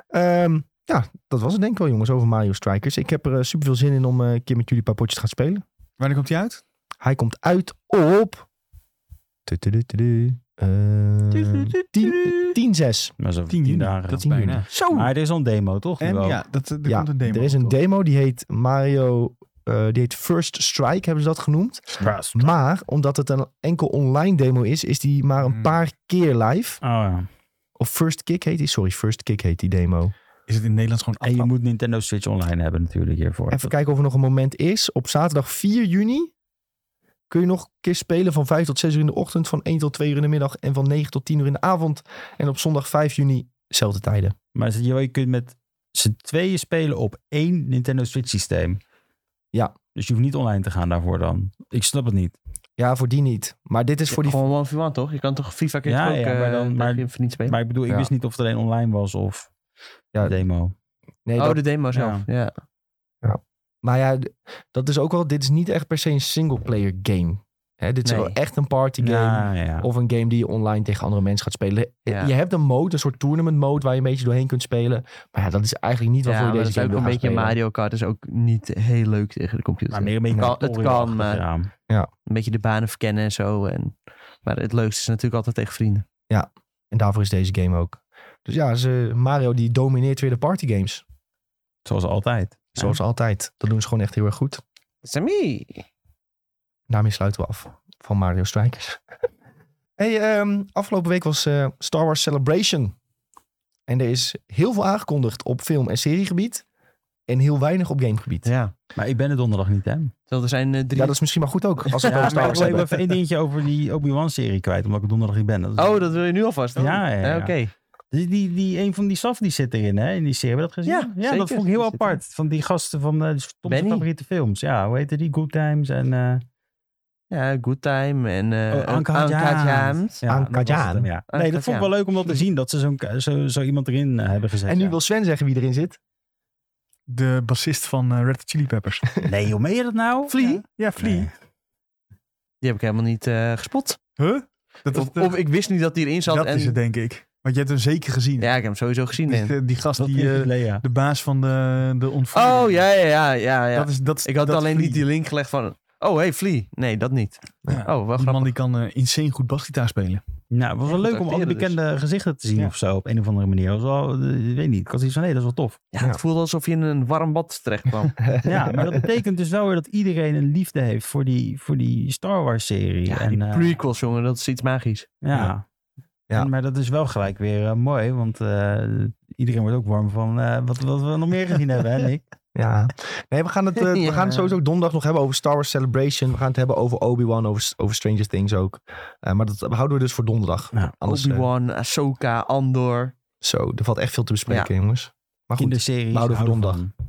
Speaker 1: Ehm, ja, dat was het denk ik wel jongens over Mario Strikers. Ik heb er eh, super veel zin in om eh, een keer met jullie een paar potjes te gaan spelen.
Speaker 2: Wanneer komt die uit?
Speaker 1: Hij komt uit op... Tududududu. Eh, 10 10-6.
Speaker 3: Maar zo
Speaker 2: 10
Speaker 3: tien,
Speaker 2: juni.
Speaker 3: dagen.
Speaker 2: Dat is
Speaker 1: eh, Tien juni.
Speaker 2: bijna.
Speaker 1: Zo!
Speaker 3: Maar er is al een demo, toch? Nu
Speaker 2: En
Speaker 3: ook?
Speaker 2: ja, dat, eh, er
Speaker 1: Ja,
Speaker 2: komt een demo.
Speaker 1: Er is een
Speaker 2: toch?
Speaker 1: demo die heet Mario... eh, die heet First Strike, hebben ze dat genoemd.
Speaker 3: Oh,
Speaker 1: Maar omdat het een enkel online demo is, is die maar een
Speaker 2: Hmm.
Speaker 1: paar keer live.
Speaker 3: Oh, ja.
Speaker 1: Of First Kick heet die. Sorry, First Kick heet die demo.
Speaker 2: Is het in Nederland gewoon
Speaker 3: En je
Speaker 2: aftrap?
Speaker 3: moet Nintendo Switch online hebben natuurlijk hiervoor.
Speaker 1: Even kijken of er nog een moment is. Op zaterdag 4 juni kun je nog een keer spelen van 5 tot 6 uur in de ochtend, van 1 tot 2 uur in de middag en van 9 tot 10 uur in de avond. En op zondag 5 juni, zelfde tijden.
Speaker 3: Maar je, je kunt met z'n tweeën spelen op één Nintendo Switch systeem.
Speaker 1: Ja.
Speaker 3: Dus je hoeft niet online te gaan daarvoor dan. Ik snap het niet.
Speaker 1: Ja, voor die niet. Maar dit is voor die...
Speaker 4: Gewoon one v one, toch? Je kan toch FIFA kun je
Speaker 3: Ja,
Speaker 4: toch ook eh,
Speaker 3: ja,
Speaker 4: ja,
Speaker 3: maar dan- maar-
Speaker 4: je vriend spelen?
Speaker 3: Maar ik bedoel, ik
Speaker 1: Ja.
Speaker 3: wist niet of het alleen online was of
Speaker 1: Ja.
Speaker 3: de demo.
Speaker 1: Nee,
Speaker 4: oh,
Speaker 1: dat-
Speaker 4: de demo zelf. Ja.
Speaker 1: Maar ja, d- dat is ook wel... Dit is niet echt per se een singleplayer game. Hè, dit is
Speaker 4: Nee.
Speaker 1: wel echt een party game.
Speaker 3: Ja, ja.
Speaker 1: Of een game die je online tegen andere mensen gaat spelen. Eh,
Speaker 4: Ja.
Speaker 1: Je hebt een mode, een soort tournament mode waar je een beetje doorheen kunt spelen. Maar ja, dat is eigenlijk niet
Speaker 4: Ja,
Speaker 1: waarvoor
Speaker 4: maar
Speaker 1: je
Speaker 4: dat
Speaker 1: deze
Speaker 4: is ook
Speaker 1: game wil
Speaker 4: een
Speaker 1: gaan
Speaker 4: beetje
Speaker 1: spelen.
Speaker 4: Mario Kart is ook niet heel leuk tegen de computer.
Speaker 3: Maar meer een beetje
Speaker 4: Kan-
Speaker 3: een
Speaker 4: het
Speaker 3: tutorial-achtig,
Speaker 4: kan, maar-
Speaker 3: ja.
Speaker 4: Een beetje de banen verkennen en zo. En, maar het leukste is natuurlijk altijd tegen vrienden.
Speaker 1: En daarvoor is deze game ook. Dus ja, ze, Mario die domineert weer de partygames.
Speaker 3: Zoals altijd.
Speaker 1: Zoals altijd. Dat doen ze gewoon echt heel erg goed.
Speaker 4: Sammy!
Speaker 1: Daarmee sluiten we af van Mario Strikers. hey, ehm, afgelopen week was eh, Star Wars Celebration. En er is heel veel aangekondigd op film- en seriegebied. En heel weinig op gamegebied.
Speaker 4: Ja.
Speaker 3: Maar ik ben er donderdag niet, hè?
Speaker 4: Terwijl er zijn eh, drie...
Speaker 1: Ja, dat is misschien maar goed ook. Als we het over Star
Speaker 3: maar ik
Speaker 1: Wars
Speaker 3: wil
Speaker 1: hebben.
Speaker 3: even één dingetje over die Obi-Wan-serie kwijt, omdat ik donderdag niet ben. Dat is-
Speaker 4: Oh, dat wil je nu alvast?
Speaker 3: Ja, ja, ja.
Speaker 4: Eh, Oké.
Speaker 3: Die, die, die, een van die saf die zit erin, hè? In die serie. Heb je dat gezien?
Speaker 4: Ja, zeker.
Speaker 3: dat vond ik heel
Speaker 4: Die zit
Speaker 3: apart. Van die gasten van eh Tom's
Speaker 4: Benny.
Speaker 3: favoriete films. Ja, hoe heette die? Good Times en... eh
Speaker 4: Ja, Good Time en... eh
Speaker 3: oh, Anka
Speaker 4: Anka
Speaker 3: Jaans.
Speaker 4: Jaans.
Speaker 3: Ja,
Speaker 1: Anka
Speaker 3: dat was
Speaker 1: Jaan.
Speaker 3: het hem, ja. Nee, dat vond ik wel leuk om dat te zien. Dat ze zo'n, zo, zo iemand erin eh, hebben gezet.
Speaker 1: En nu
Speaker 3: ja.
Speaker 1: wil Sven zeggen wie erin zit.
Speaker 2: De bassist van eh, Red Hot Chili Peppers.
Speaker 3: Nee, hoe meen je dat nou?
Speaker 2: Ja, Flea.
Speaker 3: Nee.
Speaker 4: Die heb ik helemaal niet eh, gespot.
Speaker 2: Huh? Dat was
Speaker 4: Of,
Speaker 2: de-
Speaker 4: of ik wist niet dat die erin zat.
Speaker 2: dat
Speaker 4: en,
Speaker 2: is het, denk ik. Want je hebt hem zeker gezien.
Speaker 4: Ja, ik heb hem sowieso gezien. denk ik.
Speaker 2: Die, die gast, die, eh,
Speaker 3: Lea.
Speaker 2: de baas van de, de ontvoering.
Speaker 4: Oh, ja, ja, ja. ja, ja.
Speaker 2: Dat is, dat is,
Speaker 4: ik had
Speaker 2: dat
Speaker 4: alleen
Speaker 2: Flea.
Speaker 4: niet die link gelegd van... Oh, hey, Flea. Nee, dat niet.
Speaker 2: Ja.
Speaker 4: Oh, wel
Speaker 2: Die man
Speaker 4: grappig.
Speaker 2: die kan eh, insane goed basgitaar spelen.
Speaker 3: Nou, het was wel
Speaker 4: Ja,
Speaker 3: leuk om alle
Speaker 4: acteren dus.
Speaker 3: bekende gezichten te zien
Speaker 2: Ja.
Speaker 3: of zo. Op een of andere manier. Dat was wel, eh, ik weet niet. Ik had iets van, nee, dat is wel tof.
Speaker 4: Ja, het voelde alsof je in een warm bad terecht kwam.
Speaker 3: Ja, maar dat betekent dus wel weer dat iedereen een liefde heeft voor die, voor die Star Wars serie.
Speaker 4: ja,
Speaker 3: en,
Speaker 4: die
Speaker 3: eh,
Speaker 4: prequels, jongen. Dat is iets magisch.
Speaker 3: ja.
Speaker 1: Ja.
Speaker 3: En- maar dat is wel gelijk weer eh, mooi, want eh, iedereen wordt ook warm van eh, wat, wat we nog meer gezien hebben, hè Nick?
Speaker 1: Ja. Nee, we gaan het, eh, we
Speaker 4: Ja.
Speaker 1: gaan het sowieso donderdag nog hebben over Star Wars Celebration. We gaan het hebben over Obi-Wan, over, over Stranger Things ook. Eh, maar dat houden we dus voor donderdag.
Speaker 3: Ja,
Speaker 1: Anders, eh,
Speaker 4: Obi-Wan, Ahsoka, Andor.
Speaker 1: zo, er valt echt veel te bespreken, jongens. Maar goed, nou,
Speaker 3: Kinderseries.
Speaker 1: we houden van
Speaker 3: houden
Speaker 1: donderdag.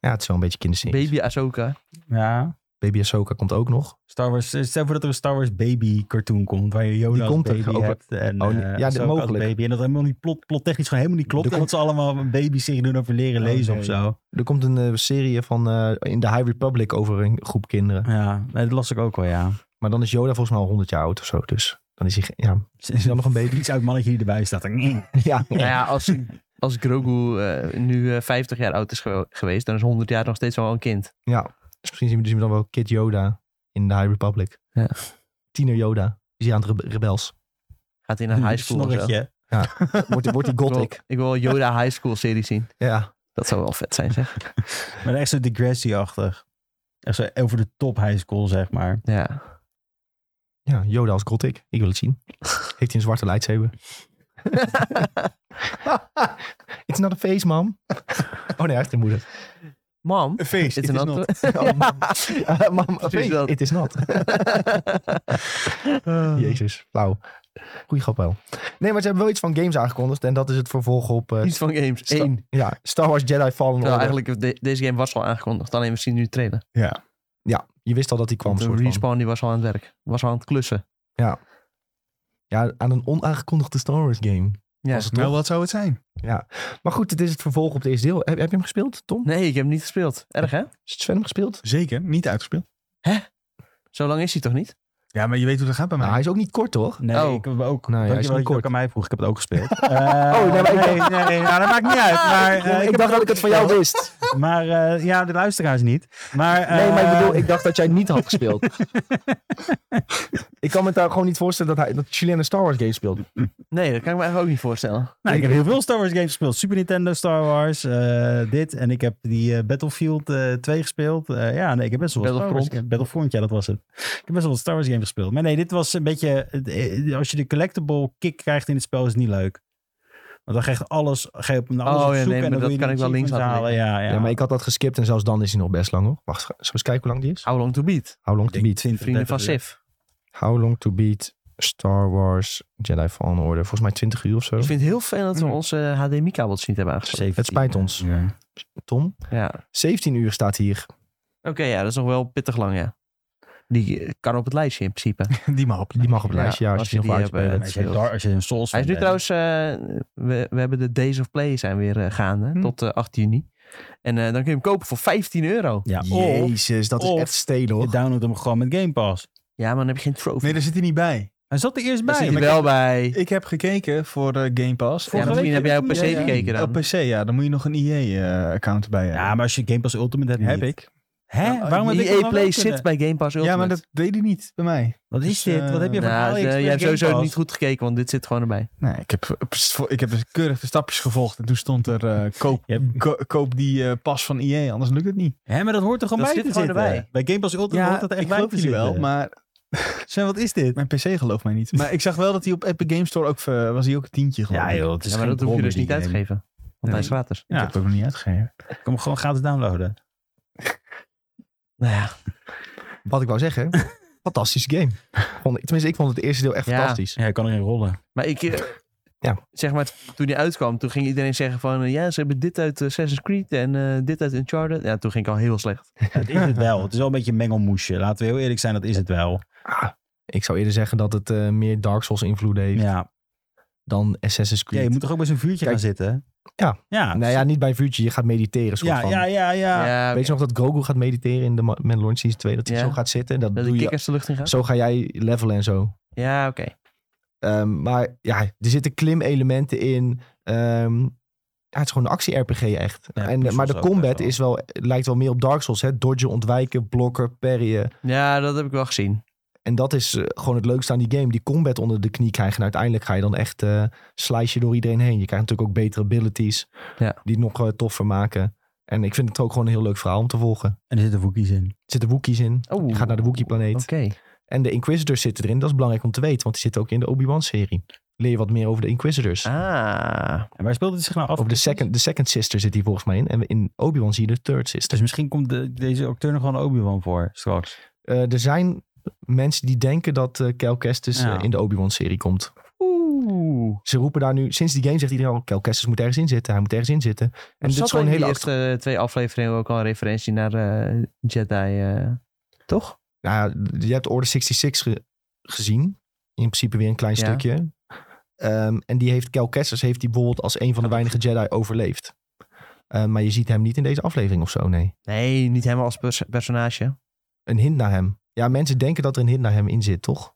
Speaker 1: ja, het is wel een beetje kinderserie. Baby,
Speaker 4: Baby Ahsoka.
Speaker 3: Ja,
Speaker 1: Ahsoka komt ook nog.
Speaker 3: Star Wars. eh, Stel voor dat er een Star Wars baby cartoon komt, waar je Yoda
Speaker 1: Die
Speaker 3: als
Speaker 1: komt er
Speaker 3: baby
Speaker 1: ook.
Speaker 3: hebt en
Speaker 1: Oh,
Speaker 3: eh,
Speaker 1: nee. Ja, dit
Speaker 3: Ahsoka als
Speaker 1: mogelijk.
Speaker 3: baby. En dat helemaal niet plot, plot technisch gewoon helemaal niet klopt.
Speaker 1: Er
Speaker 3: En dat ze allemaal een baby serie doen over leren
Speaker 1: Oh,
Speaker 3: lezen
Speaker 1: nee.
Speaker 3: of zo.
Speaker 1: Er komt een eh, serie van eh, in de High Republic over een groep kinderen.
Speaker 3: Ja, nee, dat las ik ook wel, ja.
Speaker 1: Maar dan is Yoda volgens mij al 100 jaar oud of zo. Dus dan is hij... ge- Ja,
Speaker 3: Is
Speaker 1: dan nog een baby?
Speaker 3: Iets uit mannetje die erbij staat. mm, Nee.
Speaker 1: ja.
Speaker 4: Nou ja, als, als Grogu eh, nu eh, 50 jaar oud is gewe- geweest, dan is 100 jaar nog steeds wel een kind.
Speaker 1: ja. Dus misschien zien we, zien we dan wel Kid Yoda in de High Republic.
Speaker 4: Ja.
Speaker 1: Tiener Yoda. Is hij aan het rebe- rebels?
Speaker 4: Gaat hij naar high school of zo.
Speaker 3: Snorretje.
Speaker 1: Wordt hij wordt hij
Speaker 4: Ik wil,
Speaker 1: gothic?
Speaker 4: ik wil Yoda high school serie zien.
Speaker 1: Ja.
Speaker 4: Dat zou wel vet zijn, zeg.
Speaker 3: Maar echt zo digressie-achtig. Echt zo over de top high school, zeg maar.
Speaker 4: Ja.
Speaker 1: Ja, Yoda als Gothic. Ik wil het zien. Heeft hij een zwarte lightsaber? It's not a face, mom. Oh nee, hij heeft een moeder.
Speaker 4: Mam,
Speaker 2: Een feest.
Speaker 4: dit eh,
Speaker 2: Het
Speaker 4: is een
Speaker 2: is
Speaker 4: antwoord.
Speaker 1: Oh, mam. Ja, mam, a face.
Speaker 4: Precies dat.
Speaker 1: It is not. Jezus, flauw. Goeie grap wel. Nee, maar ze hebben wel iets van games aangekondigd. En dat is het vervolg op eh,
Speaker 4: Iets van games.
Speaker 1: Sta-
Speaker 4: Eén.
Speaker 1: ja, Star Wars Jedi Fallen Order.
Speaker 4: Terwijl eigenlijk, de- deze game was al aangekondigd. Alleen we zien nu de trailer.
Speaker 2: Ja.
Speaker 1: Je wist al dat die kwam.
Speaker 4: De
Speaker 1: soort van.
Speaker 4: respawn die was al aan het werk. Was al aan het klussen.
Speaker 1: Ja, aan een onaangekondigde Star Wars game.
Speaker 4: Ja.
Speaker 1: Was het
Speaker 2: Nou,
Speaker 1: toch?
Speaker 2: wat zou het zijn?
Speaker 1: Maar goed, het is het vervolg op het eerste deel. Heb, heb je hem gespeeld, Tom?
Speaker 4: Nee, ik heb hem niet gespeeld. Erg, hè?
Speaker 1: Sven hem gespeeld?
Speaker 2: Zeker, niet uitgespeeld.
Speaker 4: Zo lang is hij toch niet?
Speaker 2: Ja, maar je weet hoe dat gaat bij mij.
Speaker 1: Nou, hij is ook niet kort, toch?
Speaker 3: Nee,
Speaker 4: Oh.
Speaker 3: ik heb hem ook.
Speaker 1: Nee, hij
Speaker 3: Dankjewel
Speaker 1: Nou is
Speaker 3: dat je
Speaker 1: niet
Speaker 3: het ook
Speaker 1: kort. Oh,
Speaker 3: aan mij vroeg. Ik heb het ook gespeeld. Eh,
Speaker 1: nee, maar ik-
Speaker 3: nee, nee, nee, nou, dat maakt niet uit. Maar, eh,
Speaker 1: ik
Speaker 3: heb
Speaker 1: dacht dat
Speaker 3: ook
Speaker 1: ik het van jou
Speaker 3: gespeeld.
Speaker 1: wist.
Speaker 3: Maar eh, ja, de luisteraars niet. Maar,
Speaker 1: Nee, maar ik
Speaker 3: eh,
Speaker 1: bedoel, ik dacht dat jij het niet had gespeeld. ik kan me daar gewoon niet voorstellen dat hij dat Chilean een Star Wars game speelt.
Speaker 4: Nee, dat kan ik me eigenlijk ook niet voorstellen.
Speaker 3: Nou, ik heb heel veel Star Wars games gespeeld. Super Nintendo, Star Wars, eh, dit. En ik heb die eh, Battlefield eh 2 gespeeld. Eh, ja, nee, ik heb best wel wat Star Wars
Speaker 4: Battlefront.
Speaker 3: games- Battlefront, ja, dat was het. Ik heb best wel wat Star Wars games gespeeld. Maar nee, dit was een beetje... eh, Als je de collectible kick krijgt in het spel, is het niet leuk. Want dan krijg je alles, ga je op naar alles
Speaker 4: Oh,
Speaker 3: op
Speaker 4: ja,
Speaker 3: zoek
Speaker 4: nee,
Speaker 3: en
Speaker 4: maar
Speaker 3: dan wil
Speaker 4: dat
Speaker 3: je
Speaker 4: kan
Speaker 3: die
Speaker 4: ik wel links
Speaker 3: achievements
Speaker 4: laten
Speaker 3: halen. Ja, ja.
Speaker 1: Ja. maar ik had dat geskipt en zelfs dan is hij nog best lang hoor. Wacht, ga- zullen we eens kijken hoe lang die is?
Speaker 4: How long to beat?
Speaker 1: How long to
Speaker 3: Ik denk
Speaker 1: beat?
Speaker 3: 20,
Speaker 4: Vrienden van
Speaker 3: 30 uur.
Speaker 4: Sif.
Speaker 1: How long to beat Star Wars Jedi Fallen Order? Volgens mij 20 uur of zo.
Speaker 4: Ik vind het heel fijn dat we
Speaker 2: Mm.
Speaker 4: onze eh, HDMI-kabels niet hebben aangesloten.
Speaker 3: 17.
Speaker 1: Het spijt ons.
Speaker 3: Ja.
Speaker 1: Tom,
Speaker 4: Ja. Oké,
Speaker 1: 17 uur staat hier.
Speaker 4: ja, dat is nog wel pittig lang, ja. Die eh, kan op het lijstje in principe.
Speaker 2: Die maar op.
Speaker 1: Die mag op het
Speaker 4: Ja,
Speaker 1: lijstje, ja, als,
Speaker 4: als
Speaker 1: je
Speaker 4: je
Speaker 1: die nog
Speaker 4: die
Speaker 1: uitspelen.
Speaker 4: hebt, eh,
Speaker 3: Als je, Dar- als je een Souls
Speaker 4: Hij is nu
Speaker 3: fan bent.
Speaker 4: trouwens, eh, we, we hebben de Days of Play zijn weer eh, gaande
Speaker 2: Hm.
Speaker 4: tot eh, 8 juni. En eh, dan kun je hem kopen voor 15 euro.
Speaker 3: Ja, of
Speaker 1: Jezus, dat
Speaker 3: of-
Speaker 1: is echt stelen
Speaker 3: je
Speaker 1: hoor.
Speaker 3: downloadt hem gewoon met Game Pass.
Speaker 4: Ja, maar dan heb je geen trophy.
Speaker 2: Nee, daar zit hij niet bij.
Speaker 3: Hij zat er eerst
Speaker 4: Daar
Speaker 3: bij.
Speaker 4: zit hij wel bij.
Speaker 2: Ik heb gekeken voor eh, Game Pass.
Speaker 4: Ja,
Speaker 3: Vorige
Speaker 4: misschien
Speaker 3: week
Speaker 4: heb jij op
Speaker 3: heb
Speaker 4: PC
Speaker 3: ik niet, eh,
Speaker 4: gekeken dan.
Speaker 2: Op PC, ja. Dan moet je nog een E, EA-account bij hebben.
Speaker 3: Ja, maar als je Game Pass Ultimate hebt,
Speaker 2: heb
Speaker 3: niet.
Speaker 2: ik.
Speaker 3: Hè?
Speaker 2: Ja,
Speaker 3: Waarom heb ik hem
Speaker 4: EA
Speaker 3: dan
Speaker 4: Play
Speaker 3: wel
Speaker 4: zit
Speaker 3: kunnen?
Speaker 4: bij Game Pass Ultimate.
Speaker 2: Ja, maar dat deed hij niet bij mij.
Speaker 3: Wat is
Speaker 2: Dus,
Speaker 3: dit?
Speaker 2: eh,
Speaker 3: Wat heb je voor
Speaker 4: Nou,
Speaker 3: AliExpress
Speaker 4: eh, jij hebt
Speaker 3: Game
Speaker 4: sowieso
Speaker 3: Pass?
Speaker 4: niet goed gekeken, want dit zit gewoon erbij.
Speaker 2: Nee, ik heb, eh, pst, ik heb dus keurig de stapjes gevolgd. En toen stond er, eh, koop,
Speaker 3: Je hebt-
Speaker 2: ko- koop die eh, pas van EA, anders lukt het niet.
Speaker 3: Hè, maar dat hoort er gewoon
Speaker 4: Dat
Speaker 3: bij
Speaker 4: zit
Speaker 3: te
Speaker 4: gewoon
Speaker 3: zitten.
Speaker 4: erbij.
Speaker 3: Bij Game Pass Ultimate hoort dat er echt
Speaker 2: ik
Speaker 3: bij
Speaker 2: geloof
Speaker 3: te
Speaker 2: jullie
Speaker 3: zitten.
Speaker 2: wel, maar
Speaker 3: Sven, wat is dit?
Speaker 2: mijn PC gelooft mij niet. Maar ik zag wel dat hij op Epic Game Store ook, eh, was hij ook een tientje geloof ik.
Speaker 3: het
Speaker 4: Ja, maar dat hoef je dus niet uit te
Speaker 3: uitgeven.
Speaker 4: geven. Want hij is gratis.
Speaker 2: Ik
Speaker 3: Ja.
Speaker 2: heb het ook nog niet uitgegeven.
Speaker 3: Ik kan hem gewoon gratis downloaden.
Speaker 4: Nou ja,
Speaker 1: Wat ik wou zeggen, fantastisch game. Vond ik- Tenminste, ik vond het eerste deel echt
Speaker 4: Ja.
Speaker 1: fantastisch.
Speaker 3: Ja, je kan erin rollen.
Speaker 4: Maar ik, eh,
Speaker 1: Ja.
Speaker 4: zeg maar, toen die uitkwam, toen ging iedereen zeggen van... eh, Ja, ze hebben dit uit Assassin's Creed en eh, dit uit Uncharted. Ja, toen ging ik al heel slecht.
Speaker 3: Dat is het wel. Het is wel een beetje een mengelmoesje. Laten we heel eerlijk zijn, dat is het wel.
Speaker 1: Ah, ik zou eerder zeggen dat het eh, meer Dark Souls invloed heeft.
Speaker 3: Ja.
Speaker 1: dan Assassin's
Speaker 3: Ja,
Speaker 1: Creed.
Speaker 3: je moet toch ook bij zo'n vuurtje
Speaker 1: Kijk.
Speaker 3: gaan zitten?
Speaker 1: Ja.
Speaker 3: Ja.
Speaker 1: Nou ja, niet bij een vuurtje. Je gaat mediteren. Soort
Speaker 3: ja,
Speaker 1: van.
Speaker 3: ja, ja, ja.
Speaker 4: Ja,
Speaker 1: Weet je nog dat Grogu gaat mediteren in de Ma- Mandalorian Season 2? Dat hij
Speaker 4: Ja.
Speaker 1: zo gaat zitten. Dat,
Speaker 4: dat de
Speaker 1: doe je,
Speaker 4: kikkers de lucht in gaan?
Speaker 1: zo ga jij levelen en zo.
Speaker 4: Ja, oké.
Speaker 1: Ehm, maar ja, er zitten klim-elementen in. Ehm, ja, het is gewoon een actie-RPG echt.
Speaker 3: Ja,
Speaker 1: en, eh, maar de
Speaker 3: puzzels ook
Speaker 1: combat
Speaker 3: echt wel.
Speaker 1: is wel, lijkt wel meer op Dark Souls. Hè? Dodgen, ontwijken, blokken, parryen.
Speaker 4: Ja, dat heb ik wel gezien.
Speaker 1: En dat is eh, gewoon het leukste aan die game. Die combat onder de knie krijgen. En uiteindelijk ga je dan echt eh slice je door iedereen heen. Je krijgt natuurlijk ook betere abilities.
Speaker 4: Ja.
Speaker 1: Die het nog eh, toffer maken. En ik vind het ook gewoon een heel leuk verhaal om te volgen.
Speaker 3: En er zitten Wookiees in.
Speaker 1: Er zitten Wookiees in.
Speaker 4: Oh,
Speaker 1: Je gaat naar de Wookiee-planeet.
Speaker 4: Oké.
Speaker 1: En de Inquisitors zitten erin. Dat is belangrijk om te weten. Want die zitten ook in de Obi-Wan-serie. Leer je wat meer over de Inquisitors.
Speaker 4: Ah.
Speaker 3: En waar speelt het zich nou af?
Speaker 1: Over de second, de second Sister zit hier volgens mij in. En in Obi-Wan zie je de Third Sister.
Speaker 3: Dus misschien komt de- deze acteur nog wel een Obi-Wan voor straks.
Speaker 4: Dus-
Speaker 1: Eh, er zijn mensen die denken dat eh Cal Kestis eh,
Speaker 3: Ja.
Speaker 1: in de Obi-Wan-serie komt.
Speaker 4: Oeh.
Speaker 1: Ze roepen daar nu... Sinds die game zegt iedereen al... Cal Kestis moet ergens in zitten. Hij moet ergens in zitten. En dit is gewoon een hele...
Speaker 4: de
Speaker 1: Achter...
Speaker 4: eerste eh, twee afleveringen ook al een referentie naar eh, Jedi, eh, toch?
Speaker 1: Nou, ja, je hebt Order 66 ge- gezien. In principe weer een klein
Speaker 4: Ja.
Speaker 1: stukje. Ehm, en die heeft Cal Kestis heeft die bijvoorbeeld als een van de weinige Jedi overleefd. Eh, maar je ziet hem niet in deze aflevering of zo, nee.
Speaker 4: Nee, niet helemaal als pers- personage.
Speaker 1: Een hint naar hem. Ja, mensen denken dat er een hint naar hem in zit, toch?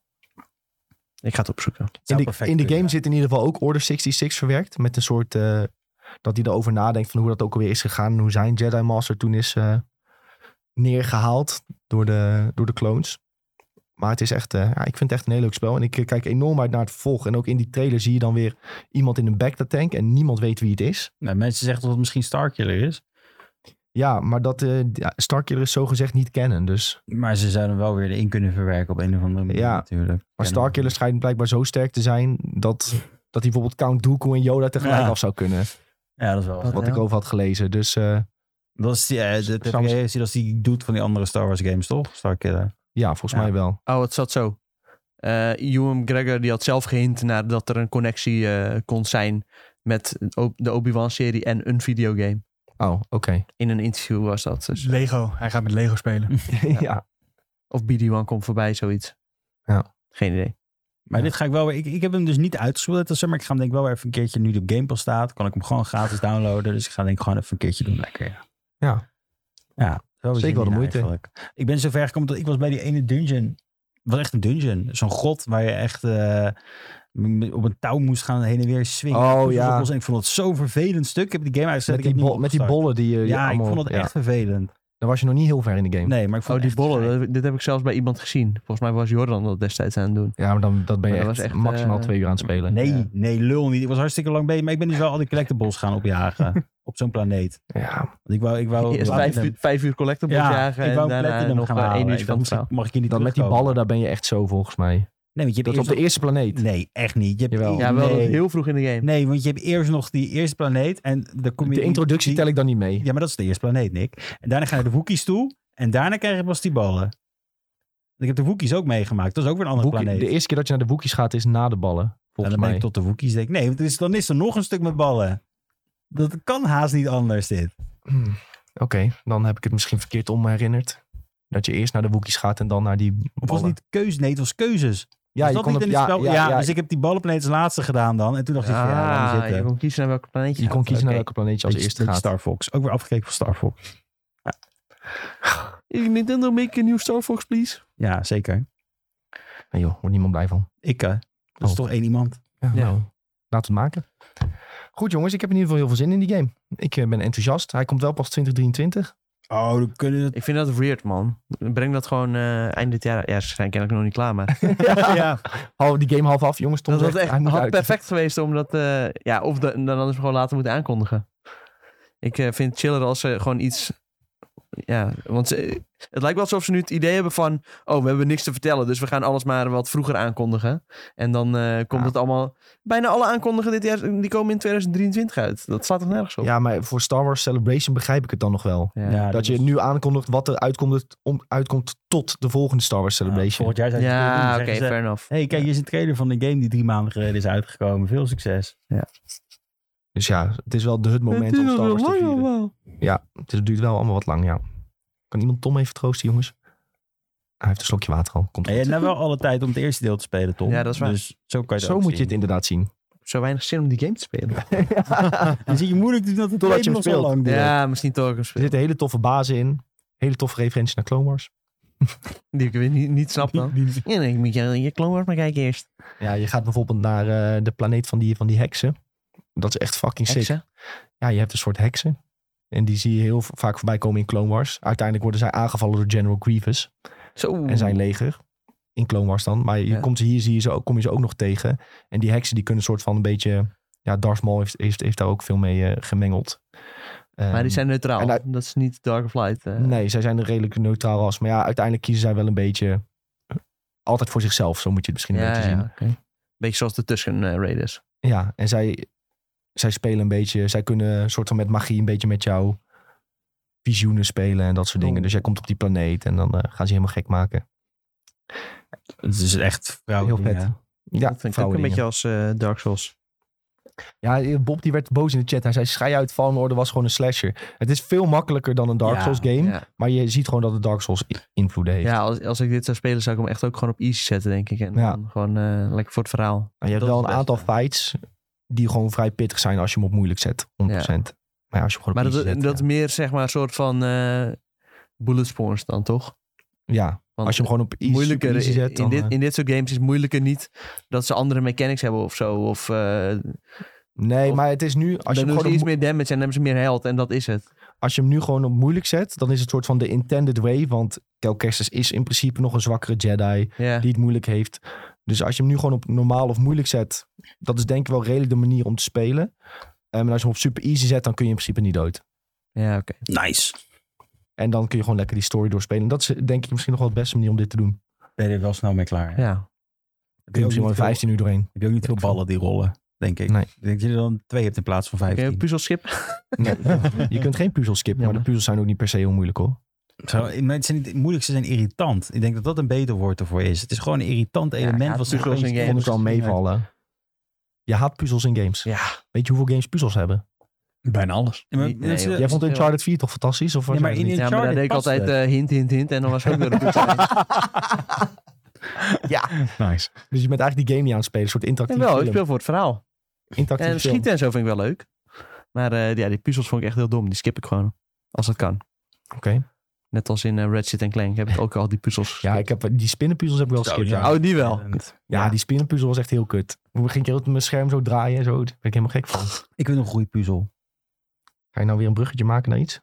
Speaker 4: Ik ga het opzoeken.
Speaker 1: In
Speaker 3: Zou
Speaker 1: de,
Speaker 3: perfect
Speaker 1: in de
Speaker 3: kunnen,
Speaker 1: game zit in ieder geval ook Order 66 verwerkt. Met een soort. eh, dat hij erover nadenkt van hoe dat ook alweer is gegaan. En hoe zijn Jedi Master toen is eh, neergehaald door de, door de clones. Maar het is echt. eh, ja, ik vind het echt een heel leuk spel. En ik eh, kijk enorm uit naar het vervolg. En ook in die trailer zie je dan weer iemand in een Bacta tank. En niemand weet wie het is.
Speaker 3: Nou, mensen zeggen dat het misschien Starkiller is.
Speaker 1: Ja, maar dat. eh ja, Starkiller is zogezegd niet kennen. Dus.
Speaker 3: Maar ze zouden wel weer in kunnen verwerken op een of andere manier
Speaker 1: Ja,
Speaker 3: natuurlijk.
Speaker 1: Maar
Speaker 3: Ja,
Speaker 1: Starkiller schijnt blijkbaar zo sterk te zijn. dat. dat hij bijvoorbeeld Count Dooku en Yoda tegelijk
Speaker 3: Ja.
Speaker 1: af zou kunnen.
Speaker 3: Ja, dat is wel.
Speaker 1: Wat
Speaker 4: Ja.
Speaker 1: ik over had gelezen. Dus. eh,
Speaker 3: Dat is die, eh, dat heb
Speaker 1: Soms-
Speaker 3: je gezien als die doet van die andere Star Wars games, toch? Starkiller.
Speaker 1: ja, volgens
Speaker 3: Ja.
Speaker 1: mij wel.
Speaker 4: Oh, het zat zo. Eh Ewan Gregor die had zelf gehint naar dat er een connectie eh, kon zijn met o- de Obi-Wan-serie en een videogame.
Speaker 1: Oh, oké.
Speaker 4: In een interview was dat. Dus.
Speaker 2: Lego. Hij gaat met Lego spelen.
Speaker 1: ja.
Speaker 4: Of BD-1 komt voorbij, zoiets.
Speaker 1: Ja.
Speaker 4: Geen idee.
Speaker 3: Maar
Speaker 1: Ja.
Speaker 3: dit ga ik wel weer... Ik, ik heb hem dus niet uitgespeeld, dus, maar ik ga hem denk ik wel weer even een keertje... Nu die op Game Pass staat, kan ik hem gewoon gratis downloaden. Dus ik ga denk ik gewoon even een keertje doen. Lekker, ja.
Speaker 1: Ja.
Speaker 3: Ja, zo is
Speaker 1: Zeker wel de
Speaker 3: Jemina
Speaker 1: moeite.
Speaker 3: eigenlijk. Ik ben zover gekomen dat ik was bij die ene dungeon. Het was echt een dungeon. Zo'n god waar je echt eh, m- op een touw moest gaan heen en weer swingen.
Speaker 1: Oh,
Speaker 3: Puzzels
Speaker 1: ja.
Speaker 3: oplossen. En ik vond het zo'n vervelend stuk. Ik heb die game uitgezet.
Speaker 1: Met,
Speaker 3: ik
Speaker 1: die
Speaker 3: heb niet
Speaker 1: bol- met die
Speaker 3: opgestart.
Speaker 1: bollen die je je
Speaker 3: Ja, ik
Speaker 1: allemaal...
Speaker 3: vond het
Speaker 1: ja.
Speaker 3: echt vervelend.
Speaker 1: Dan was je nog niet heel ver in de game.
Speaker 3: Nee, maar ik vond
Speaker 4: Oh, die
Speaker 3: het echt
Speaker 4: bollen. dat- dit heb ik zelfs bij iemand gezien. Volgens mij was Jordan dat destijds aan het doen.
Speaker 1: Ja, maar dan dat ben je
Speaker 4: Maar dat
Speaker 1: echt,
Speaker 4: was echt,
Speaker 1: maximaal
Speaker 4: eh,
Speaker 1: twee uur aan het spelen.
Speaker 3: Nee,
Speaker 1: Ja.
Speaker 3: nee, lul niet. Ik was hartstikke lang bezig. Maar ik ben dus wel al die collectibles gaan opjagen. op zo'n planeet.
Speaker 1: Ja,
Speaker 3: Want ik wou... Ik wou
Speaker 4: Eerst vijf, uur- vijf uur collectibles
Speaker 3: ja,
Speaker 4: jagen
Speaker 3: ik
Speaker 4: en
Speaker 3: wou
Speaker 4: daarna
Speaker 3: platinum
Speaker 4: nog
Speaker 3: gaan
Speaker 4: eh,
Speaker 3: halen.
Speaker 4: één
Speaker 3: En
Speaker 4: uur
Speaker 3: dan
Speaker 4: van
Speaker 3: moest ik-
Speaker 4: verhaal.
Speaker 3: Mag ik je niet
Speaker 1: dan met die
Speaker 3: terugkomen.
Speaker 1: ballen, daar ben je echt zo volgens mij.
Speaker 3: Nee, want je
Speaker 1: Dat
Speaker 3: hebt
Speaker 1: op
Speaker 3: eerst
Speaker 1: de eerste planeet.
Speaker 3: nog- Nee, echt niet. Je hebt
Speaker 1: Jawel.
Speaker 4: Ja, wel
Speaker 3: nee.
Speaker 4: heel vroeg in de game.
Speaker 3: Nee, want je hebt eerst nog die eerste planeet en dan kom je...
Speaker 1: De
Speaker 3: die-
Speaker 1: introductie
Speaker 3: die-
Speaker 1: tel ik dan niet mee.
Speaker 3: Ja, maar dat is de eerste planeet, Nick. En daarna ga je naar de Wookiees toe en daarna krijg je pas die ballen. Ik heb de Wookiees ook meegemaakt. Dat is ook weer een andere
Speaker 1: Wookie-
Speaker 3: planeet.
Speaker 1: de eerste keer dat je naar de Wookiees gaat is na de ballen.
Speaker 3: En
Speaker 1: Volgens
Speaker 3: dan ben
Speaker 1: mij.
Speaker 3: ik tot de Wookiees denk ik, nee, want er is, dan is er nog een stuk met ballen. Dat kan haast niet anders, dit.
Speaker 1: Hmm. Oké, dan heb ik het misschien verkeerd om me herinnerd. Dat je eerst naar de Wookiees gaat en dan naar die
Speaker 3: Of was het
Speaker 1: ballen.
Speaker 3: niet keuzes? Nee, het was keuzes.
Speaker 1: Ja,
Speaker 3: was dat
Speaker 1: kon
Speaker 3: niet
Speaker 1: op-
Speaker 3: in het
Speaker 1: ja,
Speaker 3: spel? Ja,
Speaker 1: ja, ja,
Speaker 3: dus ik heb die ballenplaneet als laatste gedaan dan. En toen dacht ik, van, ja, laat me
Speaker 4: Ah,
Speaker 3: zitten.
Speaker 4: je kon kiezen naar welk planeetje
Speaker 1: je kon
Speaker 4: gaat.
Speaker 1: kiezen naar
Speaker 4: Oké.
Speaker 1: welke planeet je als
Speaker 3: Beetje-
Speaker 1: eerste
Speaker 3: beetje
Speaker 1: gaat.
Speaker 3: Star Fox. Ook weer afgekeken van Star Fox.
Speaker 4: Nintendo make a new Star Fox, please.
Speaker 3: Ja, zeker.
Speaker 1: Nee joh, wordt niemand blij van.
Speaker 3: Ik, eh, dat is
Speaker 1: Oh.
Speaker 3: toch één iemand.
Speaker 1: Ja,
Speaker 4: Ja.
Speaker 1: nou, laten we het maken. Goed jongens, ik heb in ieder geval heel veel zin in die game. Ik eh, ben enthousiast. Hij komt wel pas 2023.
Speaker 3: Oh, dan kunnen het...
Speaker 4: Ik vind dat weird, man. Breng dat gewoon eh, eind dit jaar. Ja, ze zijn kennelijk nog niet klaar, maar...
Speaker 3: ja.
Speaker 1: Hou die game half af, jongens. Tom
Speaker 4: dat was
Speaker 1: zegt,
Speaker 4: echt
Speaker 1: hij moet
Speaker 4: had
Speaker 1: uit.
Speaker 4: perfect geweest om dat... eh, ja, of de- dan anders gewoon later moeten aankondigen. Ik eh, vind het chiller als ze gewoon iets... Ja, want ze- het lijkt wel alsof ze nu het idee hebben van... Oh, we hebben niks te vertellen, dus we gaan alles maar wat vroeger aankondigen. En dan eh, komt
Speaker 1: Ja.
Speaker 4: het allemaal... Bijna alle aankondigen dit jaar, die komen in 2023 uit. Dat slaat toch nergens op?
Speaker 1: Ja, maar voor Star Wars Celebration begrijp ik het dan nog wel.
Speaker 4: Ja.
Speaker 3: Ja,
Speaker 1: dat
Speaker 3: dit
Speaker 1: je
Speaker 3: was-
Speaker 1: nu aankondigt wat er uitkomt, om, uitkomt tot de volgende Star Wars
Speaker 3: Ja,
Speaker 1: Celebration.
Speaker 3: volgend jaar zijn ze het weer doen.
Speaker 4: Ja,
Speaker 3: Dan
Speaker 4: oké,
Speaker 3: zeggen ze,
Speaker 4: fair enough.
Speaker 3: hey, kijk, hier is een trailer van een game die drie maanden geleden is uitgekomen. Veel succes.
Speaker 1: dus ja, het is wel de, het moment om Star Wars te vieren. Het is- duurt wel allemaal wat lang, ja. Kan iemand Tom even troosten, jongens? Hij heeft een slokje water al. Komt
Speaker 3: En je
Speaker 1: goed.
Speaker 3: hebt nou wel alle tijd om het eerste deel te spelen, Tom.
Speaker 4: Ja, dat is waar.
Speaker 3: Dus zo kan je het
Speaker 1: Zo
Speaker 3: ook
Speaker 1: moet je het
Speaker 3: zien.
Speaker 1: inderdaad zien.
Speaker 4: zo weinig zin om die game te spelen.
Speaker 3: Dan zie je moeilijk doen dat het
Speaker 1: Totdat je hem
Speaker 3: leven nog zo
Speaker 1: speelt.
Speaker 3: lang duurt.
Speaker 4: Ja, misschien toch ook een
Speaker 1: Er
Speaker 4: spel
Speaker 1: zitten hele toffe bazen in. Hele toffe referenties naar Clone Wars.
Speaker 4: die ik weer niet, niet snap dan.
Speaker 2: Die- die-
Speaker 4: Ja, dan moet je je Clone Wars maar kijken eerst.
Speaker 1: Ja, je gaat bijvoorbeeld naar eh, de planeet van die, van die heksen. Dat is echt fucking sick.
Speaker 4: Heksen.
Speaker 1: Ja, je hebt een soort heksen. En die zie je heel v- vaak voorbij komen in Clone Wars. Uiteindelijk worden zij aangevallen door General Grievous
Speaker 4: Zo.
Speaker 1: en zijn leger. In Clone Wars dan. Maar je
Speaker 4: Mm. Ja.
Speaker 1: komt ze hier, zie je ze ook, kom je ze ook nog tegen. En die heksen die kunnen een soort van een beetje... Ja, Darth Maul heeft, heeft, heeft daar ook veel mee eh, gemengeld.
Speaker 4: Maar die
Speaker 1: Ehm,
Speaker 4: zijn neutraal.
Speaker 1: en
Speaker 4: dat is niet Dark of Light. eh.
Speaker 1: Nee, zij zijn een redelijk neutraal ras. Maar ja, uiteindelijk kiezen zij wel een beetje... eh, Altijd voor zichzelf, zo moet je het misschien een
Speaker 4: ja,
Speaker 1: beetje zien.
Speaker 4: ja, oké. Beetje zoals de Tusken eh, Raiders.
Speaker 1: Ja, en zij, zij spelen een beetje, zij kunnen een soort van met magie een beetje met jouw visioenen spelen en dat soort
Speaker 4: Oh.
Speaker 1: dingen. Dus jij komt op die planeet en dan eh, gaan ze je helemaal gek maken.
Speaker 3: Het is echt
Speaker 1: Heel
Speaker 3: vrouwen.
Speaker 1: vet. Ja,
Speaker 4: dat vind ik ook een beetje als eh, Dark Souls.
Speaker 1: Ja, eh, Bob die werd boos in de chat. Hij zei, schei uit Fallen Order was gewoon een slasher. Het is veel makkelijker dan een Dark
Speaker 3: Ja,
Speaker 1: Souls game.
Speaker 4: Ja,
Speaker 1: Maar je ziet gewoon dat het Dark Souls i- invloeden heeft.
Speaker 4: ja als, als ik dit zou spelen, zou ik hem echt ook gewoon op easy zetten, denk ik. En
Speaker 1: Ja.
Speaker 4: dan gewoon eh, lekker voor het verhaal.
Speaker 1: Maar je hebt
Speaker 4: dat
Speaker 1: wel
Speaker 4: is
Speaker 1: een
Speaker 4: het
Speaker 1: aantal
Speaker 4: beste.
Speaker 1: fights die gewoon vrij pittig zijn als je hem op moeilijk zet. 100%. Maar ja, als je hem gewoon op
Speaker 4: Maar dat,
Speaker 1: easy zet,
Speaker 4: dat is
Speaker 1: ja.
Speaker 4: meer, zeg maar, een soort van eh bullet spawns dan, toch?
Speaker 1: ja,
Speaker 4: Want
Speaker 1: als je hem gewoon op easy,
Speaker 4: moeilijker
Speaker 1: easy
Speaker 4: in-
Speaker 1: zet.
Speaker 4: in,
Speaker 1: dan,
Speaker 4: dit,
Speaker 1: eh,
Speaker 4: in dit soort games is moeilijker niet dat ze andere mechanics hebben of zo. Of eh
Speaker 1: nee,
Speaker 4: of-
Speaker 1: maar het is nu... Als
Speaker 4: als
Speaker 1: je
Speaker 4: je
Speaker 1: hem
Speaker 4: doen
Speaker 1: gewoon
Speaker 4: ze
Speaker 1: op
Speaker 4: iets meer damage en dan hebben ze meer health en dat is het.
Speaker 1: als je hem nu gewoon op moeilijk zet, dan is het soort van de intended way. Want Cal Kestis is in principe nog een zwakkere Jedi
Speaker 4: Ja.
Speaker 1: die het moeilijk heeft. Dus als je hem nu gewoon op normaal of moeilijk zet, dat is denk ik wel redelijk de manier om te spelen. Ehm, en als je hem op super easy zet, dan kun je in principe niet dood.
Speaker 4: Ja, oké.
Speaker 3: Nice.
Speaker 1: En dan kun je gewoon lekker die story doorspelen. Dat is denk ik misschien nog wel de beste manier om dit te doen.
Speaker 3: Ben je er wel snel mee klaar. hè?
Speaker 4: Ja.
Speaker 3: Heb
Speaker 1: Kun je
Speaker 3: je
Speaker 1: misschien
Speaker 3: ook
Speaker 1: wel
Speaker 3: niet
Speaker 1: in
Speaker 3: veel-
Speaker 1: 15 uur doorheen.
Speaker 3: heb je ook niet veel ballen die rollen, denk ik.
Speaker 1: Nee.
Speaker 3: Ik denk dat je er dan twee hebt in plaats van
Speaker 4: Kun je
Speaker 3: vijftien.
Speaker 4: een puzzel skippen?
Speaker 1: Nee. je kunt geen puzzel skippen, maar de
Speaker 4: Jammer.
Speaker 1: puzzels zijn ook niet per se heel moeilijk hoor.
Speaker 3: Zo, maar het zijn niet moeilijk, ze zijn irritant. Ik denk dat dat een beter woord ervoor is. Het is gewoon een irritant element.
Speaker 4: ik haat
Speaker 3: wat ze
Speaker 4: puzzels
Speaker 3: gewoon
Speaker 4: in
Speaker 1: Ik
Speaker 3: niet
Speaker 1: vond
Speaker 4: games.
Speaker 1: het wel meevallen. Je haat puzzels in games.
Speaker 4: Ja.
Speaker 1: Weet je hoeveel games puzzels hebben?
Speaker 2: Bijna alles.
Speaker 3: Ja, maar,
Speaker 4: Nee,
Speaker 3: mensen-
Speaker 4: joh.
Speaker 1: Jij vond
Speaker 4: heel-
Speaker 1: Uncharted 4 toch fantastisch? Of was
Speaker 3: Ja, maar
Speaker 1: jij
Speaker 3: in
Speaker 1: het niet?
Speaker 4: Ja, maar daar
Speaker 3: Uncharted
Speaker 4: deed ik
Speaker 3: past
Speaker 4: altijd
Speaker 3: het.
Speaker 4: eh, hint, hint, hint. En dan was het ook weer een puzzel.
Speaker 2: Nice.
Speaker 1: Dus je bent eigenlijk die game niet aan het spelen. Een soort
Speaker 4: En
Speaker 1: interactief
Speaker 4: wel, ik
Speaker 1: film.
Speaker 4: speel voor het verhaal.
Speaker 1: Interactief
Speaker 4: En
Speaker 1: film.
Speaker 4: schieten en zo vind ik wel leuk. Maar eh, ja, die puzzels vond ik echt heel dom. Die skip ik gewoon. Als dat kan.
Speaker 1: Oké.
Speaker 4: Net als in eh, Ratchet en Clank heb ik ook al die puzzels.
Speaker 1: Ja, ik heb, die spinnenpuzzels heb ik wel
Speaker 3: Zo,
Speaker 1: geskipt.
Speaker 3: ja.
Speaker 1: Ja.
Speaker 4: Oh, die wel.
Speaker 1: Ja, die spinnenpuzzel was echt heel kut. Hoe ging ik heel mijn scherm zo draaien en zo? Daar ben ik helemaal gek van.
Speaker 3: Ik wil een goede puzzel.
Speaker 1: Ga je nou weer een bruggetje maken naar iets?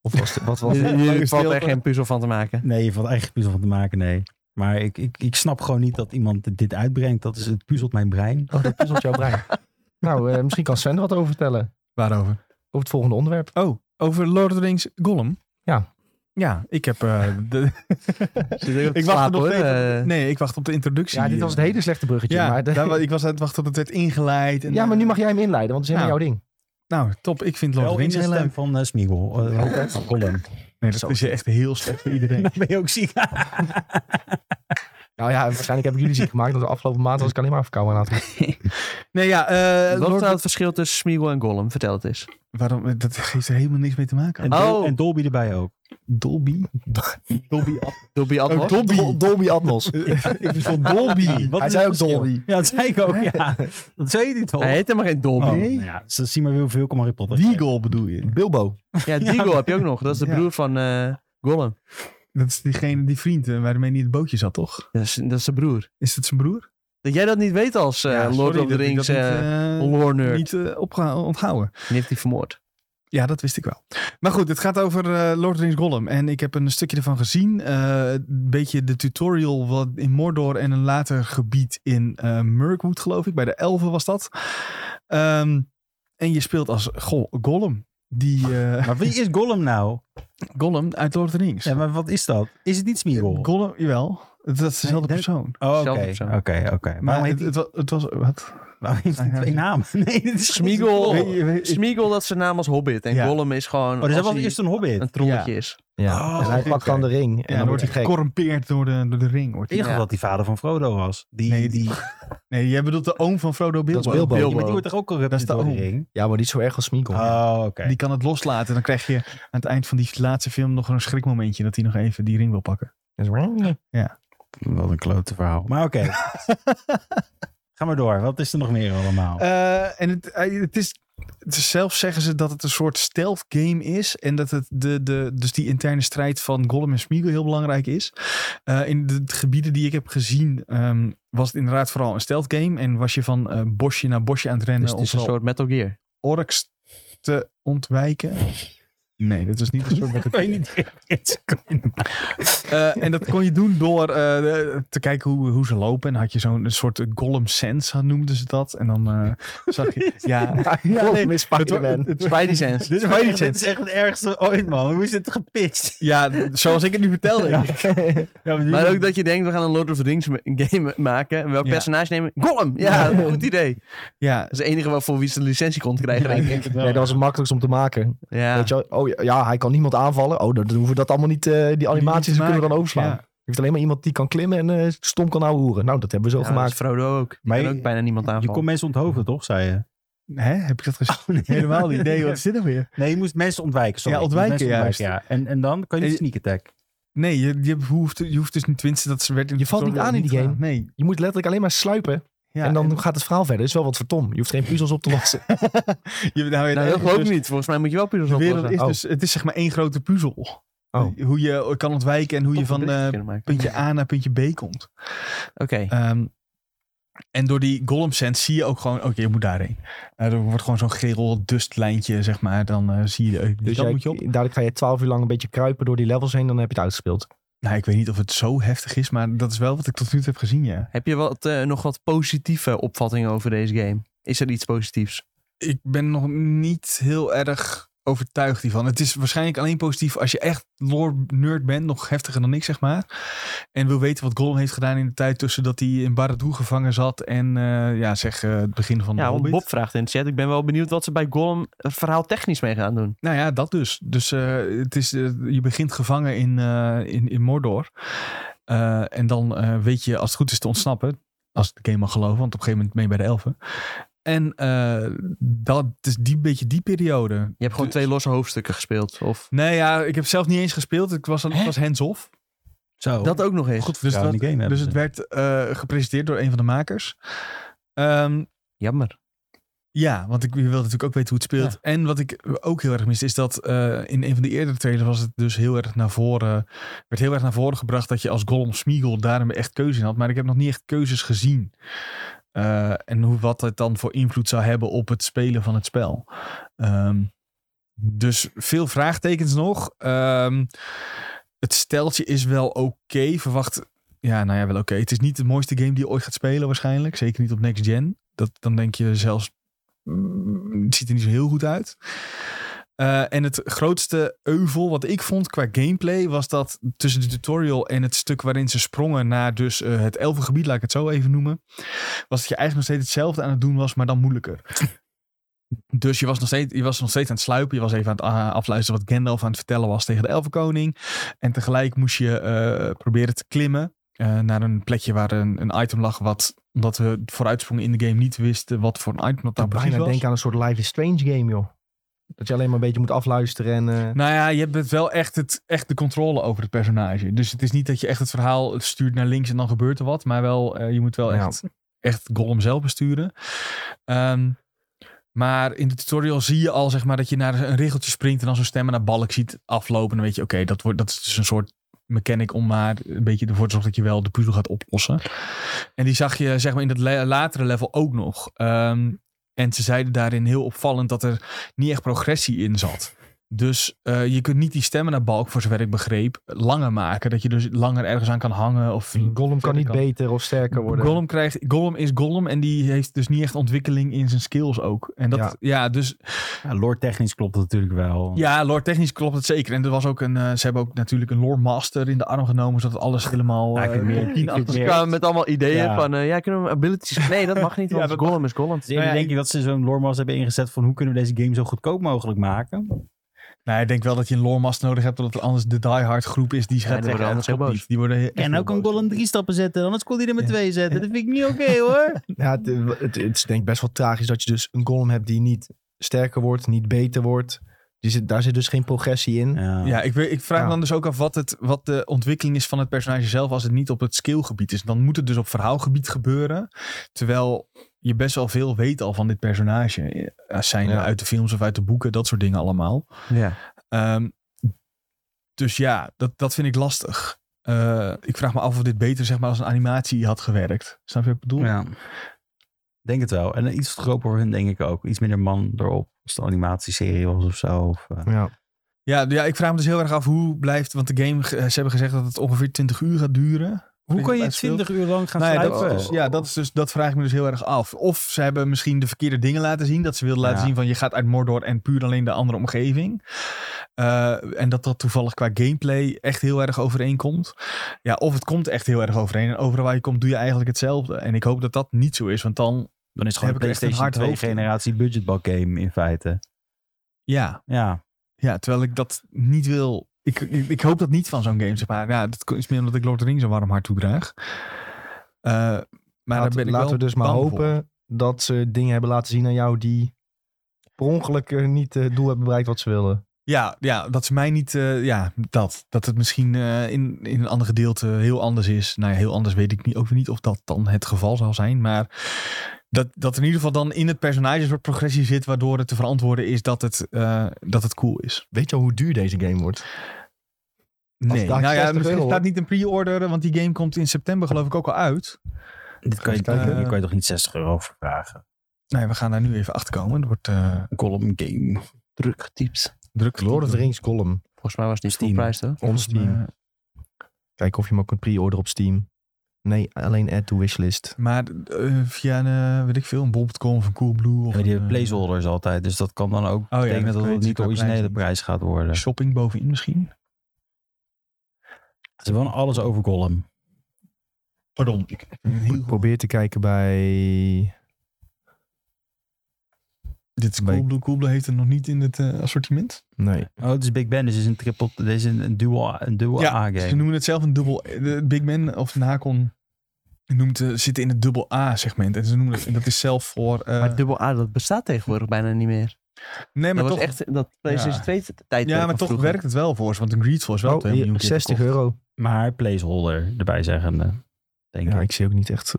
Speaker 1: Of was het, wat was het?
Speaker 4: Je valt
Speaker 2: stilte.
Speaker 4: er geen puzzel van te maken.
Speaker 3: Nee, je valt eigen puzzel van te maken, nee. Maar ik, ik, ik snap gewoon niet dat iemand dit uitbrengt. Dat is, het puzzelt mijn brein.
Speaker 1: Oh, dat puzzelt jouw brein. Nou, eh, misschien kan Sven er wat over vertellen.
Speaker 2: Waarover?
Speaker 1: Over het volgende onderwerp.
Speaker 2: Oh, over Lord of the Rings Gollum.
Speaker 1: Ja.
Speaker 2: Ja, ik heb... eh, de- ik wacht er nog steeds
Speaker 4: Eh,
Speaker 2: op- Nee, eh, ik wacht op de introductie.
Speaker 1: Eh, Ja, dit was het hele slechte bruggetje.
Speaker 2: Ja,
Speaker 1: maar de-
Speaker 2: daar wa- ik was aan het wachten tot het werd ingeleid. En,
Speaker 1: ja, maar nu mag jij hem inleiden, want het is helemaal
Speaker 2: Nou,
Speaker 1: jouw ding.
Speaker 2: Nou, top. Ik vind Lord of
Speaker 3: Wel
Speaker 2: the
Speaker 3: in
Speaker 2: Rings
Speaker 3: de
Speaker 2: heel leuk.
Speaker 3: stem van eh, Smeagol. Eh, Colin.
Speaker 2: Nee, dat is echt heel slecht voor iedereen.
Speaker 3: Dan ben je ook ziek.
Speaker 1: Nou ja, waarschijnlijk heb ik jullie ziek gemaakt, want de afgelopen maand was ik alleen maar verkouden aan het
Speaker 2: Nee, ja. eh,
Speaker 4: Wat is
Speaker 2: Lord-
Speaker 4: nou het verschil tussen Smeagol en Gollum? Vertel het eens.
Speaker 2: Waarom? Dat geeft er helemaal niks mee te maken.
Speaker 3: En, Dol-
Speaker 4: Oh.
Speaker 3: en Dolby erbij ook.
Speaker 2: Dolby?
Speaker 3: Dolby.
Speaker 4: Dobby Atmos?
Speaker 2: Oh, Dolby.
Speaker 1: Dol- Dolby Atmos.
Speaker 2: ik verstond Dolby.
Speaker 3: Wat
Speaker 1: Hij
Speaker 3: is
Speaker 1: zei ook
Speaker 3: het verschil?
Speaker 1: Dolby.
Speaker 3: Ja, dat zei ik ook. Ja. Dat zei je niet toch?
Speaker 4: Hij heet helemaal geen Dolby.
Speaker 3: Oh,
Speaker 2: nee.
Speaker 3: nou ja, ze zien maar weer hoeveel Harry Potter.
Speaker 2: Deagle bedoel je?
Speaker 1: Bilbo.
Speaker 4: Ja, Deagle heb je ook nog. Dat is de
Speaker 2: Ja.
Speaker 4: broer van eh, Gollum.
Speaker 2: Dat is diegene, die vriend eh, waarmee hij in het bootje zat, toch?
Speaker 4: Dat is, dat is zijn broer.
Speaker 2: Is dat zijn broer?
Speaker 4: Dat jij dat niet weet als eh,
Speaker 2: Ja,
Speaker 4: Lord
Speaker 2: sorry
Speaker 4: of the
Speaker 2: dat ik
Speaker 4: Rings
Speaker 2: dat niet,
Speaker 4: eh
Speaker 2: eh,
Speaker 4: lore nerd.
Speaker 2: niet eh, opge- onthouden.
Speaker 4: Die heeft hij vermoord.
Speaker 2: Ja, dat wist ik wel. Maar goed, het gaat over eh, Lord of the Rings Gollum. En ik heb een stukje ervan gezien. Eh, een beetje de tutorial wat in Mordor en een later gebied in eh Mirkwood, geloof ik. Bij de elfen was dat. Ehm, en je speelt als Go- Gollum. Die eh,
Speaker 3: Maar wie is Gollum nou?
Speaker 2: Gollum uit Lord of the Rings.
Speaker 3: Ja, maar wat is dat? Is het niet Smeagol?
Speaker 2: Gollum, jawel. Dat is dezelfde
Speaker 3: Nee, dat-
Speaker 2: persoon.
Speaker 3: Oh,
Speaker 4: Zelfde
Speaker 3: oké.
Speaker 4: persoon.
Speaker 3: Oké, oké.
Speaker 2: Maar
Speaker 3: Waarom
Speaker 2: het,
Speaker 3: heet
Speaker 2: het, wa- het was... Wat?
Speaker 3: Waarom heeft hij
Speaker 2: Ja,
Speaker 3: twee
Speaker 2: ja.
Speaker 3: namen? Nee, dit is
Speaker 4: Smeagol.
Speaker 2: Weet je- weet-
Speaker 4: Smeagol, dat is zijn naam als Hobbit. En
Speaker 2: Ja.
Speaker 4: Gollum is gewoon
Speaker 3: Oh, dus
Speaker 4: als
Speaker 3: dat was
Speaker 4: hij
Speaker 3: eerst een hobbit.
Speaker 4: een trommetje is.
Speaker 1: Ja.
Speaker 3: Oh,
Speaker 1: en hij
Speaker 2: oké.
Speaker 1: pakt dan de ring en
Speaker 2: ja,
Speaker 1: dan
Speaker 2: dan
Speaker 1: wordt hij gek.
Speaker 2: gecorrumpeerd door de, door de ring. Wordt
Speaker 3: Ik
Speaker 2: hij.
Speaker 3: dacht
Speaker 4: Ja.
Speaker 3: dat die vader van Frodo was. Die,
Speaker 2: Nee,
Speaker 3: die,
Speaker 2: Nee, jij bedoelt de oom van Frodo Bilbo.
Speaker 1: Dat is Bilbo.
Speaker 3: Ja, maar die wordt toch ook
Speaker 2: Dat is
Speaker 3: corrupt
Speaker 2: de
Speaker 3: door de
Speaker 2: oom.
Speaker 3: ring?
Speaker 1: Ja, maar niet zo erg als Smeagol.
Speaker 3: Oh, oké.
Speaker 2: Die kan het loslaten. Dan krijg je aan het eind van die laatste film nog een schrikmomentje dat hij nog even die ring wil pakken.
Speaker 1: Dat is-
Speaker 3: Wat een klote verhaal. Maar oké. Ga maar door. Wat is er nog meer allemaal?
Speaker 2: Eh, en het, eh, het is. het is- Zelf zeggen ze dat het een soort stealth game is. En dat het de, de, dus die interne strijd van Gollum en Smeagol heel belangrijk is. Eh, in de, de gebieden die ik heb gezien ehm, was het inderdaad vooral een stealth game. En was je van eh, bosje naar bosje aan het rennen
Speaker 4: Dus het
Speaker 2: om
Speaker 4: is een
Speaker 2: vooral
Speaker 4: soort Metal Gear.
Speaker 2: orks te ontwijken. Nee, dat is niet een soort Metal Gear. Eh, en dat kon je doen door eh, de- te kijken hoe, hoe ze lopen. En dan had je zo'n een soort Gollum Sense, noemden ze dat. En dan eh, zag je... Ja,
Speaker 1: Ja,
Speaker 2: nee,
Speaker 1: met Spider-Man.
Speaker 4: Spidey Sense.
Speaker 3: dit, is
Speaker 2: Spidey
Speaker 3: echt, dit is echt het ergste ooit, man. Hoe is dit gepitcht?
Speaker 2: ja, zoals ik het nu vertelde. Ja.
Speaker 4: Maar ook dat je denkt, we gaan een Lord of the Rings ma- game maken. En welk
Speaker 2: Ja.
Speaker 4: personage nemen? Gollum! Ja, goed idee. Dat
Speaker 2: ja,
Speaker 4: is het enige waarvoor wie ze de licentie kon krijgen, denk ik.
Speaker 1: Nee, dat was het makkelijkst om te maken.
Speaker 4: Ja.
Speaker 1: Weet je, wel, oh ja, ja, hij kan niemand aanvallen. Oh, dan dan hoeven we dat allemaal niet. eh, die animaties
Speaker 2: te
Speaker 1: die kunnen we dan
Speaker 2: maken.
Speaker 1: overslaan.
Speaker 2: Ja.
Speaker 1: Je heeft alleen maar iemand die kan klimmen en eh, stom kan ouwehoeren. Nou, dat hebben we zo
Speaker 4: Ja, dat
Speaker 1: gemaakt.
Speaker 4: is Frodo ook.
Speaker 3: Maar
Speaker 4: Maar
Speaker 3: je-
Speaker 4: ook bijna niemand
Speaker 3: Je
Speaker 4: aanvallen.
Speaker 3: kon mensen onthoofden, toch? Zei je.
Speaker 2: Hè? Heb ik dat gezien? Helemaal niet. Nee, wat is dit nou weer?
Speaker 3: Nee, je moest mensen ontwijken. Sorry.
Speaker 2: Ja,
Speaker 3: Je moest
Speaker 2: ontwijken,
Speaker 3: mensen ja. En, en dan kan je niet
Speaker 2: En-
Speaker 3: sneak attack.
Speaker 2: Nee, je, je, hoeft, je hoeft dus niet tenminste dat ze werd...
Speaker 1: Je valt niet aan in die game.
Speaker 2: Nee.
Speaker 1: Je moet letterlijk alleen maar sluipen.
Speaker 2: Ja,
Speaker 1: en dan gaat het verhaal verder. Dat is wel wat voor Tom. Je hoeft geen puzzels op te lossen.
Speaker 2: je, nou,
Speaker 4: Nou, dat
Speaker 2: dat
Speaker 4: geloof ik
Speaker 2: dus,
Speaker 4: niet. Volgens mij moet je wel puzzels
Speaker 2: De wereld
Speaker 4: oplossen.
Speaker 2: is
Speaker 1: Oh.
Speaker 2: dus... Het is zeg maar één grote puzzel.
Speaker 1: Oh.
Speaker 2: Hoe je kan ontwijken en hoe je
Speaker 4: Toch een
Speaker 2: van
Speaker 4: bericht
Speaker 2: eh,
Speaker 4: kunnen maken.
Speaker 2: puntje A naar puntje B komt.
Speaker 4: Oké.
Speaker 2: Ehm, en door die Gollum Sense zie je ook gewoon... Oké, je moet daarheen. Eh, er wordt gewoon zo'n gerel dustlijntje, zeg maar. Dan eh, zie je... eh, die
Speaker 1: Dus
Speaker 2: kant
Speaker 1: jij,
Speaker 2: moet je op.
Speaker 1: dadelijk ga je twaalf uur lang een beetje kruipen door die levels heen. Dan heb je het uitgespeeld.
Speaker 2: Nou, ik weet niet of het zo heftig is, maar dat is wel wat ik tot nu toe heb gezien, ja.
Speaker 4: Heb je wat, eh, nog wat positieve opvattingen over deze game? Is er iets positiefs?
Speaker 2: ik ben nog niet heel erg overtuigd hiervan. Het is waarschijnlijk alleen positief als je echt lore-nerd bent. Nog heftiger dan ik, zeg maar. En wil weten wat Gollum heeft gedaan in de tijd tussen dat hij in Barad-dûr gevangen zat en eh, ja, zeg eh, het begin van de
Speaker 4: Ja, want
Speaker 2: Hobbit.
Speaker 4: Bob vraagt in de chat. Ik ben wel benieuwd wat ze bij Gollum er verhaal technisch mee gaan doen.
Speaker 2: Nou ja, dat dus. Dus eh, het is, eh, je begint gevangen in, eh, in, in Mordor. Eh, en dan eh, weet je als het goed is te ontsnappen. Als ik de game mag geloven, want op een gegeven moment mee bij de elfen. En eh, dat is die beetje die periode.
Speaker 4: Je hebt gewoon twee losse hoofdstukken gespeeld. Of
Speaker 2: Nee, ja, ik heb zelf niet eens gespeeld. Ik was, ik was hands-off.
Speaker 3: Zo.
Speaker 4: dat ook nog eens.
Speaker 2: Goed,
Speaker 3: dus
Speaker 2: dus, dat-
Speaker 3: in die game hebben
Speaker 2: dus
Speaker 3: ze.
Speaker 2: het werd eh, gepresenteerd door een van de makers. Ehm,
Speaker 4: Jammer.
Speaker 2: ja, want ik je wil natuurlijk ook weten hoe het speelt. En wat ik ook heel erg mis is dat eh, in een van de eerdere trailers was het dus heel erg naar voren. Werd heel erg naar voren gebracht dat je als Gollum Smeagol daarom echt keuze in had. Maar ik heb nog niet echt keuzes gezien. Eh, en hoe, wat het dan voor invloed zou hebben op het spelen van het spel. Ehm, dus veel vraagtekens nog. Ehm, het steltje is wel oké. Verwacht. Ja, nou ja, wel oké. Het is niet de mooiste game die je ooit gaat spelen, waarschijnlijk. Zeker niet op next gen. Dat, dan denk je zelfs. mm, Het ziet er niet zo heel goed uit. Eh, en het grootste euvel wat ik vond qua gameplay was dat tussen de tutorial en het stuk waarin ze sprongen naar dus eh, het elfengebied, laat ik het zo even noemen, was dat je eigenlijk nog steeds hetzelfde aan het doen was, maar dan moeilijker. Dus je was, nog steeds, je was nog steeds aan het sluipen. Je was even aan het ah, afluisteren wat Gandalf aan het vertellen was tegen de Elfenkoning. En tegelijk moest je eh, proberen te klimmen eh, naar een plekje waar een, een item lag. Wat, omdat we vooruitsprongen in de game, niet wisten wat voor een item dat nou
Speaker 1: Nou,
Speaker 2: precies
Speaker 1: bijna
Speaker 2: was.
Speaker 1: denk aan een soort Life is Strange game, joh. Dat je alleen maar een beetje moet afluisteren. En, eh,
Speaker 2: Nou ja, je hebt wel echt, het, echt de controle over het personage. Dus het is niet dat je echt het verhaal stuurt naar links en dan gebeurt er wat. Maar wel, eh, je moet wel
Speaker 1: Ja.
Speaker 2: echt, echt Gollum zelf besturen. Ehm, maar in de tutorial zie je al zeg maar, dat je naar een regeltje springt... en dan zo'n stemmen naar balk ziet aflopen. En dan weet je, oké, dat wordt dat is dus een soort mechanic om maar een beetje ervoor te zorgen... dat je wel de puzzel gaat oplossen. En die zag je zeg maar, in dat la- latere level ook nog. Ehm, en ze zeiden daarin heel opvallend dat er niet echt progressie in zat. Dus eh, je kunt niet die stemmen naar balk, voor zover ik begreep, langer maken. Dat je dus langer ergens aan kan hangen. Of
Speaker 1: Mm, Gollum kan
Speaker 2: verder
Speaker 1: niet beter of sterker worden.
Speaker 2: Gollum, krijgt, Gollum is Gollum en die heeft dus niet echt ontwikkeling in zijn skills ook. En dat,
Speaker 1: Ja.
Speaker 2: ja. dus
Speaker 3: Ja, lore technisch klopt dat natuurlijk wel. Dus
Speaker 2: ja, lore technisch klopt het zeker. En er was ook een, eh, ze hebben ook natuurlijk een lore master in de arm genomen, zodat alles helemaal...
Speaker 3: Ja, ik
Speaker 2: eh,
Speaker 3: vind meer-
Speaker 2: tien
Speaker 3: ik vind
Speaker 2: achter-
Speaker 4: Ze
Speaker 3: meer-
Speaker 4: kwamen met allemaal ideeën
Speaker 3: Ja.
Speaker 4: van, eh, ja, kunnen we abilities... Nee, dat mag niet,
Speaker 2: Ja,
Speaker 4: want
Speaker 2: dat
Speaker 4: Gollum is Gollum.
Speaker 3: Dus eerder
Speaker 2: Nou ja,
Speaker 3: denk ik dat ze zo'n loremas hebben ingezet van hoe kunnen we deze game zo goedkoop mogelijk maken.
Speaker 2: Nou, ik denk wel dat je een lore master nodig hebt, omdat anders de diehard groep is die
Speaker 4: dan
Speaker 2: gaat
Speaker 4: worden
Speaker 2: zeggen,
Speaker 4: anders
Speaker 2: "Ja, dat klopt
Speaker 4: heel boos."
Speaker 2: niet." Die worden echt
Speaker 3: En
Speaker 2: heel
Speaker 3: ook een
Speaker 2: boos.
Speaker 3: goal in drie stappen zetten, anders kon hij er maar twee zetten. Dat vind ik niet oké hoor.
Speaker 1: Ja, het, het, het is denk ik best wel tragisch dat je dus een Gollum hebt die niet sterker wordt, niet beter wordt. Die zit, daar zit dus geen progressie in.
Speaker 3: Ja.
Speaker 2: Ja, ik, weet- ik vraag
Speaker 1: Ja.
Speaker 2: me dan dus ook af wat, het, wat de ontwikkeling is van het personage zelf als het niet op het skillgebied is. Dan moet het dus op verhaalgebied gebeuren. Terwijl je best wel veel weet al van dit personage. Eh, Zijn
Speaker 1: Ja.
Speaker 2: uit de films of uit de boeken, dat soort dingen allemaal.
Speaker 4: Ja.
Speaker 2: Ehm, dus ja, dat, dat vind ik lastig. Eh, ik vraag me af of dit beter zeg maar, als een animatie had gewerkt. Snap je wat ik bedoel?
Speaker 3: Ja. Denk het wel. En iets goedkoper voor hun, denk ik ook. Iets minder man erop. Als de animatieserie was of zo. Of, eh,
Speaker 1: Ja.
Speaker 2: Ja, ja, ik vraag me dus heel erg af hoe blijft... Want de game, eh, ze hebben gezegd dat het ongeveer 20 uur gaat duren.
Speaker 3: Hoe kan je
Speaker 2: Bij speelt-
Speaker 3: 20 uur lang gaan
Speaker 2: Nou ja,
Speaker 3: sluiten?
Speaker 2: dat, is dus, ja, dat, is dus, dat vraag ik me dus heel erg af. Of ze hebben misschien de verkeerde dingen laten zien. Dat ze wilden laten
Speaker 3: Ja.
Speaker 2: zien van je gaat uit Mordor en puur alleen de andere omgeving. Eh, en dat dat toevallig qua gameplay echt heel erg overeenkomt. Ja, of het komt echt heel erg overeen. En overal waar je komt doe je eigenlijk hetzelfde. En ik hoop dat dat niet zo is. Want dan,
Speaker 3: Dan is het gewoon een
Speaker 2: heb ik echt een
Speaker 3: PlayStation
Speaker 2: hard
Speaker 3: 2
Speaker 2: hoofd in.
Speaker 3: generatie budgetbal game in feite.
Speaker 2: ja.
Speaker 3: Ja.
Speaker 2: ja terwijl ik dat niet wil. Ik, ik, ik hoop dat niet van zo'n game, zeg maar. Ja, dat is meer omdat ik Lord of the Rings een warm hart toedraag. Eh, maar daar
Speaker 1: laten
Speaker 2: ben ik
Speaker 1: laten
Speaker 2: wel
Speaker 1: we dus maar
Speaker 2: bang voor.
Speaker 1: hopen dat ze dingen hebben laten zien aan jou die per ongeluk eh, niet eh, het doel hebben bereikt wat ze wilden.
Speaker 2: Ja, ja, dat is mij niet. eh, ja, dat. Dat het misschien eh, in, in een ander gedeelte heel anders is. Nou ja, heel anders weet ik niet, ook weer niet of dat dan het geval zal zijn. Maar dat, dat er in ieder geval dan in het personage een soort progressie zit. Waardoor het te verantwoorden is dat het, eh, dat het cool is.
Speaker 1: Weet je al hoe duur deze game wordt?
Speaker 2: Nee,
Speaker 1: daar
Speaker 2: nou ja,
Speaker 1: 60
Speaker 2: misschien
Speaker 1: euro,
Speaker 2: staat niet een pre-order. Want die game komt in september, geloof ik, ook al uit.
Speaker 3: Dit kan je,
Speaker 1: Even kijken.
Speaker 3: hier kan je toch niet 60 euro voor vragen?
Speaker 2: Nee, we gaan daar nu even achter komen. Het wordt eh,
Speaker 3: Een column game.
Speaker 4: Druk getypt.
Speaker 2: druk.
Speaker 1: Lord of the Rings column.
Speaker 4: Volgens mij was het niet
Speaker 3: Steam.
Speaker 4: full price, toch?
Speaker 1: Ons team. Kijken of je hem ook kunt pre-order op Steam. Nee, alleen add to wishlist.
Speaker 2: Maar eh, via een, eh, weet ik veel, een bol.com of een Coolblue. Of
Speaker 3: Ja, die
Speaker 2: een,
Speaker 3: hebben
Speaker 2: eh,
Speaker 3: placeholders altijd. Dus dat kan dan ook
Speaker 2: ja,
Speaker 3: betekenen
Speaker 2: dat
Speaker 3: dat
Speaker 2: kan je
Speaker 3: het niet de
Speaker 2: natuurlijk qua
Speaker 3: originele
Speaker 2: prijs
Speaker 3: prijs gaat worden. Ze
Speaker 2: shopping bovenin misschien.
Speaker 3: hebben wel alles over column.
Speaker 2: Pardon. Ik heel goed.
Speaker 1: Probeer te kijken bij...
Speaker 2: Dit is
Speaker 1: Nee.
Speaker 2: Coolblue. Coolblue heeft het nog niet in het eh, assortiment.
Speaker 1: Nee.
Speaker 3: Oh, het is Big Ben. Dus het is een triple. Dit is een, een dual, een dual
Speaker 2: Ja, Ze
Speaker 3: A-game.
Speaker 2: noemen het zelf een dubbel... eh, de Big Man of Nacon noemt, eh, zitten in het dubbel A-segment. En ze noemen het, en dat is zelf voor... eh,
Speaker 4: Maar dubbel A, dat bestaat tegenwoordig bijna niet meer.
Speaker 2: nee, maar
Speaker 4: dat
Speaker 2: toch,
Speaker 4: was echt dat PlayStation
Speaker 2: Ja.
Speaker 4: 2 tijd.
Speaker 2: ja, maar toch werkt het wel voor ze. Want een Greedfall is wel
Speaker 1: Oh,
Speaker 2: twee miljoen
Speaker 1: hier,
Speaker 2: keer
Speaker 1: 60
Speaker 2: verkocht.
Speaker 1: euro.
Speaker 3: Maar placeholder erbij zeggende. Denk
Speaker 1: Ja,
Speaker 3: ik.
Speaker 1: ik zie ook niet echt...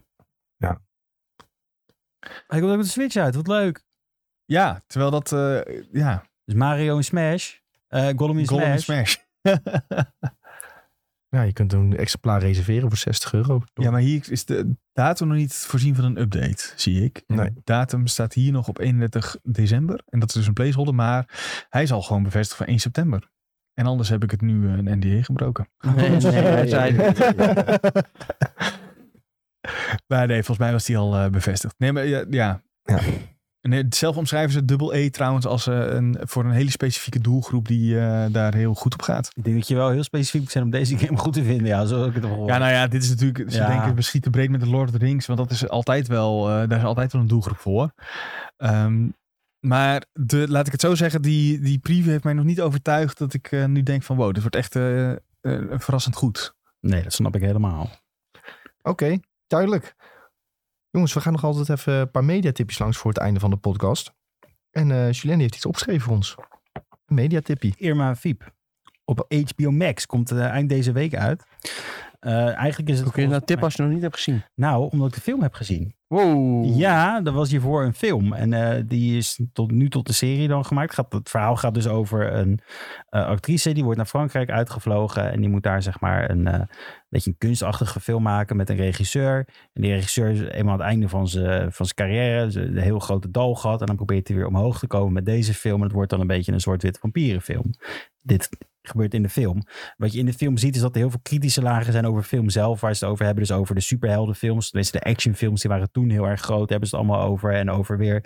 Speaker 3: Hij komt ook met de Switch uit. Wat leuk.
Speaker 2: Ja, terwijl dat... eh, ja,
Speaker 3: Dus Mario en Smash. eh Gollum in
Speaker 2: Golem
Speaker 3: Smash.
Speaker 2: en Smash.
Speaker 1: Ja, je kunt een exemplaar reserveren voor 60 euro.
Speaker 2: Ja, maar hier is de datum nog niet voorzien van een update, zie ik. En
Speaker 1: Nee.
Speaker 2: De datum staat hier nog op 31 december. En dat is dus een placeholder, maar hij zal gewoon bevestigd van 1 september. En anders heb ik het nu eh, een NDA gebroken.
Speaker 4: Nee, nee, wij zijn-
Speaker 2: Maar nee, volgens mij was die al eh, bevestigd. Nee, maar ja. ja.
Speaker 1: Ja.
Speaker 2: Nee, zelf omschrijven ze dubbel E trouwens als eh, een, voor een hele specifieke doelgroep die eh, daar heel goed op gaat.
Speaker 3: Ik denk dat je wel heel specifiek moet zijn om deze game goed te vinden. Ja, zo heb ik het al gehoord.
Speaker 2: Ja, nou ja, dit is natuurlijk. Ze
Speaker 3: Ja.
Speaker 2: denken we schieten breed met de Lord of the Rings, want dat is altijd wel, eh, daar is altijd wel een doelgroep voor. Ehm, maar de, laat ik het zo zeggen, die, die preview heeft mij nog niet overtuigd dat ik eh, nu denk van wow, dit wordt echt eh, eh, verrassend goed.
Speaker 3: Nee, dat snap ik helemaal.
Speaker 1: Oké, duidelijk. Jongens, we gaan nog altijd even een paar mediatipjes langs voor het einde van de podcast. En eh Julien heeft iets opgeschreven voor ons. Een mediatippie.
Speaker 3: Irma Fiep. Op HBO Max komt eh, eind deze week uit. Eh, eigenlijk is het...
Speaker 4: Hoe kun je nou
Speaker 3: volgens
Speaker 4: tip als je nog niet hebt gezien?
Speaker 3: mij- Nou, omdat ik de film heb gezien.
Speaker 4: Wow.
Speaker 3: Ja, er was hiervoor een film. En eh, die is tot nu tot de serie dan gemaakt. Gaat, het verhaal gaat dus over een eh, actrice. Die wordt naar Frankrijk uitgevlogen. En die moet daar zeg maar een eh, beetje een kunstachtige film maken met een regisseur. En die regisseur is eenmaal aan het einde van zijn van zijn carrière. ze- Een heel grote dal gehad. En dan probeert hij weer omhoog te komen met deze film. En het wordt dan een beetje een zwart-wit vampierenfilm. Dit gebeurt in de film. Wat je in de film ziet is dat er heel veel kritische lagen zijn over de film zelf. Waar ze het over hebben. Dus over de superheldenfilms. Tenminste, de actionfilms die waren toen heel erg groot. daar hebben ze het allemaal over. En over weer.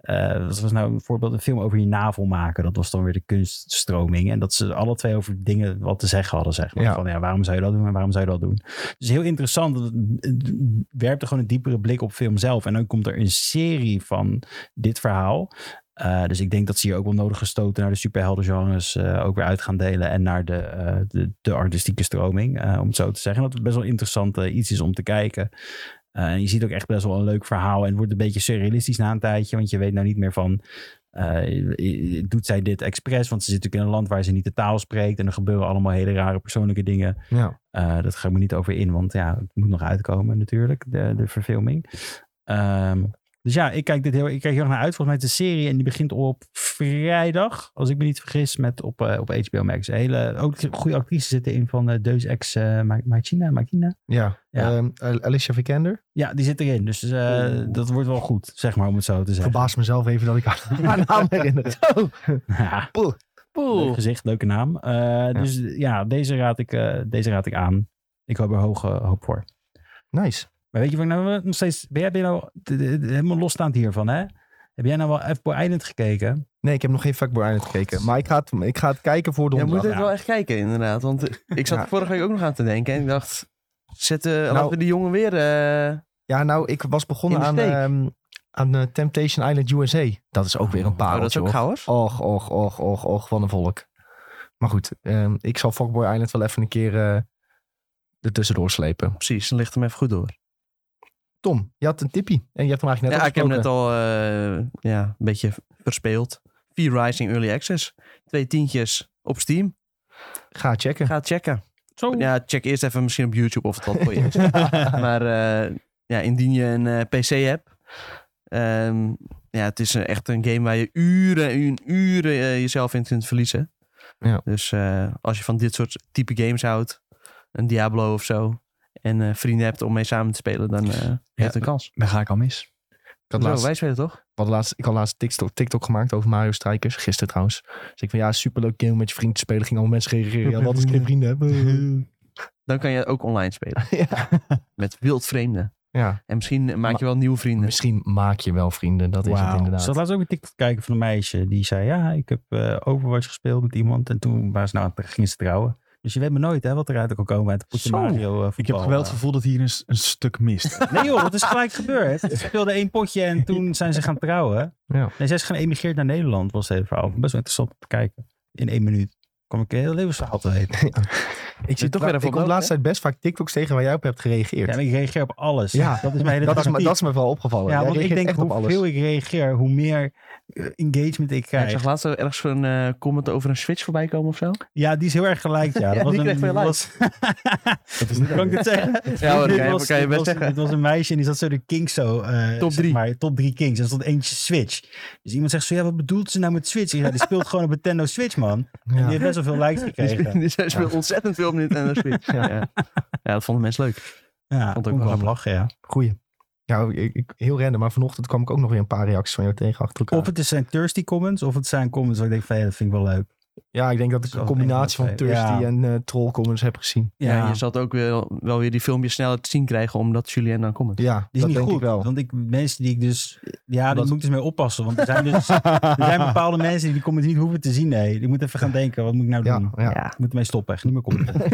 Speaker 3: eh, wat was nou een voorbeeld? Een film over je navel maken. Dat was dan weer de kunststroming. En dat ze alle twee over dingen wat te zeggen hadden. Zeg maar.
Speaker 1: Ja.
Speaker 3: Van ja, waarom zou je dat doen en waarom zou je dat doen? Dus heel interessant. want Het werpt er gewoon een diepere blik op film zelf. En dan komt er een serie van dit verhaal. Eh, dus ik denk dat ze hier ook wel nodige stoten naar de superheldengenres eh ook weer uit gaan delen. En naar de, eh, de, de artistieke stroming, eh, om het zo te zeggen. Dat het best wel interessant eh, iets is om te kijken. Eh, en je ziet ook echt best wel een leuk verhaal. En het wordt een beetje surrealistisch na een tijdje. Want je weet nou niet meer van... eh, doet zij dit expres? Want ze zit natuurlijk in een land waar ze niet de taal spreekt. En er gebeuren allemaal hele rare persoonlijke dingen.
Speaker 1: Ja.
Speaker 3: Eh, dat ga ik me niet over in, want ja, het moet nog uitkomen natuurlijk, de, de verfilming. Ehm, dus ja, ik kijk, dit heel, ik kijk heel erg naar uit. Volgens mij is het een serie en die begint op vrijdag, als ik me niet vergis, met op, eh, op HBO Max. Hele, ook goede actrices zitten in van eh, Deus Ex eh, Ma- Machina, Machina.
Speaker 1: Ja.
Speaker 3: Ja.
Speaker 1: Ehm, Al- Alicia Vikander.
Speaker 3: Ja, die zit erin. Dus eh, dat wordt wel goed, zeg maar, om het zo te zeggen.
Speaker 1: Verbaas mezelf even dat ik haar, haar naam herinner. Zo.
Speaker 4: Oh.
Speaker 3: Ja, leuk gezicht, leuke naam. Eh, Dus ja, deze raad, ik, eh, deze raad ik aan. Ik hoop er hoge hoop voor.
Speaker 1: Ninice.
Speaker 3: Maar weet je wat ik nou nog steeds... Ben jij, ben jij nou de- de- de- helemaal losstaand hiervan, hè? Heb jij nou wel F-Boy Island gekeken?
Speaker 1: Nee, ik heb nog geen Fuckboy Island gekeken. Maar ik ga, het, ik ga het kijken voor
Speaker 4: Je
Speaker 1: donderdag.
Speaker 4: moet het wel echt kijken, inderdaad. Want eh, ik zat
Speaker 1: Ja.
Speaker 4: vorige week ook nog aan te denken. En ik dacht, zet, eh, laten we die jongen weer... eh,
Speaker 1: Ja, nou, ik was begonnen
Speaker 4: In de
Speaker 1: aan,
Speaker 4: steek.
Speaker 1: ehm, aan eh, Temptation Island USA. Dat is ook weer een
Speaker 4: oh, dat
Speaker 1: pareltje.
Speaker 4: is ook
Speaker 1: hoor.
Speaker 4: gauw, hoor.
Speaker 1: Och, och, och, och, och, wat een volk. Maar goed, ehm, ik zal Fuckboy Island wel even een keer eh er tussendoor slepen.
Speaker 4: Precies, dan ligt hem even goed door.
Speaker 1: Tom, je had een tippie en je hebt hem eigenlijk net
Speaker 4: ja, ik heb hem net
Speaker 1: afgesproken.
Speaker 4: al eh, ja, een beetje verspeeld. V-Rising Early Access. Twee tientjes op Steam.
Speaker 1: Ga checken.
Speaker 4: Ga het checken.
Speaker 3: Zo.
Speaker 4: Ja, check eerst even misschien op YouTube of het wat voor je is. maar eh, ja, indien je een eh, PC hebt. ehm, ja, het is eh, echt een game waar je uren en uren, uren eh, jezelf in kunt verliezen.
Speaker 1: Ja.
Speaker 4: Dus eh, als je van dit soort type games houdt, een Diablo of zo, en eh, vrienden hebt om mee samen te spelen, dan eh heeft het een kans.
Speaker 2: Daar ga ik al mis.
Speaker 1: Ik had,
Speaker 4: Zo,
Speaker 1: laatst,
Speaker 4: wij spelen toch?
Speaker 1: ik had laatst, ik had laatst TikTok, TikTok gemaakt over Mario Strikers. Gisteren trouwens. Dus ik van ja, superleuk game om met je vrienden te spelen. Gingen allemaal mensen reageren. Ja, wat als ik geen vrienden heb?
Speaker 4: Dan kan je ook online spelen.
Speaker 1: ja.
Speaker 4: Met wildvreemden.
Speaker 1: ja,
Speaker 4: En misschien maak je wel nieuwe vrienden.
Speaker 1: misschien maak je wel vrienden. Dat is het
Speaker 3: Wauw. Ik
Speaker 1: inderdaad.
Speaker 3: zat laatst ook een TikTok kijken van een meisje. Die zei, ja, ik heb eh, Overwatch gespeeld met iemand. En toen waren ze nou, gingen ze trouwen. Dus je weet maar nooit hè, wat eruit kan komen uit Poetje
Speaker 2: Zo.
Speaker 3: Mario eh,
Speaker 2: Ik heb
Speaker 3: voetbal,
Speaker 2: wel het
Speaker 3: eh.
Speaker 2: gevoel dat hier een, s- een stuk mist.
Speaker 3: Nee joh, dat is gelijk gebeurd. Ze speelden één potje en toen zijn ze gaan trouwen.
Speaker 1: Ja.
Speaker 3: Nee, zij is geëmigreerd naar Nederland, was het hele verhaal. Best wel interessant om te kijken. In één minuut kwam ik een heel levensverhaal te weten.
Speaker 1: Ik
Speaker 4: zit toch weer even
Speaker 1: Ik
Speaker 4: op
Speaker 1: kom de
Speaker 4: nood,
Speaker 1: laatste tijd best vaak TikToks tegen waar jij op hebt gereageerd.
Speaker 3: Ja, maar ik reageer op alles.
Speaker 1: Ja,
Speaker 3: dat is mijn hele
Speaker 1: dat, is me,
Speaker 3: tactiek.
Speaker 1: dat is me wel opgevallen.
Speaker 3: Ja,
Speaker 1: Oh, Jij
Speaker 3: want ik
Speaker 1: reageert
Speaker 3: denk
Speaker 1: echt
Speaker 3: hoe
Speaker 1: op alles.
Speaker 3: veel ik reageer, hoe meer eh, engagement ik
Speaker 4: Ja, ik
Speaker 3: krijg. Ja,
Speaker 4: zag laatst ook ergens een eh, comment over een Switch voorbij komen of zo.
Speaker 3: die is heel erg gelijk. Ja, dat
Speaker 4: Ja,
Speaker 3: was
Speaker 4: die
Speaker 3: een,
Speaker 4: kreeg veel
Speaker 3: dat
Speaker 4: likes.
Speaker 3: was-
Speaker 2: Dat is
Speaker 3: Kan ik dit zeggen?
Speaker 4: Ja hoor,
Speaker 3: Dit
Speaker 4: kan je-
Speaker 3: was-
Speaker 4: kan je
Speaker 3: dit
Speaker 4: best
Speaker 3: was-
Speaker 4: zeggen.
Speaker 3: Dit was een meisje en die zat zo de Kings zo. eh,
Speaker 4: Top
Speaker 3: zeg
Speaker 4: drie.
Speaker 3: maar, top drie Kings. En er stond eentje Switch. Dus iemand zegt zo, ja, wat bedoelt ze nou met Switch? Ik zei, die speelt gewoon op Nintendo Switch, man. En die
Speaker 1: Ja.
Speaker 3: heeft best wel veel likes gekregen.
Speaker 4: Dus hij speelt ontzettend veel op Nintendo Switch. Ja. Ja. dat vonden mensen leuk.
Speaker 3: Ja,
Speaker 4: Vond
Speaker 3: vond
Speaker 4: ik
Speaker 3: ik wel
Speaker 4: wel.
Speaker 3: om lachen, ja.
Speaker 1: Goeie. Ja, ik, ik- heel random, maar vanochtend kwam ik ook nog weer een paar reacties van jou tegen achter elkaar.
Speaker 3: Of het is zijn thirsty comments, of het zijn comments waar ik denk van, ja, dat vind ik wel leuk.
Speaker 1: ja, ik denk dat ik
Speaker 3: Zo,
Speaker 1: een combinatie van
Speaker 3: één van de
Speaker 1: Thirsty
Speaker 3: twee. Ja.
Speaker 1: en eh troll comments heb gezien.
Speaker 4: Ja. je zal het ook weer, wel weer die filmpjes sneller te zien krijgen omdat Julien dan komt.
Speaker 1: Ja,
Speaker 3: Die
Speaker 1: dat
Speaker 3: is
Speaker 1: denk
Speaker 3: niet goed.
Speaker 1: ik wel.
Speaker 3: Want ik, mensen die ik dus. Ja, daar
Speaker 1: Omdat-
Speaker 3: moet ik dus mee oppassen. Want er zijn, dus, er zijn bepaalde mensen die die comments niet hoeven te zien. Nee, ik moet even gaan denken: wat moet ik nou
Speaker 1: Ja,
Speaker 3: doen?
Speaker 1: ja. Ja.
Speaker 3: Ik moet ermee stoppen. Echt niet meer commenten.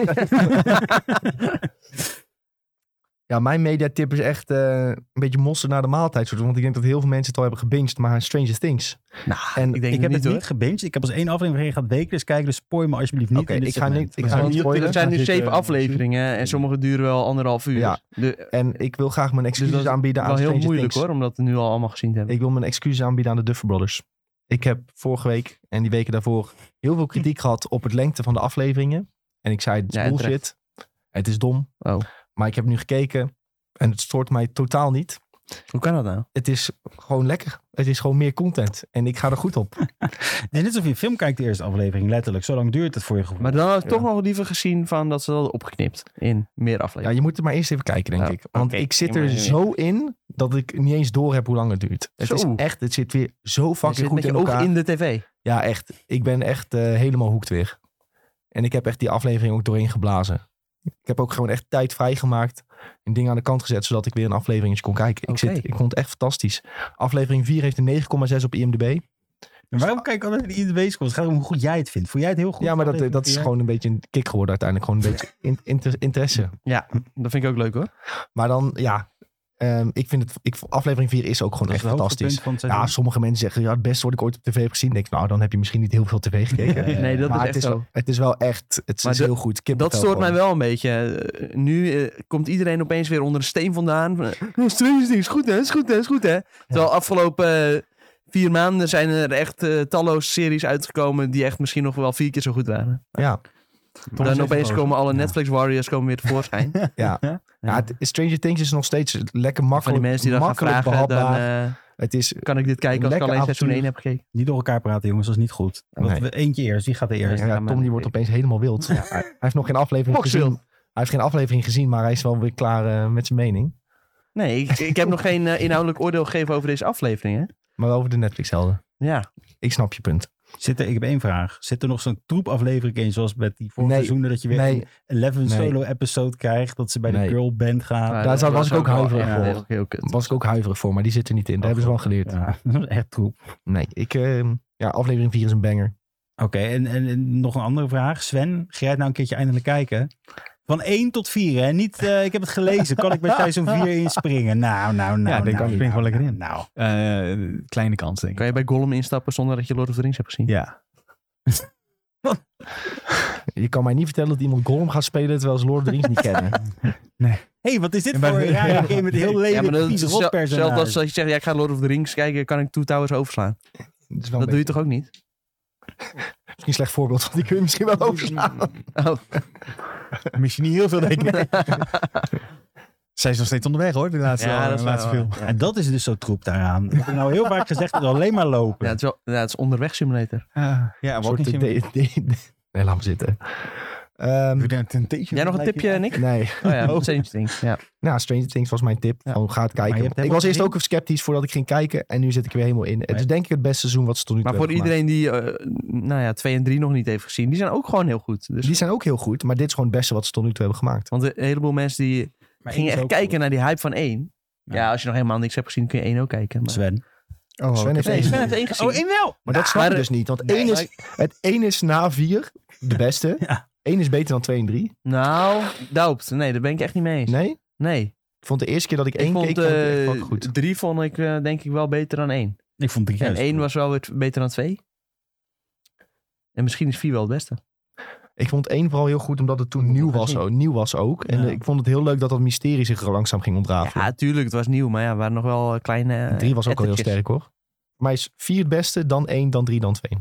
Speaker 1: mijn mediatip is echt eh, een beetje mossen naar de maaltijd. soort, Want ik denk dat heel veel mensen het al hebben gebinged, maar Stranger Things.
Speaker 4: Nou,
Speaker 1: En
Speaker 4: ik denk
Speaker 3: ik heb
Speaker 4: niet
Speaker 3: het
Speaker 4: hoor.
Speaker 3: niet gebinged. Ik heb als één aflevering gaat weken. Dus kijken, dus spoil me alsjeblieft niet.
Speaker 1: Oké,
Speaker 3: in dit
Speaker 1: ik ga
Speaker 3: segment.
Speaker 1: niet, ik ga
Speaker 2: Ja,
Speaker 1: niet
Speaker 2: hier-
Speaker 1: spoilen.
Speaker 4: Er zijn nu
Speaker 2: Dit,
Speaker 4: zeven
Speaker 2: eh,
Speaker 4: afleveringen en sommige duren wel anderhalf uur.
Speaker 1: Ja.
Speaker 4: De,
Speaker 1: En ik wil graag mijn
Speaker 4: dus
Speaker 1: excuses
Speaker 4: dat is
Speaker 1: aanbieden aan
Speaker 4: wel heel
Speaker 1: Stranger
Speaker 4: moeilijk
Speaker 1: Things.
Speaker 4: hoor, om dat nu al allemaal gezien te hebben.
Speaker 1: Ik wil mijn excuses aanbieden aan de Duffer Brothers. Ik heb vorige week en die weken daarvoor heel veel kritiek gehad op het lengte van de afleveringen. En ik zei, het is
Speaker 4: Ja, en
Speaker 1: bullshit. Het is dom.
Speaker 4: Oh.
Speaker 1: Maar ik heb nu gekeken en het stoort mij totaal niet.
Speaker 4: Hoe kan dat nou?
Speaker 1: Het is gewoon lekker. Het is gewoon meer content. En ik ga er goed op.
Speaker 3: Het is net alsof je een film kijkt, de eerste aflevering. Letterlijk. Zo lang duurt het voor je gevoel.
Speaker 4: Maar dan had ik toch nog liever gezien van dat ze dat hadden opgeknipt in meer
Speaker 1: Ja,
Speaker 4: afleveringen.
Speaker 1: je moet het maar eerst even kijken, denk
Speaker 4: Ja,
Speaker 1: ik. Want
Speaker 4: oké.
Speaker 1: ik zit
Speaker 4: Ik
Speaker 1: er
Speaker 4: moet-
Speaker 1: zo in dat ik niet eens door heb hoe lang het duurt. Het
Speaker 4: Zo.
Speaker 1: is echt, het zit weer zo
Speaker 4: Je
Speaker 1: fucking
Speaker 4: zit
Speaker 1: goed
Speaker 4: met
Speaker 1: in
Speaker 4: je oog
Speaker 1: elkaar.
Speaker 4: in de tv.
Speaker 1: Ja, echt. Ik ben echt eh, helemaal hoekt weer. En ik heb echt die aflevering ook doorheen geblazen. Ik heb ook gewoon echt tijd vrijgemaakt. En dingen aan de kant gezet, zodat ik weer een afleveringetje kon kijken.
Speaker 4: Oké.
Speaker 1: Ik, zit, ik vond het echt fantastisch. Aflevering 4 heeft een 9,6 op IMDb.
Speaker 3: Maar waarom kijk ik altijd naar iedere week? Het gaat om hoe goed jij het vindt. Vond jij het heel goed?
Speaker 1: ja, maar dat, dat is
Speaker 3: Ja.
Speaker 1: gewoon een beetje een kick geworden uiteindelijk. Gewoon een beetje in- inter- interesse.
Speaker 4: Dat vind ik ook leuk hoor.
Speaker 1: Maar dan, ja. ehm, ik vind het, ik, aflevering 4 is ook gewoon
Speaker 3: Dat is
Speaker 1: echt
Speaker 3: het hoogtepunt
Speaker 1: fantastisch.
Speaker 3: van het
Speaker 1: Ja,
Speaker 3: seizoen.
Speaker 1: sommige mensen zeggen, ja, het beste wat ik ooit op tv heb gezien. Ik denk, nou, dan heb je misschien niet heel veel tv gekeken.
Speaker 3: Ja.
Speaker 4: Nee, dat
Speaker 1: maar
Speaker 4: is
Speaker 1: het,
Speaker 4: echt
Speaker 1: is
Speaker 4: zo.
Speaker 1: wel, het is wel echt, het
Speaker 4: Maar
Speaker 1: is
Speaker 4: de-
Speaker 1: heel goed.
Speaker 4: Dat
Speaker 1: Kippenvel
Speaker 4: stoort mij
Speaker 1: gewoon.
Speaker 4: wel een beetje. Eh, Nu eh, komt iedereen opeens weer onder een steen vandaan. Van, eh, "Oh, Stranger Things, goed hè, is goed hè, is goed hè. Terwijl afgelopen eh, vier maanden zijn er echt eh, talloze series uitgekomen die echt misschien nog wel vier keer zo goed waren.
Speaker 1: Ja,
Speaker 4: Dan opeens komen alle
Speaker 3: Ja.
Speaker 4: Netflix Warriors komen weer tevoorschijn.
Speaker 1: ja.
Speaker 2: Ja.
Speaker 1: ja het- Stranger Things is nog steeds lekker
Speaker 4: Van
Speaker 1: makkelijk,
Speaker 4: die mensen die dan gaan
Speaker 1: makkelijk
Speaker 4: vragen, dan
Speaker 1: behapbaar.
Speaker 4: eh,
Speaker 1: het is
Speaker 4: kan ik dit kijken als ik
Speaker 1: Lekker
Speaker 4: alleen seizoen
Speaker 1: avontuur.
Speaker 4: 1 heb gekeken.
Speaker 3: Niet door elkaar praten, jongens. Dat is niet goed. Want
Speaker 1: Nee.
Speaker 3: we- Eentje eerst. Die gaat er eerst.
Speaker 1: Ja,
Speaker 4: Ja,
Speaker 1: ja,
Speaker 4: maar
Speaker 1: Tom die
Speaker 4: nee,
Speaker 1: wordt
Speaker 4: ik-
Speaker 1: opeens helemaal wild. Hij hij heeft nog geen aflevering
Speaker 4: Foxville.
Speaker 1: gezien. Hij heeft geen aflevering gezien, maar hij is wel weer klaar eh, met zijn mening.
Speaker 4: Nee, ik, ik heb nog geen eh, inhoudelijk oordeel gegeven over deze aflevering. Hè?
Speaker 1: Maar wel over de Netflix-helden.
Speaker 4: Ja,
Speaker 1: Ik snap je punt.
Speaker 3: Zit er, ik heb één vraag. Zit er nog zo'n troep aflevering in, zoals met die vorige
Speaker 1: Nee.
Speaker 3: seizoenen, dat je weer
Speaker 1: Nee,
Speaker 3: een 11
Speaker 1: Nee.
Speaker 3: solo episode krijgt, dat ze bij de
Speaker 1: Nee.
Speaker 3: girl band gaan?
Speaker 4: maar
Speaker 1: daar
Speaker 4: dat
Speaker 1: zou- was ik ook
Speaker 4: wel
Speaker 1: huiverig
Speaker 4: echt
Speaker 1: voor.
Speaker 4: heel- heel kut.
Speaker 1: was ik ook huiverig voor, maar die zit er niet in. Dat
Speaker 4: Oh,
Speaker 1: hebben ze wel geleerd.
Speaker 3: Ja, dat is echt troep.
Speaker 1: Nee, ik, eh, ja, aflevering 4 is een banger.
Speaker 3: Oké, en, en, en nog een andere vraag. Sven, ga jij het nou een keertje eindelijk kijken? Van 1 tot 4, hè? Niet, eh, ik heb het gelezen. Kan ik bij seizoen 4 inspringen? Nou, nou, nou.
Speaker 2: Ja, ik denk,
Speaker 3: nou,
Speaker 2: ik spring
Speaker 3: nou,
Speaker 2: gewoon lekker in.
Speaker 3: Nou,
Speaker 2: Eh, kleine kans, denk ik.
Speaker 4: Kan je bij Gollum instappen zonder dat je Lord of the Rings hebt gezien?
Speaker 2: Ja.
Speaker 1: Je kan mij niet vertellen dat iemand Gollum gaat spelen terwijl ze Lord of the Rings niet kennen.
Speaker 3: Hé, hey, wat is dit
Speaker 2: En bij
Speaker 3: voor
Speaker 2: de-
Speaker 3: een rare
Speaker 2: Ja.
Speaker 3: game met heel lelijk
Speaker 4: Ja, maar dat is
Speaker 3: vies
Speaker 4: zel- hetzelfde
Speaker 3: rotpersonage?
Speaker 4: als dat je zegt, ja, ik ga Lord of the Rings kijken, kan ik Two Towers overslaan.
Speaker 1: Dat, is wel
Speaker 4: Dat
Speaker 1: een
Speaker 4: doe je
Speaker 1: beetje-
Speaker 4: toch ook niet?
Speaker 1: misschien een slecht voorbeeld, want die kun je misschien wel overslaan.
Speaker 4: Oh,
Speaker 2: Misschien niet heel veel, denk ik. Zij is nog steeds onderweg, hoor, de laatste,
Speaker 4: Ja, dat
Speaker 2: de
Speaker 4: is
Speaker 2: laatste
Speaker 4: wel-
Speaker 2: film.
Speaker 3: En dat is dus zo troep daaraan. Ik heb nou heel vaak gezegd, dat alleen maar lopen.
Speaker 4: ja, het is, wel, ja, het is onderweg simulator.
Speaker 2: Ah, Ja, ja
Speaker 1: Een
Speaker 2: wat
Speaker 1: soort
Speaker 2: niet.
Speaker 1: de- de- de- Nee, laat me zitten. Ehm,
Speaker 4: Jij nog een tipje, Nick?
Speaker 1: nee.
Speaker 4: Oh ja, Stranger Things. Ja.
Speaker 1: Nou, Stranger Things was mijn tip.
Speaker 4: Ja.
Speaker 1: Gewoon ga het
Speaker 3: Maar je
Speaker 1: kijken.
Speaker 3: hebt hem
Speaker 1: Ik was
Speaker 3: ook
Speaker 1: eerst
Speaker 3: gezien?
Speaker 1: ook sceptisch voordat ik ging kijken. En nu zit ik er weer helemaal in. Het
Speaker 3: Nee.
Speaker 1: is denk ik het beste seizoen wat ze tot nu toe
Speaker 4: Maar voor
Speaker 1: hebben gemaakt.
Speaker 4: iedereen die eh, nou ja, 2 en 3 nog niet heeft gezien, die zijn ook gewoon heel goed. Dus,
Speaker 1: Die zijn ook heel goed. Maar dit is gewoon het beste wat ze tot nu toe hebben gemaakt.
Speaker 4: want een heleboel mensen die
Speaker 3: Maar
Speaker 4: gingen
Speaker 3: één is
Speaker 4: echt
Speaker 3: ook
Speaker 4: kijken
Speaker 3: goed.
Speaker 4: naar die hype van 1. Ja.
Speaker 3: Ja.
Speaker 4: als je nog helemaal niks hebt gezien, kun je 1 ook kijken. Maar...
Speaker 3: Sven.
Speaker 2: Oh,
Speaker 1: Sven
Speaker 2: oké.
Speaker 1: heeft
Speaker 4: Nee,
Speaker 1: één
Speaker 4: Sven heeft 1 gezien.
Speaker 3: wel!
Speaker 1: Maar dat snap
Speaker 4: maar-
Speaker 1: ik dus niet. Want
Speaker 4: Nee,
Speaker 1: één is,
Speaker 4: maar-
Speaker 1: het één is na vier de beste.
Speaker 3: Ja.
Speaker 1: Eén is beter dan twee en drie.
Speaker 4: Nou, doubt. Nee, daar ben ik echt niet mee eens.
Speaker 1: Nee?
Speaker 4: Nee.
Speaker 1: Ik vond de eerste keer dat ik
Speaker 4: Ik
Speaker 1: één keek,
Speaker 4: vond
Speaker 1: vond ik het echt
Speaker 4: eh
Speaker 1: wel goed.
Speaker 4: 3 vond ik eh, denk ik wel beter dan 1.
Speaker 3: Ik vond drie
Speaker 4: En
Speaker 3: juist.
Speaker 4: 1 was wel weer t- beter dan 2. En misschien is 4 wel het beste.
Speaker 1: Ik vond één vooral heel goed, omdat het toen
Speaker 4: Moet ik
Speaker 1: nieuw
Speaker 4: nog
Speaker 1: was,
Speaker 4: gaan
Speaker 1: ook, nieuw was ook. En
Speaker 3: Ja.
Speaker 1: eh, ik vond het heel leuk dat dat mysterie zich langzaam ging ontrafelen.
Speaker 4: Ja, tuurlijk, het was nieuw, maar ja, er waren nog wel eh, kleine. eh,
Speaker 1: Ah, drie was ook al heel
Speaker 4: ettertjes.
Speaker 1: sterk hoor. Maar is vier het beste, dan één, dan drie, dan twee.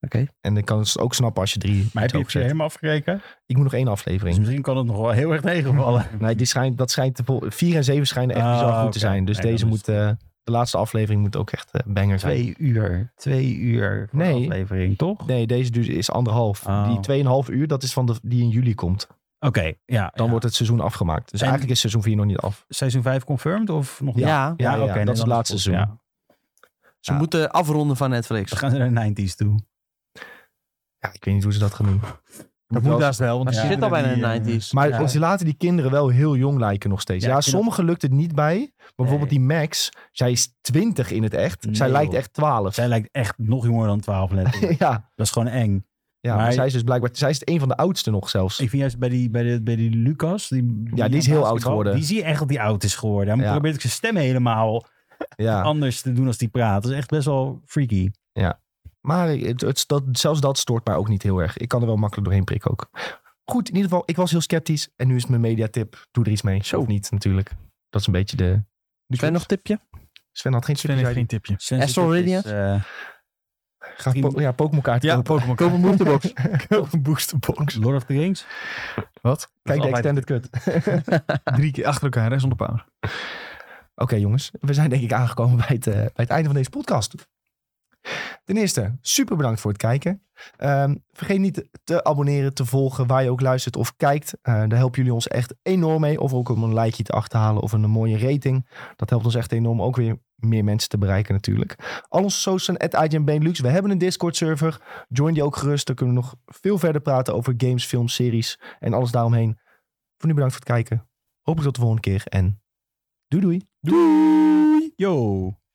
Speaker 4: Oké.
Speaker 1: En ik kan het ook snappen als je drie
Speaker 3: Maar heb je
Speaker 1: zo
Speaker 3: het
Speaker 1: zet.
Speaker 3: helemaal afgekeken?
Speaker 1: Ik moet nog één
Speaker 3: Dus
Speaker 1: aflevering.
Speaker 3: misschien kan het nog wel heel erg tegenvallen.
Speaker 1: Nee, die schijnt, dat schijnt te vol- vier en zeven schijnen echt
Speaker 3: Ah,
Speaker 1: bizar goed
Speaker 3: oké.
Speaker 1: te zijn. Dus
Speaker 3: Nee,
Speaker 1: deze
Speaker 3: dan is
Speaker 1: moet, eh, de laatste aflevering moet ook echt eh, banger zijn.
Speaker 3: Twee uur. Twee uur voor
Speaker 1: Nee.
Speaker 3: de aflevering, toch?
Speaker 1: Nee, deze duurt- is anderhalf.
Speaker 3: Oh.
Speaker 1: Die tweeënhalf uur, dat is van de, die in juli komt.
Speaker 3: Oké, ja.
Speaker 1: Dan
Speaker 3: ja.
Speaker 1: wordt het seizoen afgemaakt. Dus
Speaker 3: En-
Speaker 1: eigenlijk is seizoen 4 nog niet af.
Speaker 3: seizoen 5 confirmed of nog niet?
Speaker 4: Ja,
Speaker 1: Ja, ja,
Speaker 3: oké,
Speaker 1: dat
Speaker 3: nee,
Speaker 1: is
Speaker 3: dan
Speaker 1: het laatste
Speaker 3: goed,
Speaker 1: seizoen.
Speaker 3: ja.
Speaker 4: ze
Speaker 1: Ja.
Speaker 4: moeten afronden van Netflix.
Speaker 3: We gaan ze naar de 90s toe.
Speaker 1: Ja, ik weet niet hoe ze dat gaan doen.
Speaker 2: Dat moet daar wel. Want
Speaker 4: Maar ze
Speaker 2: die
Speaker 4: zit al bijna
Speaker 2: kinderen
Speaker 4: in de
Speaker 2: die, eh,
Speaker 4: 90s.
Speaker 1: Maar
Speaker 3: Ja.
Speaker 1: ze laten die kinderen wel heel jong lijken nog steeds.
Speaker 3: Ja,
Speaker 1: Ja,
Speaker 3: ik vind
Speaker 1: sommigen lukt het niet bij. Maar bijvoorbeeld die Max, zij is 20 in het echt.
Speaker 3: Nee,
Speaker 1: zij lijkt
Speaker 3: joh.
Speaker 1: echt 12.
Speaker 3: Zij lijkt echt nog jonger dan 12 letterlijk.
Speaker 1: ja,
Speaker 3: dat is gewoon eng.
Speaker 1: ja maar,
Speaker 3: Maar-
Speaker 1: zij is dus blijkbaar zij is een van de oudste nog zelfs.
Speaker 3: Ik vind juist bij die, bij de, bij die Lucas... Die,
Speaker 1: die is
Speaker 3: aan
Speaker 1: heel oud
Speaker 3: basketbal,
Speaker 1: geworden.
Speaker 3: Die zie je echt dat die oud is geworden. Hij
Speaker 1: Ja.
Speaker 3: probeert ook zijn stem helemaal
Speaker 1: Ja.
Speaker 3: anders te doen als die praat. Dat is echt best wel freaky.
Speaker 1: Maar het, het- dat, zelfs dat stoort mij ook niet heel erg. Ik kan er wel makkelijk doorheen prikken ook. Goed, in ieder geval, ik was heel sceptisch. En nu is het mijn mediatip. Doe er iets mee.
Speaker 4: Zo.
Speaker 1: Of niet, natuurlijk. Dat is een beetje de... de
Speaker 4: Sven, nog
Speaker 1: crux.
Speaker 4: een tipje?
Speaker 1: Sven had geen tipje.
Speaker 2: Sven heeft
Speaker 1: zei hij.
Speaker 2: geen tipje.
Speaker 3: Sven
Speaker 4: Astral
Speaker 3: zit-
Speaker 4: Radiant?
Speaker 3: is, eh,
Speaker 1: Ga po- ja, Pokémon kaart
Speaker 2: Ja,
Speaker 1: kopen.
Speaker 2: Pokémon. Koop een boosterbox. Koop een boosterbox.
Speaker 3: Lord of the Rings?
Speaker 1: Wat? Kijk de
Speaker 2: altijd-
Speaker 1: extended cut. Oké
Speaker 2: Drie keer achter elkaar, hè, zonder pauze.
Speaker 1: jongens, we zijn denk ik aangekomen bij het, eh, bij het einde van deze podcast. Ten eerste, super bedankt voor het kijken. Ehm, vergeet niet te abonneren, te volgen waar je ook luistert of kijkt. Eh, daar helpen jullie ons echt enorm mee. Of ook om een likeje te achterhalen of een mooie rating. Dat helpt ons echt enorm ook weer meer mensen te bereiken natuurlijk. Al onze socials at IGNBenelux. We hebben een Discord server. Join die ook gerust. Daar kunnen we nog veel verder praten over games, films, series en alles daaromheen. Voor nu bedankt voor het kijken. Hopelijk tot de volgende keer en doei doei.
Speaker 3: Yo!